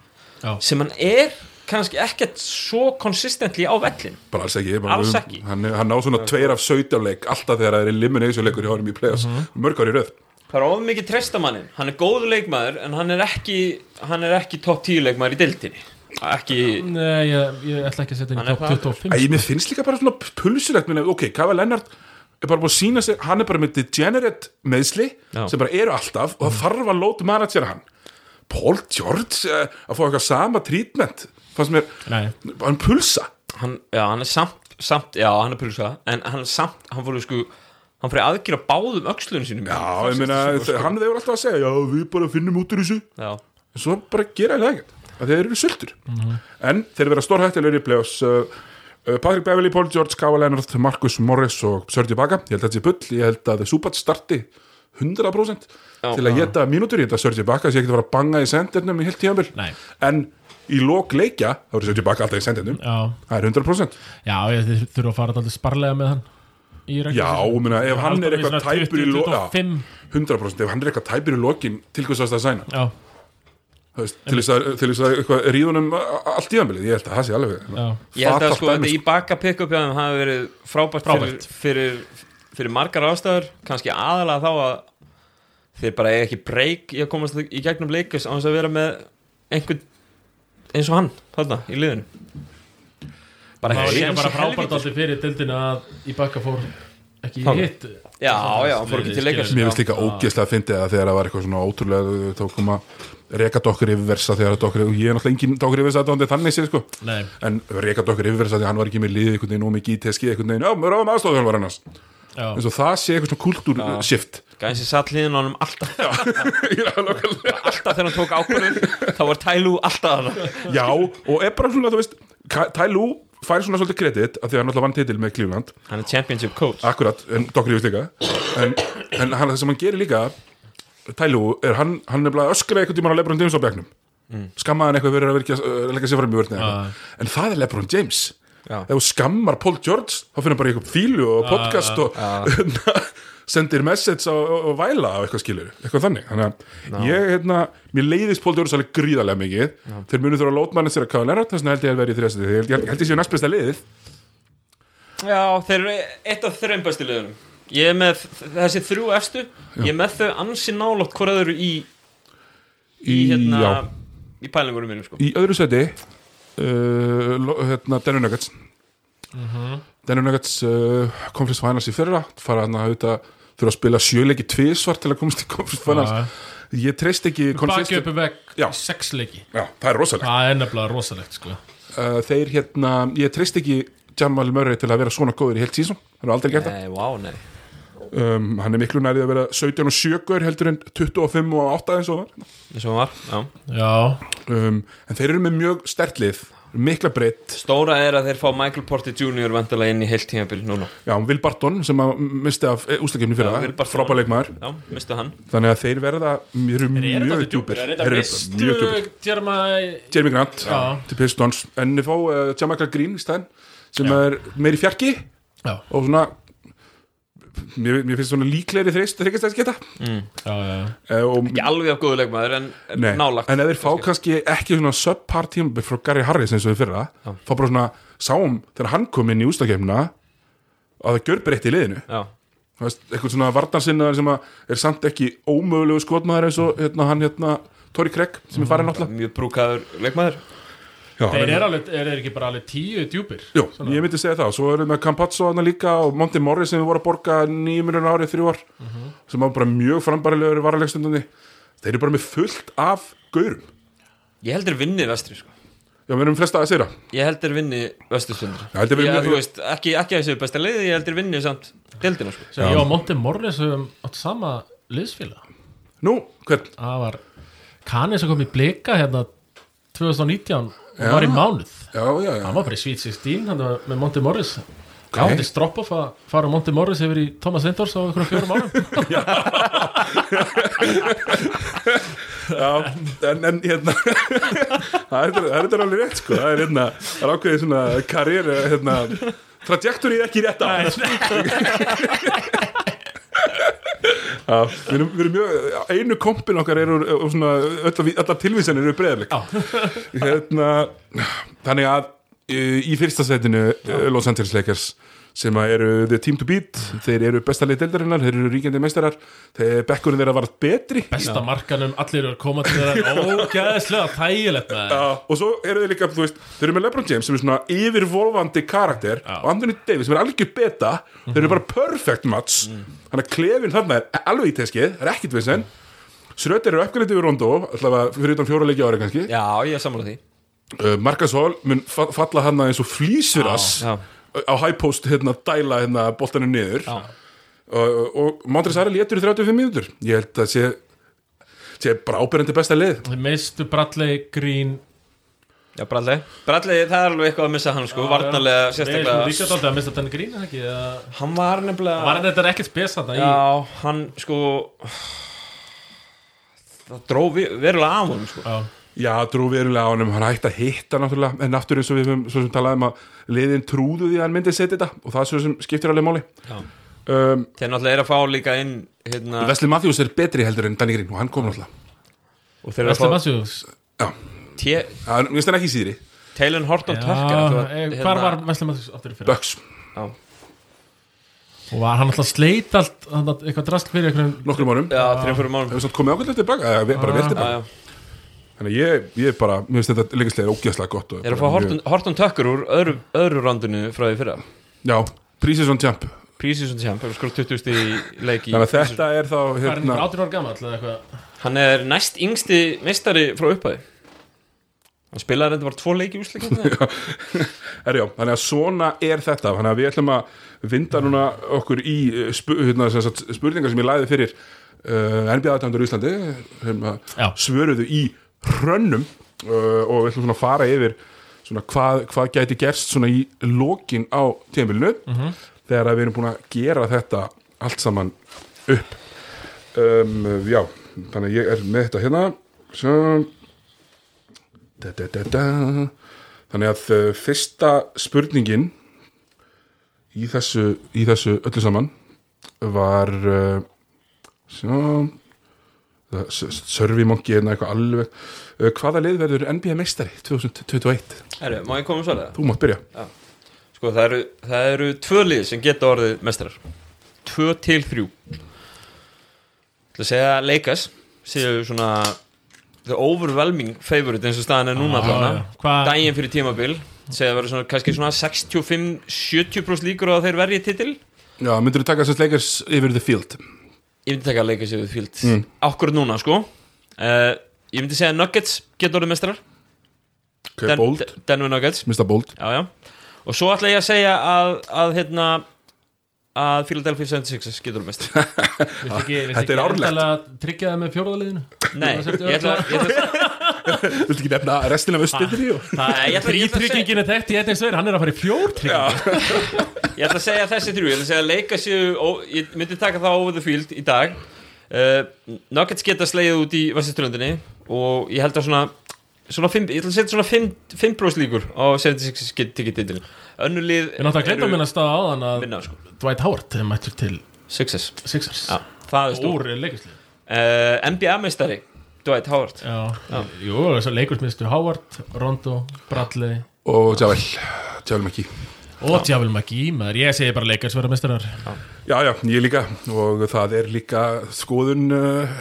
Já.
sem hann er kannski ekkert svo konsistentli á vellin
Bara alls ekki, bara
Alls
um-
ekki.
Hann, hann ná svona tveir af 17 leik Alltaf þegar það er eliminationleikur í honum í play-offs
Mhm.
Mörg ári í röð
það er of mikið treystamannin, hann er góð leikmaður en hann er ekki, hann er ekki top 10 leikmaður í deildinni ekki,
Nei, ég, ég ætla ekki að setja inn
Hann
í
er
top
það-
Æ,
25
mér finnst líka bara svona pulsulegt minna, Ok, Kava Lennart er bara búin að sína sig Hann er bara með degenerate meðsli
Já. Mhm.
Sem bara eru alltaf og það þarf að lóta managera hann Paul George eh, Að fá eitthvað sama treatment Fannst mér,
Nei.
hann pulsa
hann, já, hann er samt, samt já, hann er pulsa, en hann er samt hann fór, sko, hann fyrir aðgjöra báðum öxlunum sínum
Já, ég meina, hann þeir voru alltaf að segja Já, við bara finnum út úr þessu
já,
en svo bara gera það ekkert að þeir eru sultur en þeir vera stórhættilegur í play-offs uh, uh, Patrick Beverly, Paul George, Kava Leonard Marcus Morris og Sergi Baga ég held að þetta sé bull, ég held að Subat starti 100%
Já.
til að geta mínútur ég held að Sergi Baga sé ekki að fara að banga í sendernum í heilt tíðanbjörn
Nei.
en í lók leikja þá eru Sergi Baga alltaf í sendernum
Já,
það er 100%
já ég þið þurfa að fara alltaf sparlega með hann í reglum.
já, ég meina, ef hann er eitthvað tæpur í lók
25,
100% ef hann er eitthvað tæpur í lókin til hvers að það sæna
já,
Þú veist, til þess að, til þess að eitthvað, ríðunum allt tíðanbjörn ég held að það sé alveg
já
ég held að
fatalt
sko
dæmi,
þetta í baka pick-up hjá þeim hafi verið frábært,
Frábært.
Fyrir, fyrir, fyrir margar ástæður kannski aðalega þá að þeir bara eiga ekki breyk í að komast í gegnum leikus á þess að vera með einhvern eins og hann þarna í liðinu bara
Það var líka
séns í
bara frábært
helvíti.
alltaf fyrir dildina að í bakka fór ekki í
Þangað.
hitt
Já, já, hann fór ekki til leikars.
Mér
Já.
finnst líka ógeðslega að fyndi það þegar það var eitthvað svona ótrúlega þá kom að reka dokkur yfirversa þegar það dokkur, og ég er náttúrulega engin dokkur yfirversa þannig þannig sér sko,
Nei,
en reka dokkur yfirversa því hann var ekki með liðið einhvern veginn og mikið í teski einhvern veginn, já, mér ráðum aðstofðan var annars
já,
eins og það sé eitthvað svona kultúr shift
gæðin sem satt hliðin á hann alltaf
Ég er alveg nákvæmlega-
alltaf þegar hann tók ákvörðun þá var Tælu alltaf þarna
Já, og er bara svona, þú veist Tælu fær svona svolítið kredit af því að hann alltaf vann titil með Cleveland
hann er championship coach
Akkurat, en Dokkur Rífus líka En, en hann, það sem hann gerir líka Tælu, er hann, hann nefnilega öskraði einhvern tímann á Lebron James á bekknum
Mm.
Skammaði hann eitthvað fyrir að verka, uh, leggja sér fram í vörðni
Ah.
En það er Lebron James
Já. Ah,
Ef þú skammar Paul George Þá finnur hann bara í eitthvað fílu og podcast og sendir message á, og væla á eitthvað skilur, eitthvað þannig þannig að ég, hérna, mér leiðist Paul George alveg gríðarlega mikið, þeir munu þurfa að lótmanna sér að kafa lennart, þess vegna held ég að vera í þrjast ég held, ég held ég séu næst besta liðið
Já, þeir eru eitt af þreim bestu liðunum Ég er með þessi þrjú efstu Ég er með þau ansi nálótt hvora þau eru í, í, hérna,
já.
í pælingunum mínum sko.
Í öðru seti uh, lo- hérna, Denver Nuggets Denver Nuggets uh, Conference Finals í fyrra fara hann að auðvitað þurfa að spila sjöleiki tvísvar til að komast í Conference Finals
Já.
ég treyst ekki
bakki
consistent-
uppi vekk
Já.
sex leiki
Já, það er rosalegt
Það er nefnilega rosalegt sko
uh, þeir hérna, ég treyst ekki Jamal Murray til að vera svona góður í heilt sísón hann er aldrei gert það
Nei, vá, nei
um, hann er miklu nærið að vera 17 og 7 gaur heldur en 25 og 8 eins og það
eins og hann var, já.
Já,
um, en þeir eru með mjög stertlið mikla breytt,
Stóra er að þeir fá Michael Porter Jr. vandalega inn í heilt tímabil núna
já, Will Barton sem að misti af eh, úslakefni fyrir
Já, Will
það
Barton.
frábæleikmaður
Já, mistu hann
þannig að þeir verða eru mjög
dálítið
djúpir
Þeir
Þeir
eru
eru
þetta
mjög djúpir
mistu Tjerma
Jeremy Grant
Já.
til Pistons en þið fá uh, Jamaica Green í stæðin sem er meiri fjarki
Já,
og svona mér, mér finnst svona líklegri þreist þreikast að geta
já, já, já.
og,
Ekki alveg af góðu leikmaður en
nei,
en nálagt
en ef þeir fá kannski ekki svona subpar tíma frá Gary Harris eins og við fyrra fá bara svona sáum þegar hann kom inn í ústakefna að það gjör breytti í liðinu
Já,
Þú veist, eitthvað svona varnarsinnaðar sem að er samt ekki ómögulegu skotmaður eins og hérna, hann hérna Tori Craig sem er farin náttúrulega
mjög brúkaður leikmaður
Já,
Þeir eru alveg, er þeir ekki bara alveg tíu djúpir
Jú, ég myndi segja það, svo erum við með Campazzo hana líka og Monty Morris sem við vorum að borga 9 miljonar árið þrjú ár sem var bara mjög frambærilegur varalegstundundi þeir eru bara með fullt af gaurum
Ég heldur vinnið vestri sko.
Já, við erum flesta að segja
Ég heldur vinni Vestursundur
Ég held þeir vinni-
þú veist, ekki, ekki að þessu besta leiði Ég heldur vinni samt deildina sko.
sem ég og Monty Morris höfum átt sama liðsfélag
Nú, hvern?
það var Kani sem kom í blika hérna
Já.
2019 var í mánuð
Já, já, já
hann var bara í Sweet 16 hann var með Monty Morris okay. hann var stropp of að fara Monty Morris yfir í Thomas Endors á einhverjum fjórum árum
Já, en, en hérna það er það er þetta alveg rétt sko það er hérna, það er ákveðið svona karriér hérna, trajektorið ekki rétt á Já, við erum, við erum mjög einu kompin okkar eru og svona öll, allar tilvísanir eru breyðarleik hérna, þannig að eh, í fyrsta setinu eh, Los Angeles Lakers sem að eru the team to beat, þeir eru besta leið deildarinnar, þeir eru ríkjandi meistarar þeir bekkurinn þeirra varð betri
besta markanum, allir eru að koma til þeirra ógæðislega þægilegt með
Já, og svo eru þeir líka, þú veist, þeir eru með LeBron James sem er svona yfirvolvandi karakter og Anthony Davis sem er algjör beta þeir eru bara perfect match þannig að klefin þarna er alveg í teskið, það er ekkit vissinn mm. Sröter eru uppgæðið yfir Rondo, allavega fyrir utan fjóra leikja ári kannski,
Já, ég er sammála því
uh, Marcus Hall mun fa falla hann eins og flýsviras
Já, já.
á high post hérna dæla hérna boltanum niður
Já.
og, og Montres Ari létur í 35 mínútur ég held að sé, sé bráberandi besta lið
meistu Bradley Green
Já, Bradley Bradley, það er alveg eitthvað að missa hann sko Varnarlega,
Við erum líka
sérstaklega
dálítið að mista þenni Green eða ekki eða-
Hann var nefnilega
var þetta er ekkert spes þarna í
Já, hann sko Það dró vi- verulega af honum sko
Já.
Já, trú verulega á hann, hann hætti að hitta náttúrulega, en aftur eins og við höfum svo sem talaðum að liðin trúðu því að hann myndi setja þetta og það er svo sem skiptir alveg máli
Já.
um,
Þeir náttúrulega er að fá líka inn hérna,
Vesli Matthews er betri heldur en Danny Green og hann kom náttúrulega
og þeir eru
Wesley
að fá
Matthews
Te-
Það er- Mér finnst hann ekki síðri,
Taylor Horton
Já,
Tucker hérna-
eh, hvar var Wesley Matthews aftur í fyrra?
Bucks
Já,
og var hann alltaf sleit allt hann alltaf eitthvað drast fyrir einhverjum
nokkrum árum
já þreim fyrir mánum
Hefur samt komið ákveðlega tilbaka, eða við- bara vel
Já,
tilbaka
já.
Þannig að ég, ég er bara, mér finnst þetta leikislega ógeðslega gott og
Þeir eru
bara
að fá Horton, Horton Tucker úr öðru, öðru randinu frá því fyrra
mjög- Já, Prísisson Champ
Prísísson Champ, þeir eru skrútt 20 stig í leiki
Þannig að þetta er þá
var hann
hérna,
18 ára gammal eða eitthvað
Hann er næst yngsti meistari frá upphæði Hann spilaði þetta bara tvo leiki úsleikandi
Herjá, þannig að svona er þetta þannig að við ætlum að vinda núna okkur í eh, spu, hérna, sem sagt, spurningar sem ég læði fyrir uh, NBA-aðtæmdur í Íslandi hérna,
Já.
svöruðu í hrönnum uh, og við ætlum svona að fara yfir svona hvað, hvað gæti gerst svona í lokin á tíðanbylnu þegar að við erum búin að gera þetta allt saman upp um, já, þannig að ég er með þetta hérna svo da, da, da, da. Þannig að uh, fyrsta spurningin í þessu, í þessu öllu saman var uh, sjá, það- s- s- Survey Monkey eða eitthvað alveg uh, Hvaða lið verður NBA meistari 2021?
Herru, má ég koma um svarlega?
Þú mátt byrja
Sko það eru, það eru tvö lið sem geta orðið mestrar Tvö til þrjú Það segja að leikas séu svona the overwhelming favorite eins og staðan er núna
Já, já.
ah,
Hvað-
daginn fyrir tímabil segja að vera svona, kannski svona 65-70% líkur á að þeir verði titil
Já, myndirðu taka þessast leikars yfir the field?
Ég myndi taka að leika sér við fíld mm. Akkur núna sko uh, Ég myndi segja að Nuggets geta orðið mestrar
Ok, bold,
Denver Nuggets
mista bold
já, já. Og svo ætla ég að segja að, að hérna að Philadelphia 76 getur mest
Þetta
þetta
er árlegt.
tryggja það með fjórðaliðinu
Nei, ég ætla, ég ætla,
Viltu ekki nefna restina af östbytri?
Nei, ég ætla, ég ætla, að segja,
þrítryggingin er þekkt í einnig sveir hann er að fara í fjórtrygging
ég ætla að segja þessi þrjú Ég ætla að segja að leika séu ó, Ég myndi taka það over the field í dag uh, Nuggets geta slegið út í Vesturströndinni Og ég held að svona, svona fimm, Ég ætla að setja svona 5 brós líkur Á 76 get- ticket titil Önnulið
ég náttúrulega glemt að minna staða á þann að
minna sko.
Dwight Howard er mættur til
Success
Sixers
Já, það er stór
úr leikursli
uh, NBA-meistari Dwight Howard Já.
jú, þess að leikursmistu Howard, Rondo, Bradley
Og Javel, Javel McKee
og Djafil McGee maður ég segi bara leikars vera mistarar
Já, já, ég líka og það er líka skoðun uh,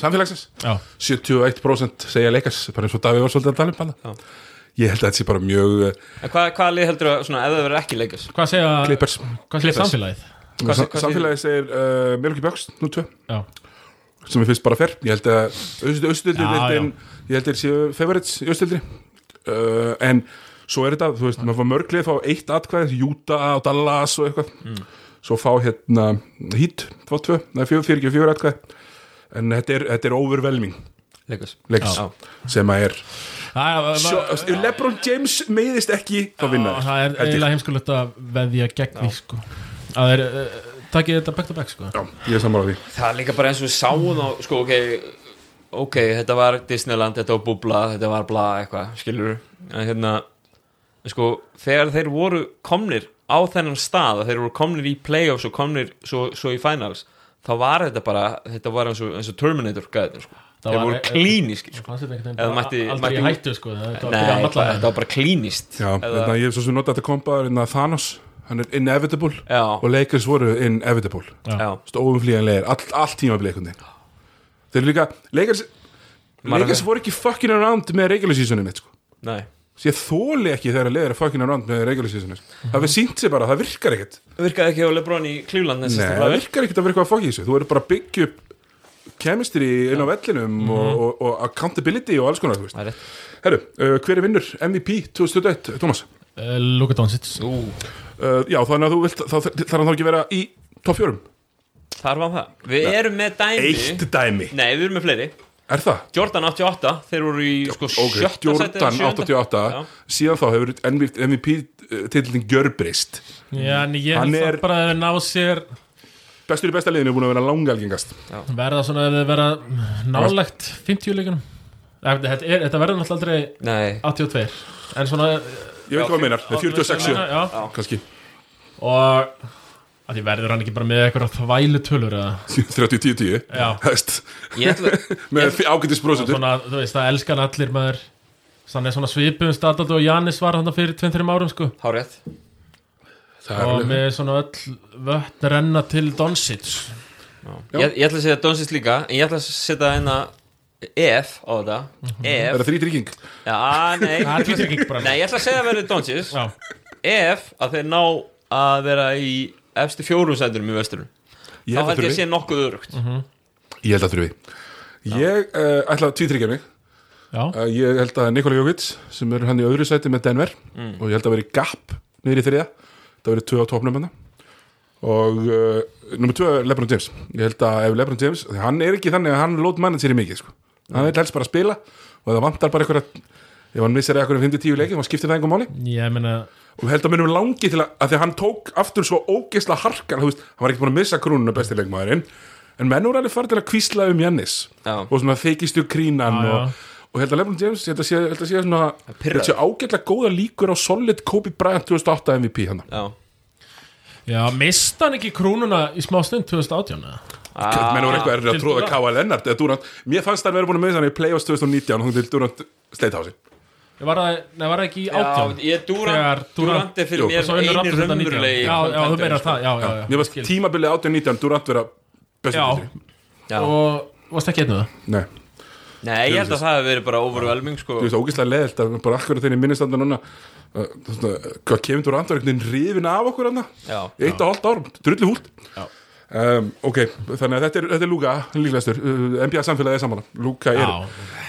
samfélagsins
já
71% segja leikas bara eins og Davíð var svolítið að tala um hana ég held að þetta sé bara mjög uh,
En hvað, hvað lið heldur að, svona, ef það verður ekki leikas
hvað segja
Clippers
hvað segja samfélagið
Hvað
Sa
sé- hvað
samfélagi segir uh, Melki Björks, nú tvö
já
sem ég finnst bara fer, ég held að austöldri
Já,
deildin, ég held að þeir séu favorites í austöldri uh, en svo er þetta, þú veist, maður fá mörglið fá eitt atkvæði, Júta og Dallas og eitthvað, svo fá hérna Hít, fá tvö, neða fjögur, fjögur, fjögur atkvæði, en þetta er, þetta er overwhelming
Leikus
leiks,
Já.
sem að er
Það
Sjó, ef Lebron James meiðist ekki þá vinna
Já,
þeir,
Það er
held ég.
eiginlega heimskulegt að veðja gegn því sko Það er, uh, takkið þetta back to back sko
Já, ég er sammála því
Það er líka bara eins og við sáum á, sko, ok, ok, þetta var Disneyland, þetta var Bubla, þetta var bla, eitthvað, skilur En hérna, sko, þegar þeir voru komnir á þennan stað, að þeir voru komnir í playoffs og komnir svo, svo í finals Þá var þetta bara, þetta var eins og, eins og Terminator gæðin, sko
Það
Þeir
var-
voru klíníski,
Ég
sko
fannst þetta einhvern veginn
Eða
bara
mætti-
aldrei
mætti-
í hættu sko Það
Nei,
var byrjað að
þetta
malla
þetta var bara klínist
Já, þetta, ég hef svo sem notað þetta kompa hérna, Thanos, hann er inevitable
Já,
og Lakers voru inevitable
já,
stóumflíjanlegir, all, all tímabili einhvern veginn þeir eru líka, Lakers
Maður-
Lakers voru ekki fucking around með regular seasonum mitt sko
nei
Svo ég þóli ekki þegar að leiðir að fucking around með regular seasonum það við sínt sér bara, það virkar ekkert
Virkaði ekki á Lebron í Cleveland
Nei,
þessi
það virkar ekkert að vera eitthvað að fokk í þessu þú eru bara að byggja upp chemistry inn á vellinum
Mhm.
og, og, og accountability og alls konar, þú veist
Það er
Herru, uh, hver er vinnur MVP 2021, Thomas?
Uh, Luka Doncic
rétt
Uh, já, þannig að þú vilt, þá þarf hann þá ekki að vera í topp fjörum.
Þar var það Við erum með dæmi
Eitt dæmi.
Nei, við erum með fleiri
Er það?
Jordan 88, þeir voru í sko
Ok,
sjötta sæti eða
Jordan
sjöunda.
88,
Já.
síðan þá hefur MVP-titlinn gjörbreyst.
Já, en ég
Hann
held
er-
er... bara að þau ná sér
Bestur í besta liðinu er búin að vera langalgengast.
verða svona að þau vera nálægt 50 leikunum Þetta, þetta er- þetta verður náttúrulega aldrei
Nei,
82 En svona eh,
Ég veit
Já,
hvað það meinar, það er 46,
Já,
kannski
og að því verður hann ekki bara með eitthvað þvælu tölur eða
30-10-10,
Já.
hæst,
ég ætla
með ágætis brosendur.
svona, þú veist, það elskar hann allir maður Sann er svona svipum statat og Jannis var þannig fyrir 23 árum sko
Hárið
Það er
og
alveg,
með svona öll vött renna til Doncic
ég, ég ætla að setja Donsist líka En ég ætla að setja hérna Ef á þetta
er
Ef
það þrítrygging?
Já, nei
Það er tvítrygging bara.
Nei, ég ætla að segja að verði Donsist
Já,
Ef að þeir ná að vera í Efstu fjórum sendurum í vesturinn
Ég
Þá
held að
held ég
þurfi.
að sé nokkuð örugt
Ég held að þurfi. Ég uh, ætla að tvítryggja mig.
já,
Uh, Ég held að Nikola Jokic sem er hann í öðru sæti með Denver og ég held að vera í gap niður í þriða það verið tvö á topnum hann og uh, nummer tvö er Lebron James ég held að ef Lebron James því hann er ekki þannig að hann lót mannað sér í mikið sko. hann er helst bara að spila og það vantar bara einhverja ef hann missar eitthvað um 50-10 leikið hann skiptir það einhver máli
ég meina
og ég held að munum langi til að, að því að hann tók aftur svo ógeisla harkan þú veist, hann var ekki búin að missa krúnuna besti leikmaðurinn en menn voru alveg farið til að kvísla um Jannis
Já.
og svona þeikistu krínan
Já, já.
og, og ég held að Lebron James ég held að sé, ég held að sé svona
pirrar.
þetta sé ágætlega góða líkur á solid Kobe Bryant 2008 MVP hann
Já
Já, mista hann ekki krúnuna í smá stund 2018 eða?
Ah.
menn voru eitthvað errið að
til
tróða
Durant.
K.A. Lennart eða Durant mér fannst hann verið búin að missa hann í Playoffs 2019 hún til Durant sleithási
Ég Var það, nei, var það ekki í
Já,
18
ég Durant,
Þegar Durant-
Durant er fyrir
Jú,
mér
Og svo vinnur
eini
Raptors þetta 19.
raunverulegi
Já, já, þú meira
sko.
það, já, já, já
mér fannst
skil.
tímabilið 18-19 Durant vera bestu
Já.
titli.
Já.
Og varst ekki einu það?
Nei,
Nei, ég held að það hefur verið bara overwhelming sko.
þú veist, ógeðslega leðilt að bara akkur þeirni minnistandur núna uh, þú veist, uh, hvað kemur Durant var einhvern veginn rifin af okkur hann
Já,
eitt og hálft árum, drullu húlt
Já.
um, ok, þannig að þetta er, þetta er Lúka líklegastur, uh, NBA samfélagið er saman Lúka er
Já.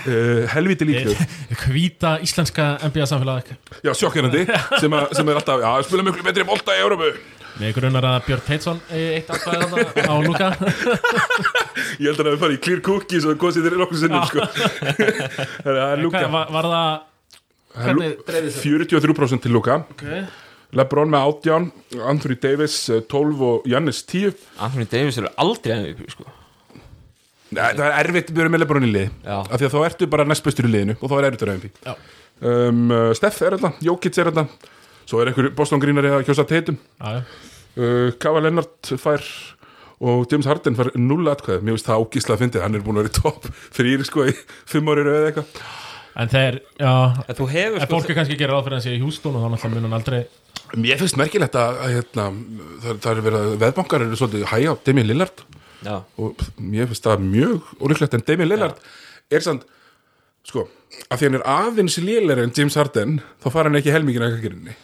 uh, helviti líklegur
Hvíta íslenska NBA-samfélag
já, sjokkjörnandi, sem, að- sem er alltaf já, spila miklu betri bolta í Európu
Með grunar að Björn Teitsson eigi eitt atkvæði þarna á Luka
ég held að það er farið í clear cookies og kosið þeir nokkur sinnum sko. þannig að það er Lúka
Hvað, var, var það
Það er Lú-
hvernig dreifðist þetta?
43% til Lúka
okay.
Lebron með 18, Anthony Davis eh, 12 og Jannis 10
Anthony Davis eru aldrei MVP sko.
Nei, það er erfitt að byrja með Lebron í liði
Já.
af því að þá ertu bara næst bestur í liðinu og þá er erfitt að reyðum
Já.
því um, uh, Steff er þetta, Jókits er þetta svo er einhver Boston grínari að kjósa teitum
Já, já.
uh, Kava Lennart fær og James Harden fær 0 atkvæð mér finnst það ágísla að fyndið, hann er búin að vera í topp þrýr sko í fimm ári rauð eitthvað
En þeir, já
En þú hefur
En
sko,
fólk er kannski að gera ráð fyrir að hann sé í Hjústón og þá náttúrulega mun hann aldrei
mér finnst merkilegt að, að hérna, það, það er verið að veðbankar eru svolítið hæja á Demi Lillard
já,
og mér finnst það mjög ólíklegt en Damien Lillard er samt sko, af því hann er aðeins lélæri en James Harden, þá fara hann ekki helmingin að kakkirinni.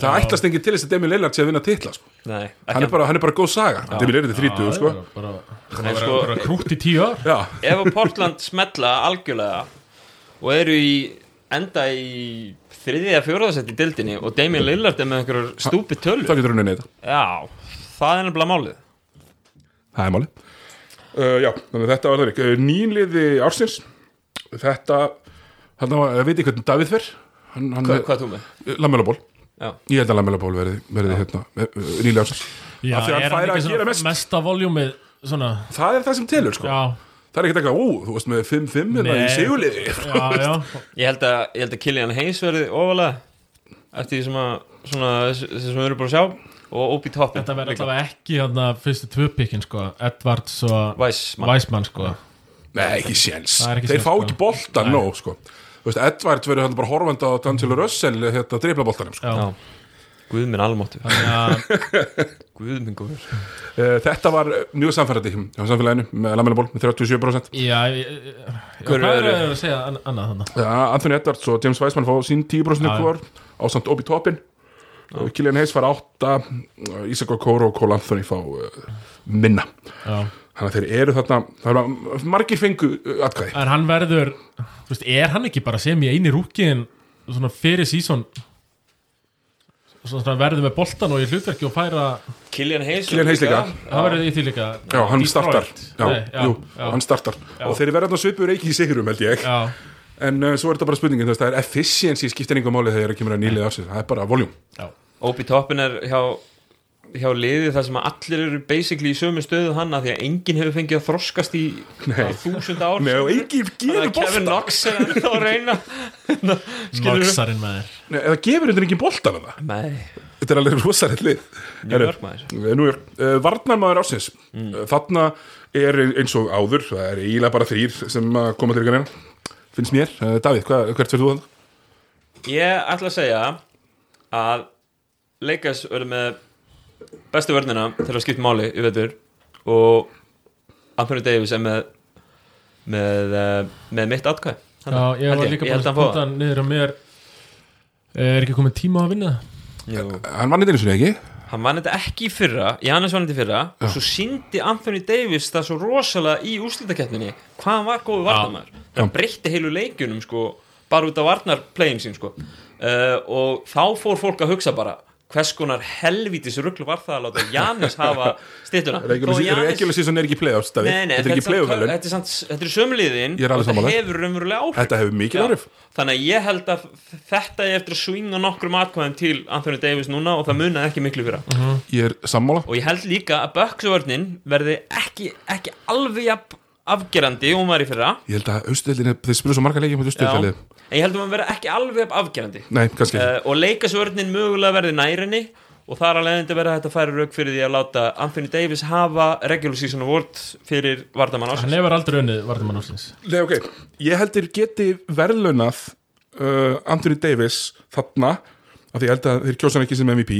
Það ætlast enginn til þess að Damien Lillard sé að vinna titla, sko.
nei
Hann
ekki,
er bara, hann er bara góð saga. Damien Lillard er 30, sko.
bara, bara,
Nei,
bara,
sko-
bara krútt í tíu ár
Já,
Ef að Portland smetla algjörlega og eru í enda í þriðið eða fjóraðasett í dildinni og Damien Lillard er með einhverjur stúpi tölur
Það getur rauninni þetta
Já, það er nefnilega málið
Það er máli uh, Já, þannig að þetta var það ekki Nýliði ársins Þetta, hann var, ég veit ekki hvernig Davíð fer hann, hann,
Hvað, hvað er þú með?
Lamellaból
Já.
Ég held að Lamellaból verði, verði hérna, nýliði ársins
Já,
Af því hann
er
fær að
ekki
gera
svona
mest.
Mesta voljúmið, svona
Það er það sem telur sko
Já,
Það er ekki eitthvað, ú, þú veist með 5-5 hérna í
Nei.
seguliði
já, já
Ég held að, ég held að Killian Hayes verði ofalega eftir því sem að svona, þessi sem við erum búin að sjá og Obi Toppin
Þetta verður allavega ekki hérna fyrstu tvö pikkin sko Edwards og
Væsmann
Weismann sko
Nei, ekki séns
Það er ekki
Þeir
séns,
fá
sko.
ekki boltan
Nei.
nóg sko Þú veist, Edvard verður hérna bara horfandi á D'Angelo Russell hérna dreifla boltanum sko.
Já,
Já. Guð minn almáttu
þannig að
Guð minn góður
uh, Þetta var eh, mjög samfærandi hjá samfélaginu með Lamellaból með 37%
Já, ég- ég- já,
Hver
hvað er
eru-
að segja an- annað þannig?
Já, Eh, Anthony Edwards og James Weisman fá sín 10%
Já, já.
kvör á samt Obi Toppin Eh, Killian Hayes fara 8 Isaac Okoro og Cole Anthony fá uh, minna
Já
þannig að þeir eru þarna það er margir fengu uh, atkvæði
En hann verður, þú veist, er hann ekki bara sem í eini rúkiðin svona fyrir sísón svona verður með boltan og í hlutverki og færa
Killian Hayes
Killian Hayes líka.
það verður í því líka
já, hann
Detroit.
startar já,
Nei, já,
jú,
já,
hann startar og þeir verða þarna svipur ekki í sigurum held ég
já,
en uh, svo er þetta bara spurningin þú veist, það er efficiency skiptir engum máli þegar það kemur að nýlið af sér það er bara voljum
já,
Obi Toppin er hjá hjá liði þar sem að allir eru basically í sömu stöðu hann að því að enginn hefur fengið að þroskast í þúsund ár
Nei, og enginn
Þannig
gefur
að Kevin
boltan
Knox er ennþá að reyna Skilur við
Noxarinn með þér
Nei, eða gefur þetta enginn boltan að það
Nei,
þetta er alveg rosalegt lið
New
Herru,
York maður
Nú er uh, varnarmaður ásins mm. Þarna er eins og áður Það er eiginlega bara þrýr sem að koma til ykkur Finnst mér, uh, Davíð, hva, hvert fyrir þú þannig?
Ég ætla að segja að Lakers verður með bestu vörnina til að skipta máli í vetur og Anthony Davis er með með, eh, með mitt atkvæð
já, ég var líka
ég held að hann
bara
fá það
spontan niður á mér Eh, er ekki komið tíma á að vinna það?
Jú.
Hann vann eitthvað ekki
hann vann þetta ekki í fyrra í annars vann þetta í fyrra og svo síndi Anthony Davis það svo rosalega í úslitakeppninni hvað hann var góðu varnamæður hann breytti heilu leikjunum sko bara út af varnarplayin sín sko uh, og þá fór fólk að hugsa bara hvers konar helvítis rugglu var það að láta Jannis hafa stittuna Þó að Giannis-
Regular season er ekki playoffs, Davíð
Nei, nei,
Þetta er ekki
samt-
playoffvelun
þetta er samt- þetta er sömliðin
Ég er alveg sammála.
þetta hefur raunverulega áhrif
Þetta hefur mikil
Já.
áhrif
Þannig að ég held að þetta er eftir að svinga nokkrum atkvæðum til Anthony Davis núna og það munaði ekki miklu fyrir hann.
Ég er sammála
og ég held líka að Böksvörnin verði ekki, ekki alveg jafn afgerandi og hún var í fyrra
Ég held að austöldin, þeir spyrir svo marga leikið
Já.
Nei,
en ég held að hún verði ekki alveg jafn afgerandi
kannski ekki
uh, og leikasvörnin mögulega verði nærinni og þar alveg endur verða þetta færi rauk fyrir því að láta Anthony Davis hafa regular season award fyrir Vardamann
hann
Ásins
hefur aldrei unnið varðumann ásins
Eh, Nei, ok, ég heldur geti verðlunað uh, Anthony Davis þarna, af því ég held að þeir kjósa hann ekki sem MVP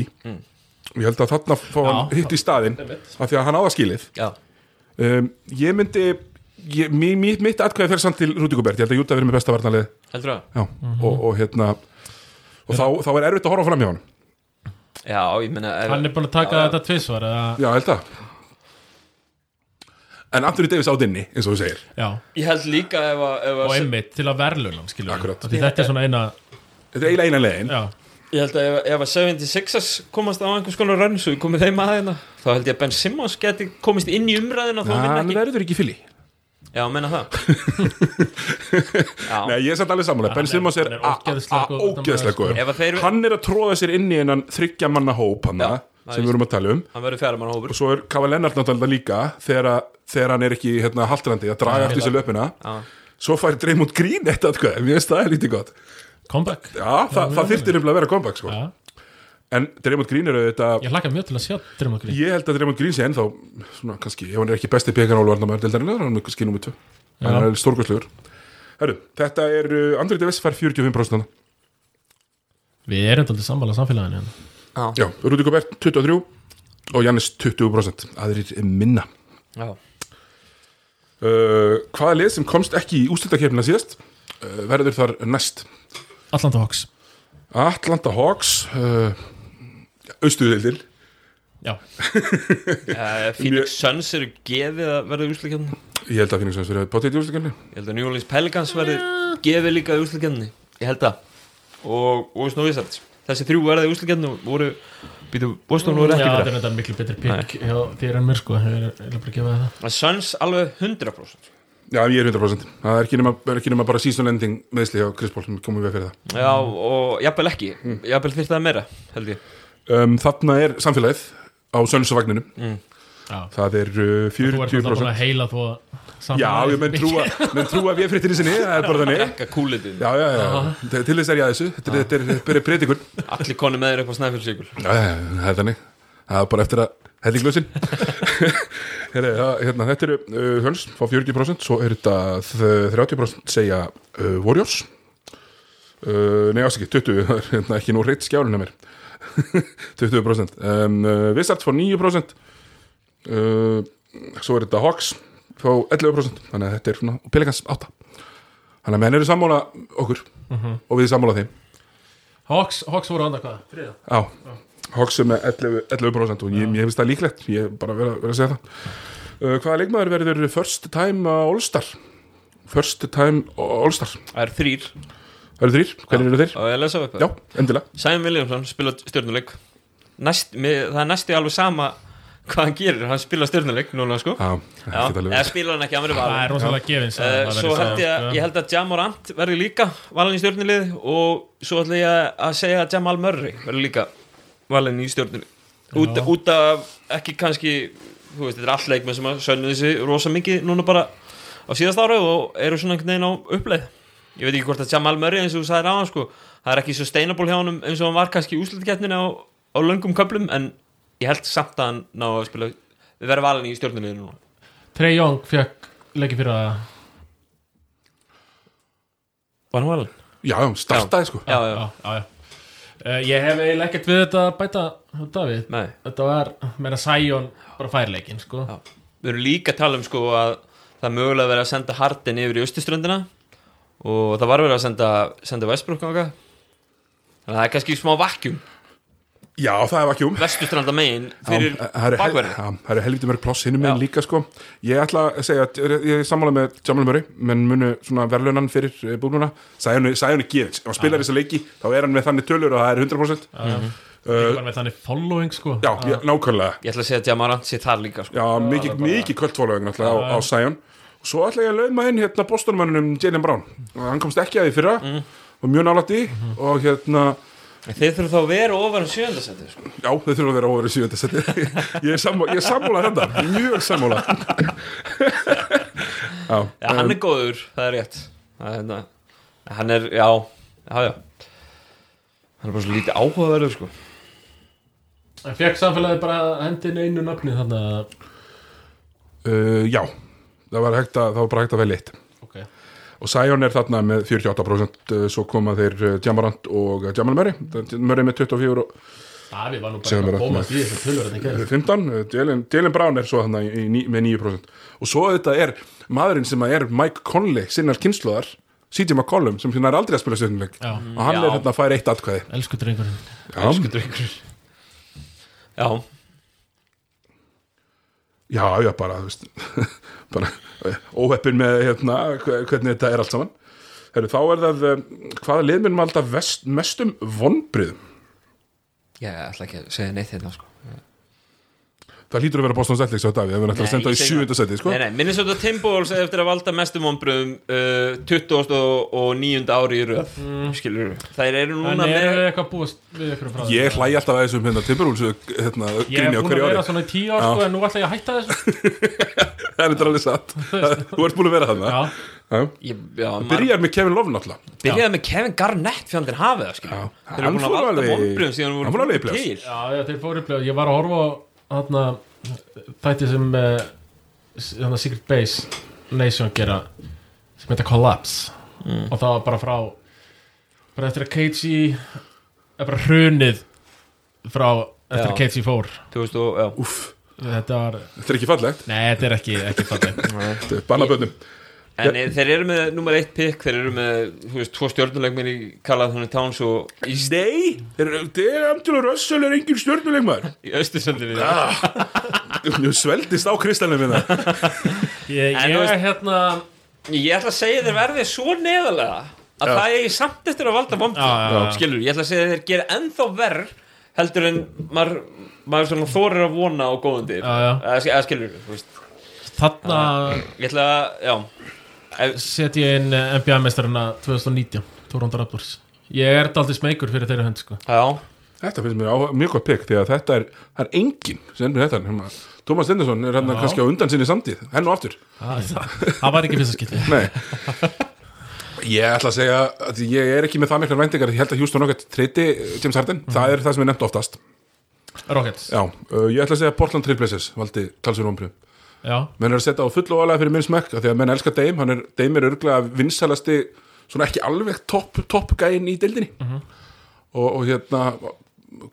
og ég held að þarna fá hann
Já.
hitt í staðinn af því að hann á það skilið
Já,
um, ég myndi ég, mi, mi, mitt atkvæði fer samt til Rúti Gubert ég held að Júta verið með besta varnalið
heldur það?
Já, og, og hérna og þá, þá er erfitt að horfa fram hjá hann
Já, ég meina ef-
hann er búin að taka þetta tvisvar eða,
Já, ég held að En Anthony Davis á dinni, eins og þú segir
já,
Ég held líka ef að, ef
og
að
einmitt til að verðlunum skilur við.
Akkurat.
Af því þetta er svona eina
Þetta er eiginlega einan leiðin
já,
Ég held að ef, ef að 76ers komast á einhvers konar rönn svo við komið þeim aðeina þá held ég að Ben Simmons geti komist inn í umræðina þá minna
Hann
ekki
verður ekki fylli
Já, menna það Já,
Nei, ég er samt alveg sammála Ben
er-
Simmons er
hann er
a-
ógeðslega
a-
góður
ógeðslega
varnarmaður, sko.
góður
Ef að þeir-
Hann er að tróða sér inn í hennan þryggja manna hóp hann
Já, það
sem
er
við erum að tala um
hann verður fjara mann hópur
og svo er Kafa Lennart náttúrulega líka þegar, að- þegar hann er ekki hérna, haldrandi að draga eftir sér löpina
Já.
svo fær Dreymond Green eitt atkvæði mér finnst það er lítið gott
comeback
já, það, það þyrftir nefnilega að vera comeback sko.
já,
en Dreymond Green er auðvitað
ég hlakka mjög til að sjá Dreymond Green
ég held að Dreymond Green sé ennþá svona, kannski, ef hann er ekki besti pekan álvarnamæður deildarinnar, hann er kannski nummið 2 hann er stórkvæslegur Heru, þetta er, uh, Andri Davis fær 45% þarna.
við erum þetta aldrei sammála samfélaginu hérna.
já, Rúdi Gobert 23 og Jannis 20% aðrir minna
Já,
uh, hvaða lið sem komst ekki í ústiltakefnina síðast uh, verður þar næst
Atlanta Hawks
Atlanta Hawks uh, austuðildir
Já,
Eh, Phoenix Suns eru gefið að verða úslikjarni
ég held að Phoenix Suns verið potið í ústiltakefni
Ég held að New Orleans Pelicans verði gefið líka úslikjarni ég held það og, og Ússon og Vissart þessi þrjú verði úslikennu voru býtu, Boston voru ekki
Já,
fyrir
þetta er þetta miklu betri pikk hjá þér en mér sko Ég er ég er bara að gefa það
En Suns alveg 100%
Já, ég er 100% Það er ekki nema, er ekki nema bara season ending meðsli á Chris Paul sem komum við fyrir það
Mm.
Já, og jafnvel ekki
Mm.
Jafnvel þyrfti það meira, held ég
um, Þarna er samfélagið á Sönsvagninum
Já.
Það er uh,
Þú ert alltaf
40%
búin að heila þó
Já, ég menn trúa, menn trúa við fréttinni sinni Það er bara þannig
Ekka kúlitið,
Já, já, já, Til- til þess er ég að þessu Þetta er- þetta er- þetta er predikun
allir konu með þér upp á snæfjölsíkul
Já, já, já, það er þannig Það er bara eftir að helli glösin Heri, það, hérna, Þetta eru uh, höns fá 40% svo er þetta þ- 30% segja uh, Warriors uh, Nei, ásaki, 20 það er hérna, ekki nú reitt skjálun að mér 20% um, uh, Vissart fá 9% uh, Svo er þetta Hawks fá 11% þannig að þetta er svona og Pelikans 8 Þannig að menn eru sammála okkur og við sammála þeim
Hawks, Hawks voru andar hvað? Þriða
Já, Hawks er með 11%, 11% og ég, ég finnst það líklegt, ég er bara verið að, vera að segja það uh, Hvaða leikmaður verður first time uh, all-star? First time all-star
Það er E þrýr
Það eru þrýr, hvernig eru þeir?
og ég að lesa upp
Já, endilega
Sæm Williamson spila stjórnuleik Næst, með, Það er næstu alveg sama hvað hann gerir, hann spila stjórnuleik núna sko
Já,
Já,
ekki
eða spila hann ekki, hann verður
Það
valin
er rosalega gefins að
uh,
það sko.
Svo
verði
held ég,
sá,
að- ég held að Jamorant verður líka valin í stjórnulið og svo ætla ég að segja að Jamal Murray verður líka valin í stjórnulið út,
Já.
út af ekki kannski þú veist, þetta er all leikmenn sem að sönnu þessi rosa mikið núna bara á síðast ára og eru svona einhvern veginn á uppleið ég veit ekki hvort að Jamal Murray eins og þú sagðir á hann sko, það er ekki sustainable hjá honum eins og hann var kannski í úslitkeppninni á, á löngum köplum en ég held samt að hann ná að spila við verðum valin í stjórnulið núna
Trey Young fekk leikið fyrir að
Var hann valin?
Já, startaði sko
Já, já,
Já, já, já Uh, Ég hef eiginlega ekkert við þetta að bæta Davíð
nei
Þetta var, meira Sæjón bara færleikin sko
Já. Við erum líka að tala um sko að það er mögulega verið að senda Harden yfir í austuströndina og það var verið að senda, senda Westbrook ánga þannig að það er kannski smá vakjum
Já, það er ekki um
vestuströnda megin fyrir bakverðin
Það eru helviti mörg pláss hinnum en
Já.
líka sko Ég ætla að segja, að ég er sammála með Jamal Murray, menn munu svona verðlunan fyrir eh, búluna, sæðan er gefins ef hann spilar þessa leiki, þá er hann með þannig tölur og það er 100%
Ég var með þannig following sko
Eh, Já, ég, nákvæmlega
Ég ætla að segja að Jamarant sé þar líka sko.
Já, mikið, mikið kvöldfólögin alltaf á, á Sion og svo ætla ég að lauma inn hérna bóstunmannunum Jalen Brown, hann komst ekki að því fyrra og mjög nálætt í og hérna,
En Þeir þurfum þá að vera ofar en sjöndasendi sko.
já þau þurfa að vera ofar í sjöönda seti, ég er sammó- ég er sammála hérna, mjög sammála Já,
Já, hann er góður, það er rétt það er, hérna, Hann er, já, já, já Hann er bara svo lítið áhugaverður sko.
Það fekk samfélagi bara hendin einu nafni þannig að
uh, já það var, hægt að, það var bara hægt að velja eitt
okay.
og Sion er þarna með 48% uh, svo koma þeir uh, Jamarant og uh, Jamal Murray, Murray með 24 og
Davíð var nú bara
Sem
eitthvað
er
að komast í þessu tölur þannig að
15, Dylan, Dylan eh, Brown er svo hann með 9% og svo þetta er maðurinn sem er Mike Conley sinnar kynsluðar, CJ McCollum sem hérna er aldrei að spila stjórnuleik
Já.
og hann
Já.
er hérna að færa eitt atkvæði
Mm. Elsku drengurinn
já,
Drengur. Já,
já, já, bara, þú veist, bara óheppin með hérna, hve- hvernig þetta er allt saman Heru, þá er það, eh, hvaða liðminn maður alltaf vest, mestum vonbriðum
ég ætla ekki að segja neitt hérna sko.
það hlýtur að vera Boston Celtics á Davíð, það verður alltaf að
Nei,
senda það
ég
í
segi
sjöunda seti sko?
Nei, nei, Minnesota Timberwolves eða eftir að valda mestum ombröðum uh, 29. ári í röð skilur Það eru
En
núna
Mm. eru
með
við eitthvað að búast við ykkur frá
ég hlæ alltaf að þessum hérna, Timberwolves hérna,
Ég hef
gríni á
búin að
hverju ári
vera svona í tíu ár sko en nú ætla ég að hætta þessu
það er þetta alveg satt þú ert búin að vera þarna
Já,
Já.
ég, já, maður-
byrjar með Kevin Love náttúrulega
Byrjaði með Kevin Garnett fjandinn hafið það skilur
Já.
Þeir
Hann
eru búin að
fór
valda
alveg-
ombröðum síðan
hann fór
voru
alveg í
búin
playoffs.
til
já, já þeir fóru upplega Ég var að horfa á þarna þætti sem eh, s- þarna Secret Base Nation gera sem heita Collapse og það var bara frá bara eftir að KG eh, bara hrunið frá
Já.
eftir að KG fór
Þú veist og, já
Úff,
Þetta var
þetta er ekki fallegt
Nei, þetta er ekki, ekki fallið
Þetta er Bannabönnum
En eh, þeir eru með nummer eitt pick Þeir eru með, þú veist, tvo stjórnulegminn í Karlað Þannig Towns og í,
Nei, Angelo Russell er engin stjórnuleikmaður
í Östursöndinni
Þú sveldist á kristalnum hérna. minna
Ég,
En
ég
þú veist-
hérna
Ég ætla að segja þeir verði svo neðalega að það eigi samt eftir að valda
Já, já,
vombrið
já.
skilur, ég ætla að segja að þeir gera ennþá verð heldur en maður, maður svona þorir að vona á góðundir
Já, já.
eða skilur, þú veist
Þarna
ég ætla að, já ef,
set ég inn eh, NBA-mestarina 2019, Toronto Raptors Ég er daldið smeykur fyrir þeirra hönd sko.
já,
Þetta finnst mér á, mjög gott pikk því að þetta er, það er enginn sem er þetta hérna, Tómas Stendarsson er hann kannski á undan sinni samtíð henn og aftur
Ah, Það var ekki fyrsta skilti
Nei Ég ætla að segja að ég er ekki með það miklar væntingar ég held að Houston Rockets treyti eh, James Harden það er það sem er nefnt oftast
Rockets,
Já, uh, ég ætla að segja að Portland Trailblazers valdi talsverðum ombrið
já,
menn er að setja á full og alveg fyrir minn smekk af því að menn elskar Dame, hann er, Dame er örglega vinsælasti, svona ekki alveg topp top gæinn í deildinni
Mhm.
og, og hérna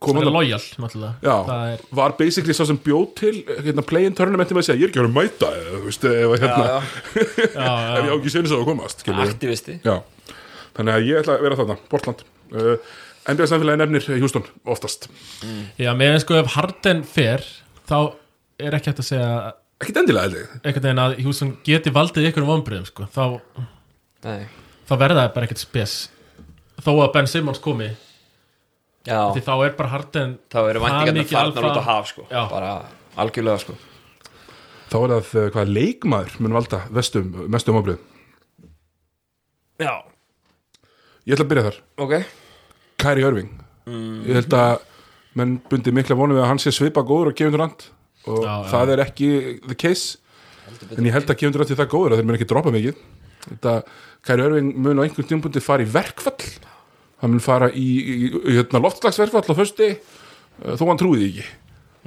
kom
það
hann
er
að-
lojal
Já,
Það er
var basically sá sem bjóð til hérna, play-in tournamenti með að segja, ég er ekki að vera að mæta eða, þú veist, ef, að, hérna,
já,
já,
ef ég á ekki sinni svo að komast skilur við.
aktivisti
Já, þannig að ég ætla að vera þarna, Portland uh, NBA samfélagi nefnir Houston oftast,
Já, meðan sko ef Harden fer þá er ekki hægt að segja
ekkit endilega held ég
einhvern veginn að Hjússon geti valdið ykkur vonbröðum sko, þá,
Nei.
þá verða það bara ekkert spes þó að Ben Simmons komi
já,
því þá er bara Harden
þá eru væntingarnar
mikið
farnar út
alfa-
á haf sko,
Já.
bara algjörlega sko
Þá er það uh, hvað leikmaður mun valda vestum, mestum ábrið
já,
Ég ætla að byrja þar
ok
Kæri Örving ég held að menn bundi mikla vonum við að hann sé svipa góður og gefundur rand og
Já, já.
það er ekki the case en ég held að gefundur rand er það góður að þeir mun ekki droppa mikið þetta Kæri Örving mun á einhvern tímpundi fara í verkfall hann mun fara í, í, í, í hérna, loftslagsverkfall á fösti þó hann trúið því ekki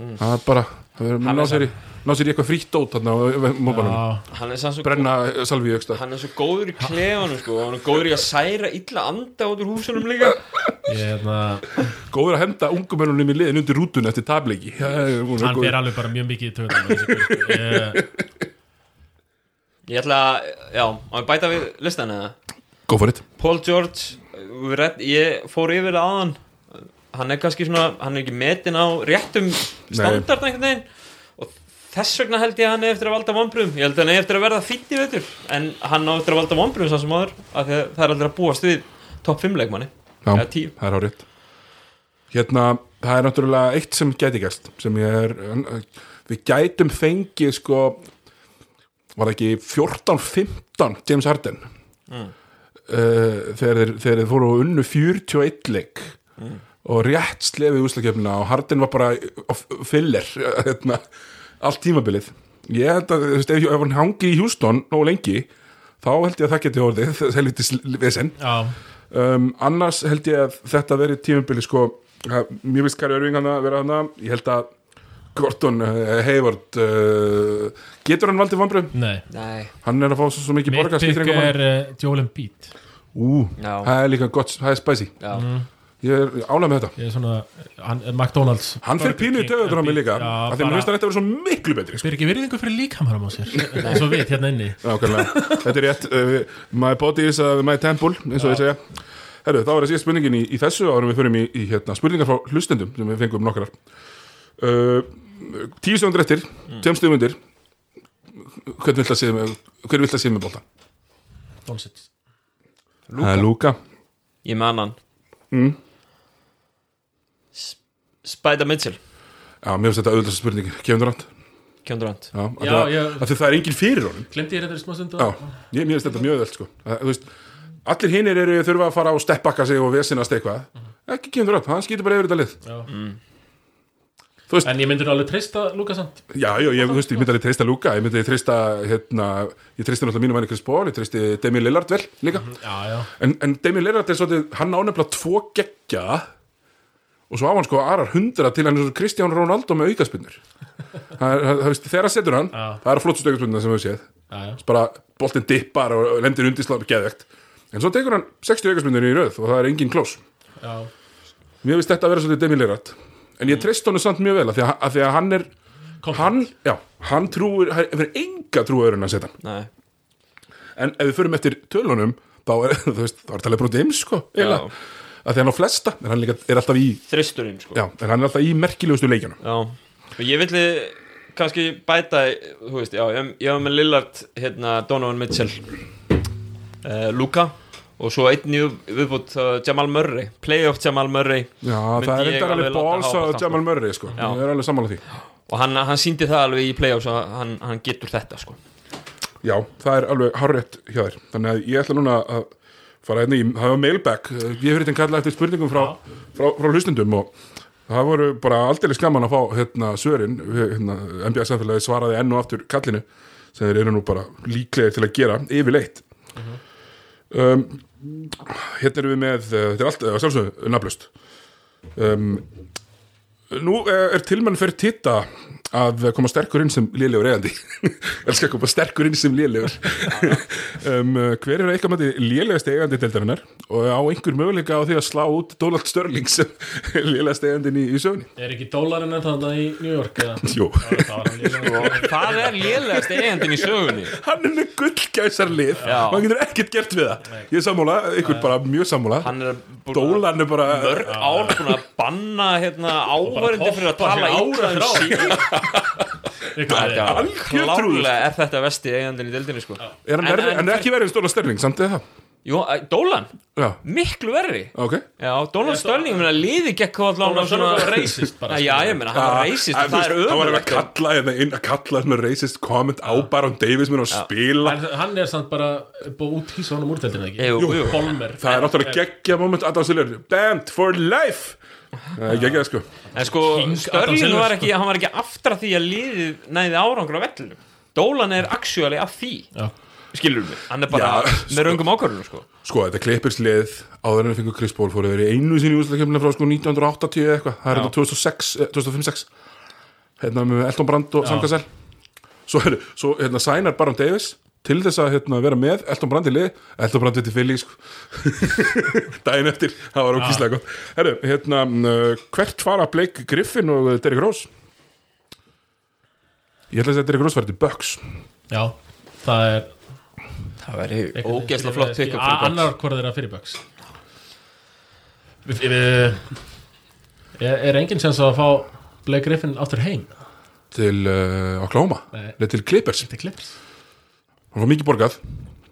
Mm.
það er bara það er,
Hann
ná,
er
sér í, ná sér í eitthvað frítt dót þarna á eh, móbanum
Já,
hann er sann svo
brenna eh, salvi í auksta
hann er svo góður í klefanum sko og hann er góður í að særa illa anda út úr húsunum líka
ég hérna, hefna,
góður að henda ungumennunum í liðin undir rútun eftir tableiki
hann
hann
fer alveg bara mjög mikið í sko. töðunum
ég ætla að, já, á ég bæta við listan eða
Go for it
Paul George, við redd- ég fór yfir það áðan hann er kannski svona, hann er ekki metin á réttum standard einhvern veginn og þess vegna held ég að hann er eftir að valda vonbrum, ég held að hann er eftir að verða fýtt í veitur, en hann á eftir að valda vonbrum sá sem áður, af því að það er aldrei að búast við topp 5 leikmanni,
Já,
eða 10
það er hárið Hérna, það er náttúrulega eitt sem gæti gæst sem ég er við gætum fengið sko var það ekki 14-15 James Harden uh, þegar, þeir, þeir fóru og unnu 41 leik og rétt slefið úslakefnina og Harden var bara á f- filler hérna, allt tímabilið ég held að, þú veist, ef, ef hann hangi í Houston nógu lengi, þá held ég að það geti orðið, það er lítið vesen
Já,
um, annars held ég að þetta veri tímubili sko, að- mér finnst Kari Örving hann að vera hann að, ég held að Gordon uh, Hayward uh, getur hann valdið vambröðum
nei
Nei,
hann er að fá svo, svo mikið
Mitt bygg
borgarskýtring
er uh, Joel Embiid
ú,
Já.
það er líka gott, það er spicy
já,
ég er ánægð með þetta
Ég er svona, hann, McDonalds
hann fyrir pínu í töðutur á mig líka
Já,
af því að mér
bara-
finnst að þetta verið svo miklu betri sko.
Fyrir ekki virðingu fyrir líkamarum á sér eins og við hérna inni
Nákvæmlega, þetta er rétt uh, my body is uh, my temple eins og ég segja Herru, þá er það síðan spurningin í, í þessu árum við förum í, í hérna, spurningar frá hlustendum sem við fengum nokkrar uh, Tíu segundur eftir, mm. tveim stöðum undir Hvern vill það séð með hver vill það séð með bolta?
Donsits
Lúka, það er Lúka.
ég með annan
Mm.
S- Spider Mitchell
Já, mér finnst þetta auðvitað spurningin, kefum þú rætt
Kjöndur Rand
Já, af
Já,
því að-
ég-
af því að það er engin fyrir honum
Glemdi ég þetta í smá stundu?
Já, ég, mér finnst þetta mjög öðvöld sko. Að, þú veist, Allir hinir eru þurfa að fara og steppakka sig og vesinast eitthvað Ekki kemur upp, hann skýtur bara yfir þetta lið
Já.
Þú veist,
En ég myndir alveg treysta Lukasand
já, já, ég, þú veist, ég myndi alveg treysta Luka Ég myndi treysta, hérna Ég treysti náttúrulega mínum henni Chris Paul Ég treysti Demi Lillard vel líka
Já, já
En, en Demi Lillard er svolítið, hann ánefnilega tvo geggja Og svo á hann sko arar hundra til hann er svo Kristján Ronaldo með aukaspinnur Það er- það- þú veist, Þegar að setur hann,
Já.
það eru flottustu aukaspinnuna sem við séð
Já, já
bara boltinn dippar og og lendir undir slagur geðvegt en svo tekur hann 60 aukarsmyndir í röð og það er engin klós
Já,
mér finnst þetta að vera svolítið demilerat en
Mm.
ég treyst honum samt mjög vel af því að, af því að hann er hann, já, hann trúir hann er enga trú öðrun að setja
Nei,
en ef við förum eftir tölunum þá er, þú veist, þá er talað brútið heims sko, eiginlega.
Já.
af því hann á flesta en hann líka, er alltaf í
þristurinn sko
já, en hann er alltaf í merkilegustu leikjunum
Já, og ég villi kannski bæta, þú veist, já, ég, ég var með Lillard, hérna, Donovan Mitchell, uh, Luka og svo einn í upp- viðbútt uh, Jamal Murray, playoff Jamal Murray
Já,
Myndi
það er
ég
reyndar
alveg
alveg
láta
báls
hafa
að
það,
Jamal Murray sko,
Já.
ég er alveg sammála því
og hann, hann síndi það alveg í playoffs að hann, hann getur þetta sko.
Já, það er alveg hárétt hjá þér þannig að ég ætla núna að fara hérna í, það var mailback Eh, ég hef hérna kallað eftir spurningum frá, frá, frá hlustundum og það voru bara aldrei skaman að fá hérna svörin hérna, MBS samfélagi svaraði enn og aftur kallinu sem þeir eru nú bara líklegir til að gera yfirleitt um, hérna erum við með eh, þetta er allt, eh, að sjálfsögðu, nafnlust um, Nú eh, er tilmann fyrir titta að koma sterkur inn sem lélegur eigandi Elskar að koma sterkur inn sem lélegur um, eh, Hver er eitthvað mæti lélegast eigandi deildarinnar og á einhver möguleika á því að slá út Donald Störling sem lélegast eigandin í, í sögunni?
Er ekki dólarinn en þannig í New York eða?
Jú,
Það var hann líka
það er lélegast eigandinn í sögunni
hann er með gullgæsar lið
Já.
og hann getur ekkert gert við það Ég er sammála, ykkur bara mjög sammála
hann er búin að-
Dólan er bara
mörg ár búin að banna hérna, áhverjandi fyrir að
poppa
tala
sér
illa
ára
um
frá.
sín
Þetta
Algjör trúður.
klálega er þetta vesti eigandinn í deildinni sko.
Er hann,
En-
verri,
en-
hann er ekki verið en Donald Störling, samt eða það?
Jú, eh, Dólan,
Já,
miklu verri
ok
Já, Donald Störling, ég meina, liði gekk á allan
Donald Sterling var racist bara,
Já,
skilur.
ég meina, hann var
Ja,
racist
Ah, en
og það er
þú veist, þá var hann að
ömurlegt
kalla hérna inn að kalla hérna racist comment á Baron Davis minn og spila
En hann er samt bara búið út hýsa honum úrteldina ekki
Jú, jú.
Kolmer
það er náttúrulega geggja moment Adam Silver banned for life það er geggjað sko
En sko,
King Adam
Störling
Silver,
var ekki, hann var ekki aftra því að liðið næði árangur á vellinu Dólan er actually af því
Já.
Skilur mig, hann er bara
Já, sko.
með röngum ákvörðunum sko
sko þetta klippirslið áður en við fengum Chris Paul fóru þeir í einu sinni úrslæðkemna frá sko 1980 eða eitthvað það er
Já.
þetta 2006 eh, 2005-06 hérna með Elton Brand og Sangasel svo, er- svo hérna sænar Baron Davis til þess að hérna, vera með Elton Brand í lið Elton Brand veitir fylg sko. daginn eftir, það var ókíslega gott Herru, hérna, mm, hvert fara Blake Griffin og eh, Derrick Rose? Ég ætla að segja að Derrick Rose verði Bucks
Já, það er
Það væri ógeðslega flott pick-up fyrir Bucks.
Annar hvort þeirra fyrir Bucks Við- við- Er er enginn sem að fá Blake Griffin áttur heim?
til uh, Oklahoma,
Nei.
Nei, til Clippers
Þetta er klips
hann var mikið borgað,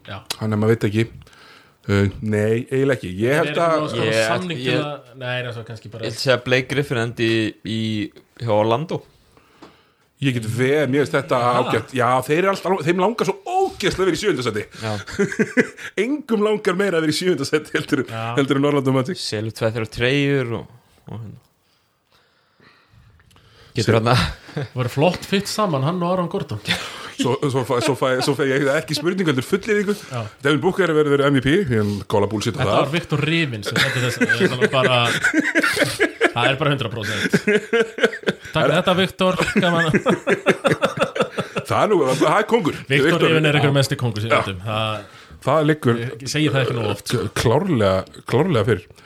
Já
hann er maður veit ekki uh, Nei, eiginlega ekki Ég
Er
held
það
að
svona
Ég-
samning til
ég-
að Nei, það er svo kannski bara
Ég ætla að segja að Blake Griffin endi í, í hjá Orlando
Ég get veð, mér finnst þetta ágætt Já, þeir eru alltaf, þeim langar svo ógeðslega að vera í sjöundasetti
Já,
Engum langar meira að vera í sjöundasetti heldur,
Já.
heldur en Norrlandum Magic
selur tveið þeirra treyjur og, og hérna Getur hann að
Var flott fitt saman hann og Aron Gordon
Svo, svo, fæ, svo, fæ, svo fæ ég ekki spurningu heldur fullir ykkur
Já.
Devin Booker verður verið MVP Ég kóla búlsitt á
Þetta
það
var Viktor Rífin sem þetta þess að ég ætla bara Það er bara 100% Takk fyrir þetta Viktor gaman.
Það er nú, það er kongur
Viktor
Victor-
Rífin er einhver mesti kongur sem ég veit um Það
Það liggur
ég segi það ekki nú oft
k- klárlega, klárlega fyrir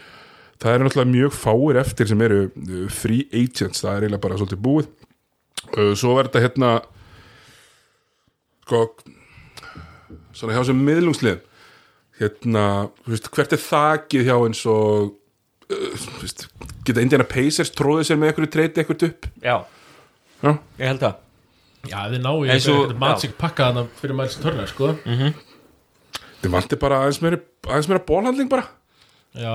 Það eru náttúrulega mjög fáir eftir sem eru uh, free agents, það er eiginlega bara svolítið búið Uh, Svo verður þetta hérna sko svona hjá sem miðlungslið hérna, þú veist, hvert er þakið hjá eins og uh, þú veist, geta Indiana Pacers tróðið sér með einhverju treyti eitthvað upp
Já,
Já.
ég held það
Já, þið náu
Eins og- Mm.
ég Magic pakka þarna fyrir Miles Turner sko.
Þið vantir bara aðeins meira, aðeins meira bólhandling bara
Já,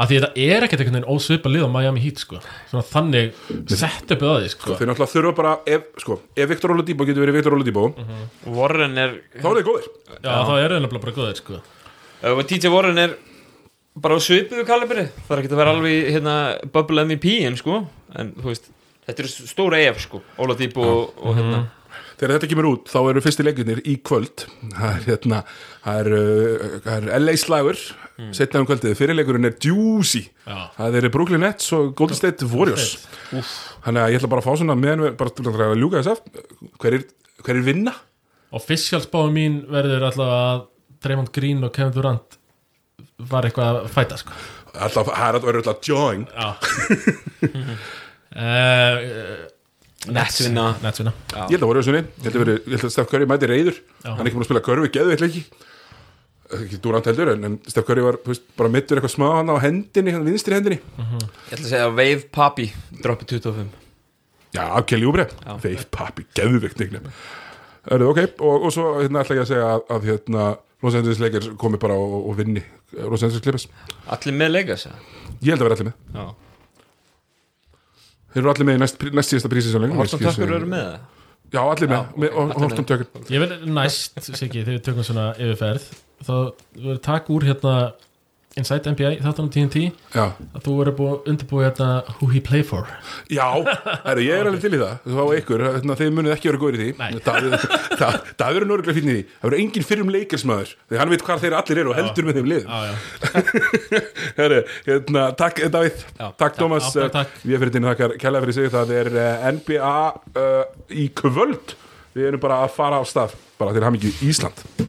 af því þetta er ekkert einhvern veginn ósvipa lið á Miami Heat sko. Svona þannig sett uppið að því sko.
Þeir náttúrulega þurfa bara, ef, sko, ef Viktor Oladipo getur verið Viktor Oladipo
Warren er
þá er þið góðir
Já, þá er það bara góðir sko.
uh, TJ Warren er bara á svipuðu kalibri Það er ekki að vera alveg í, hérna, bubble MVP en sko En þú veist, þetta eru stóra EF sko Óla Dýb og, og hérna
Þegar þetta kemur út, þá eru fyrsti leikunir í kvöld. Það er, hérna, það er, uh, það er LA slagur, mm. setna um kvöldið. Fyrirleikurinn er juicy.
Já.
Það eru Brooklyn Nets og Golden State Warriors. Þannig að ég ætla bara að fá svona meðan við, bara til að draga að ljúka þess af, hver er, hver er vinna?
Officialsbáðum mín verður allavega að Draymond Green og Kevin Durant var eitthvað að fæta sko.
Alltaf, það er alltaf, er alltaf join.
Já uh,
Nets vinna
Netsvinna
Ég held að Warriors vinni, ég held að, veri, ég held að Steph Curry mæti reyður. Hann er ekki búin að spila körfi, geðu eitthvað ekki. Ekki Durant heldur, en, en Steph Curry var þú veist, bara mittur eitthvað smá hann á hendinni, hann vinstri hendinni.
Ég ætla að segja að Wave Papi droppi 25
Já, Kelly Oubre, veif pappi, geðvikt nýgnum Er það ok? Og, og svo hérna ætla ég að segja að, að hérna Los Angeles Lakers komi bara og, og vinni eh, Los Angeles Clippers
Allir með Legas eða?
Ég held að vera allir með
Já
Þeir eru allir með í næst, næst síðasta prísinsjálfing
Horton Tucker eru með það
Já, allir með, með
Já, ok,
og,
allir
Horton Tucker
Ég vil næst, Siggi, þegar við tökum svona yfirferð þá verður takk úr hérna Inside NBA, þáttanum TNT
Já,
að þú verður búið undirbúið hérna Who He Play For
já herri, ég er alveg til í það Þú fá ykkur, þannig að þeir munið ekki vera góður í
Nei.
því Davíð- Da- Davíð er nörgulega fínn í því Það verður engin fyrrum leikirsmaður Þegar hann veit hvað þeir allir eru og heldur með þeim lið
Já, já,
Herri, hérna, takk eh, Davíð,
Já,
takk
takk.
Thomas
Já,
eh,
takk.
Við fyrir þinn þakkar kælega fyrir sig Það er eh, NBA uh, í kvöld Við erum bara að fara á stað Bara til hamingju Ísland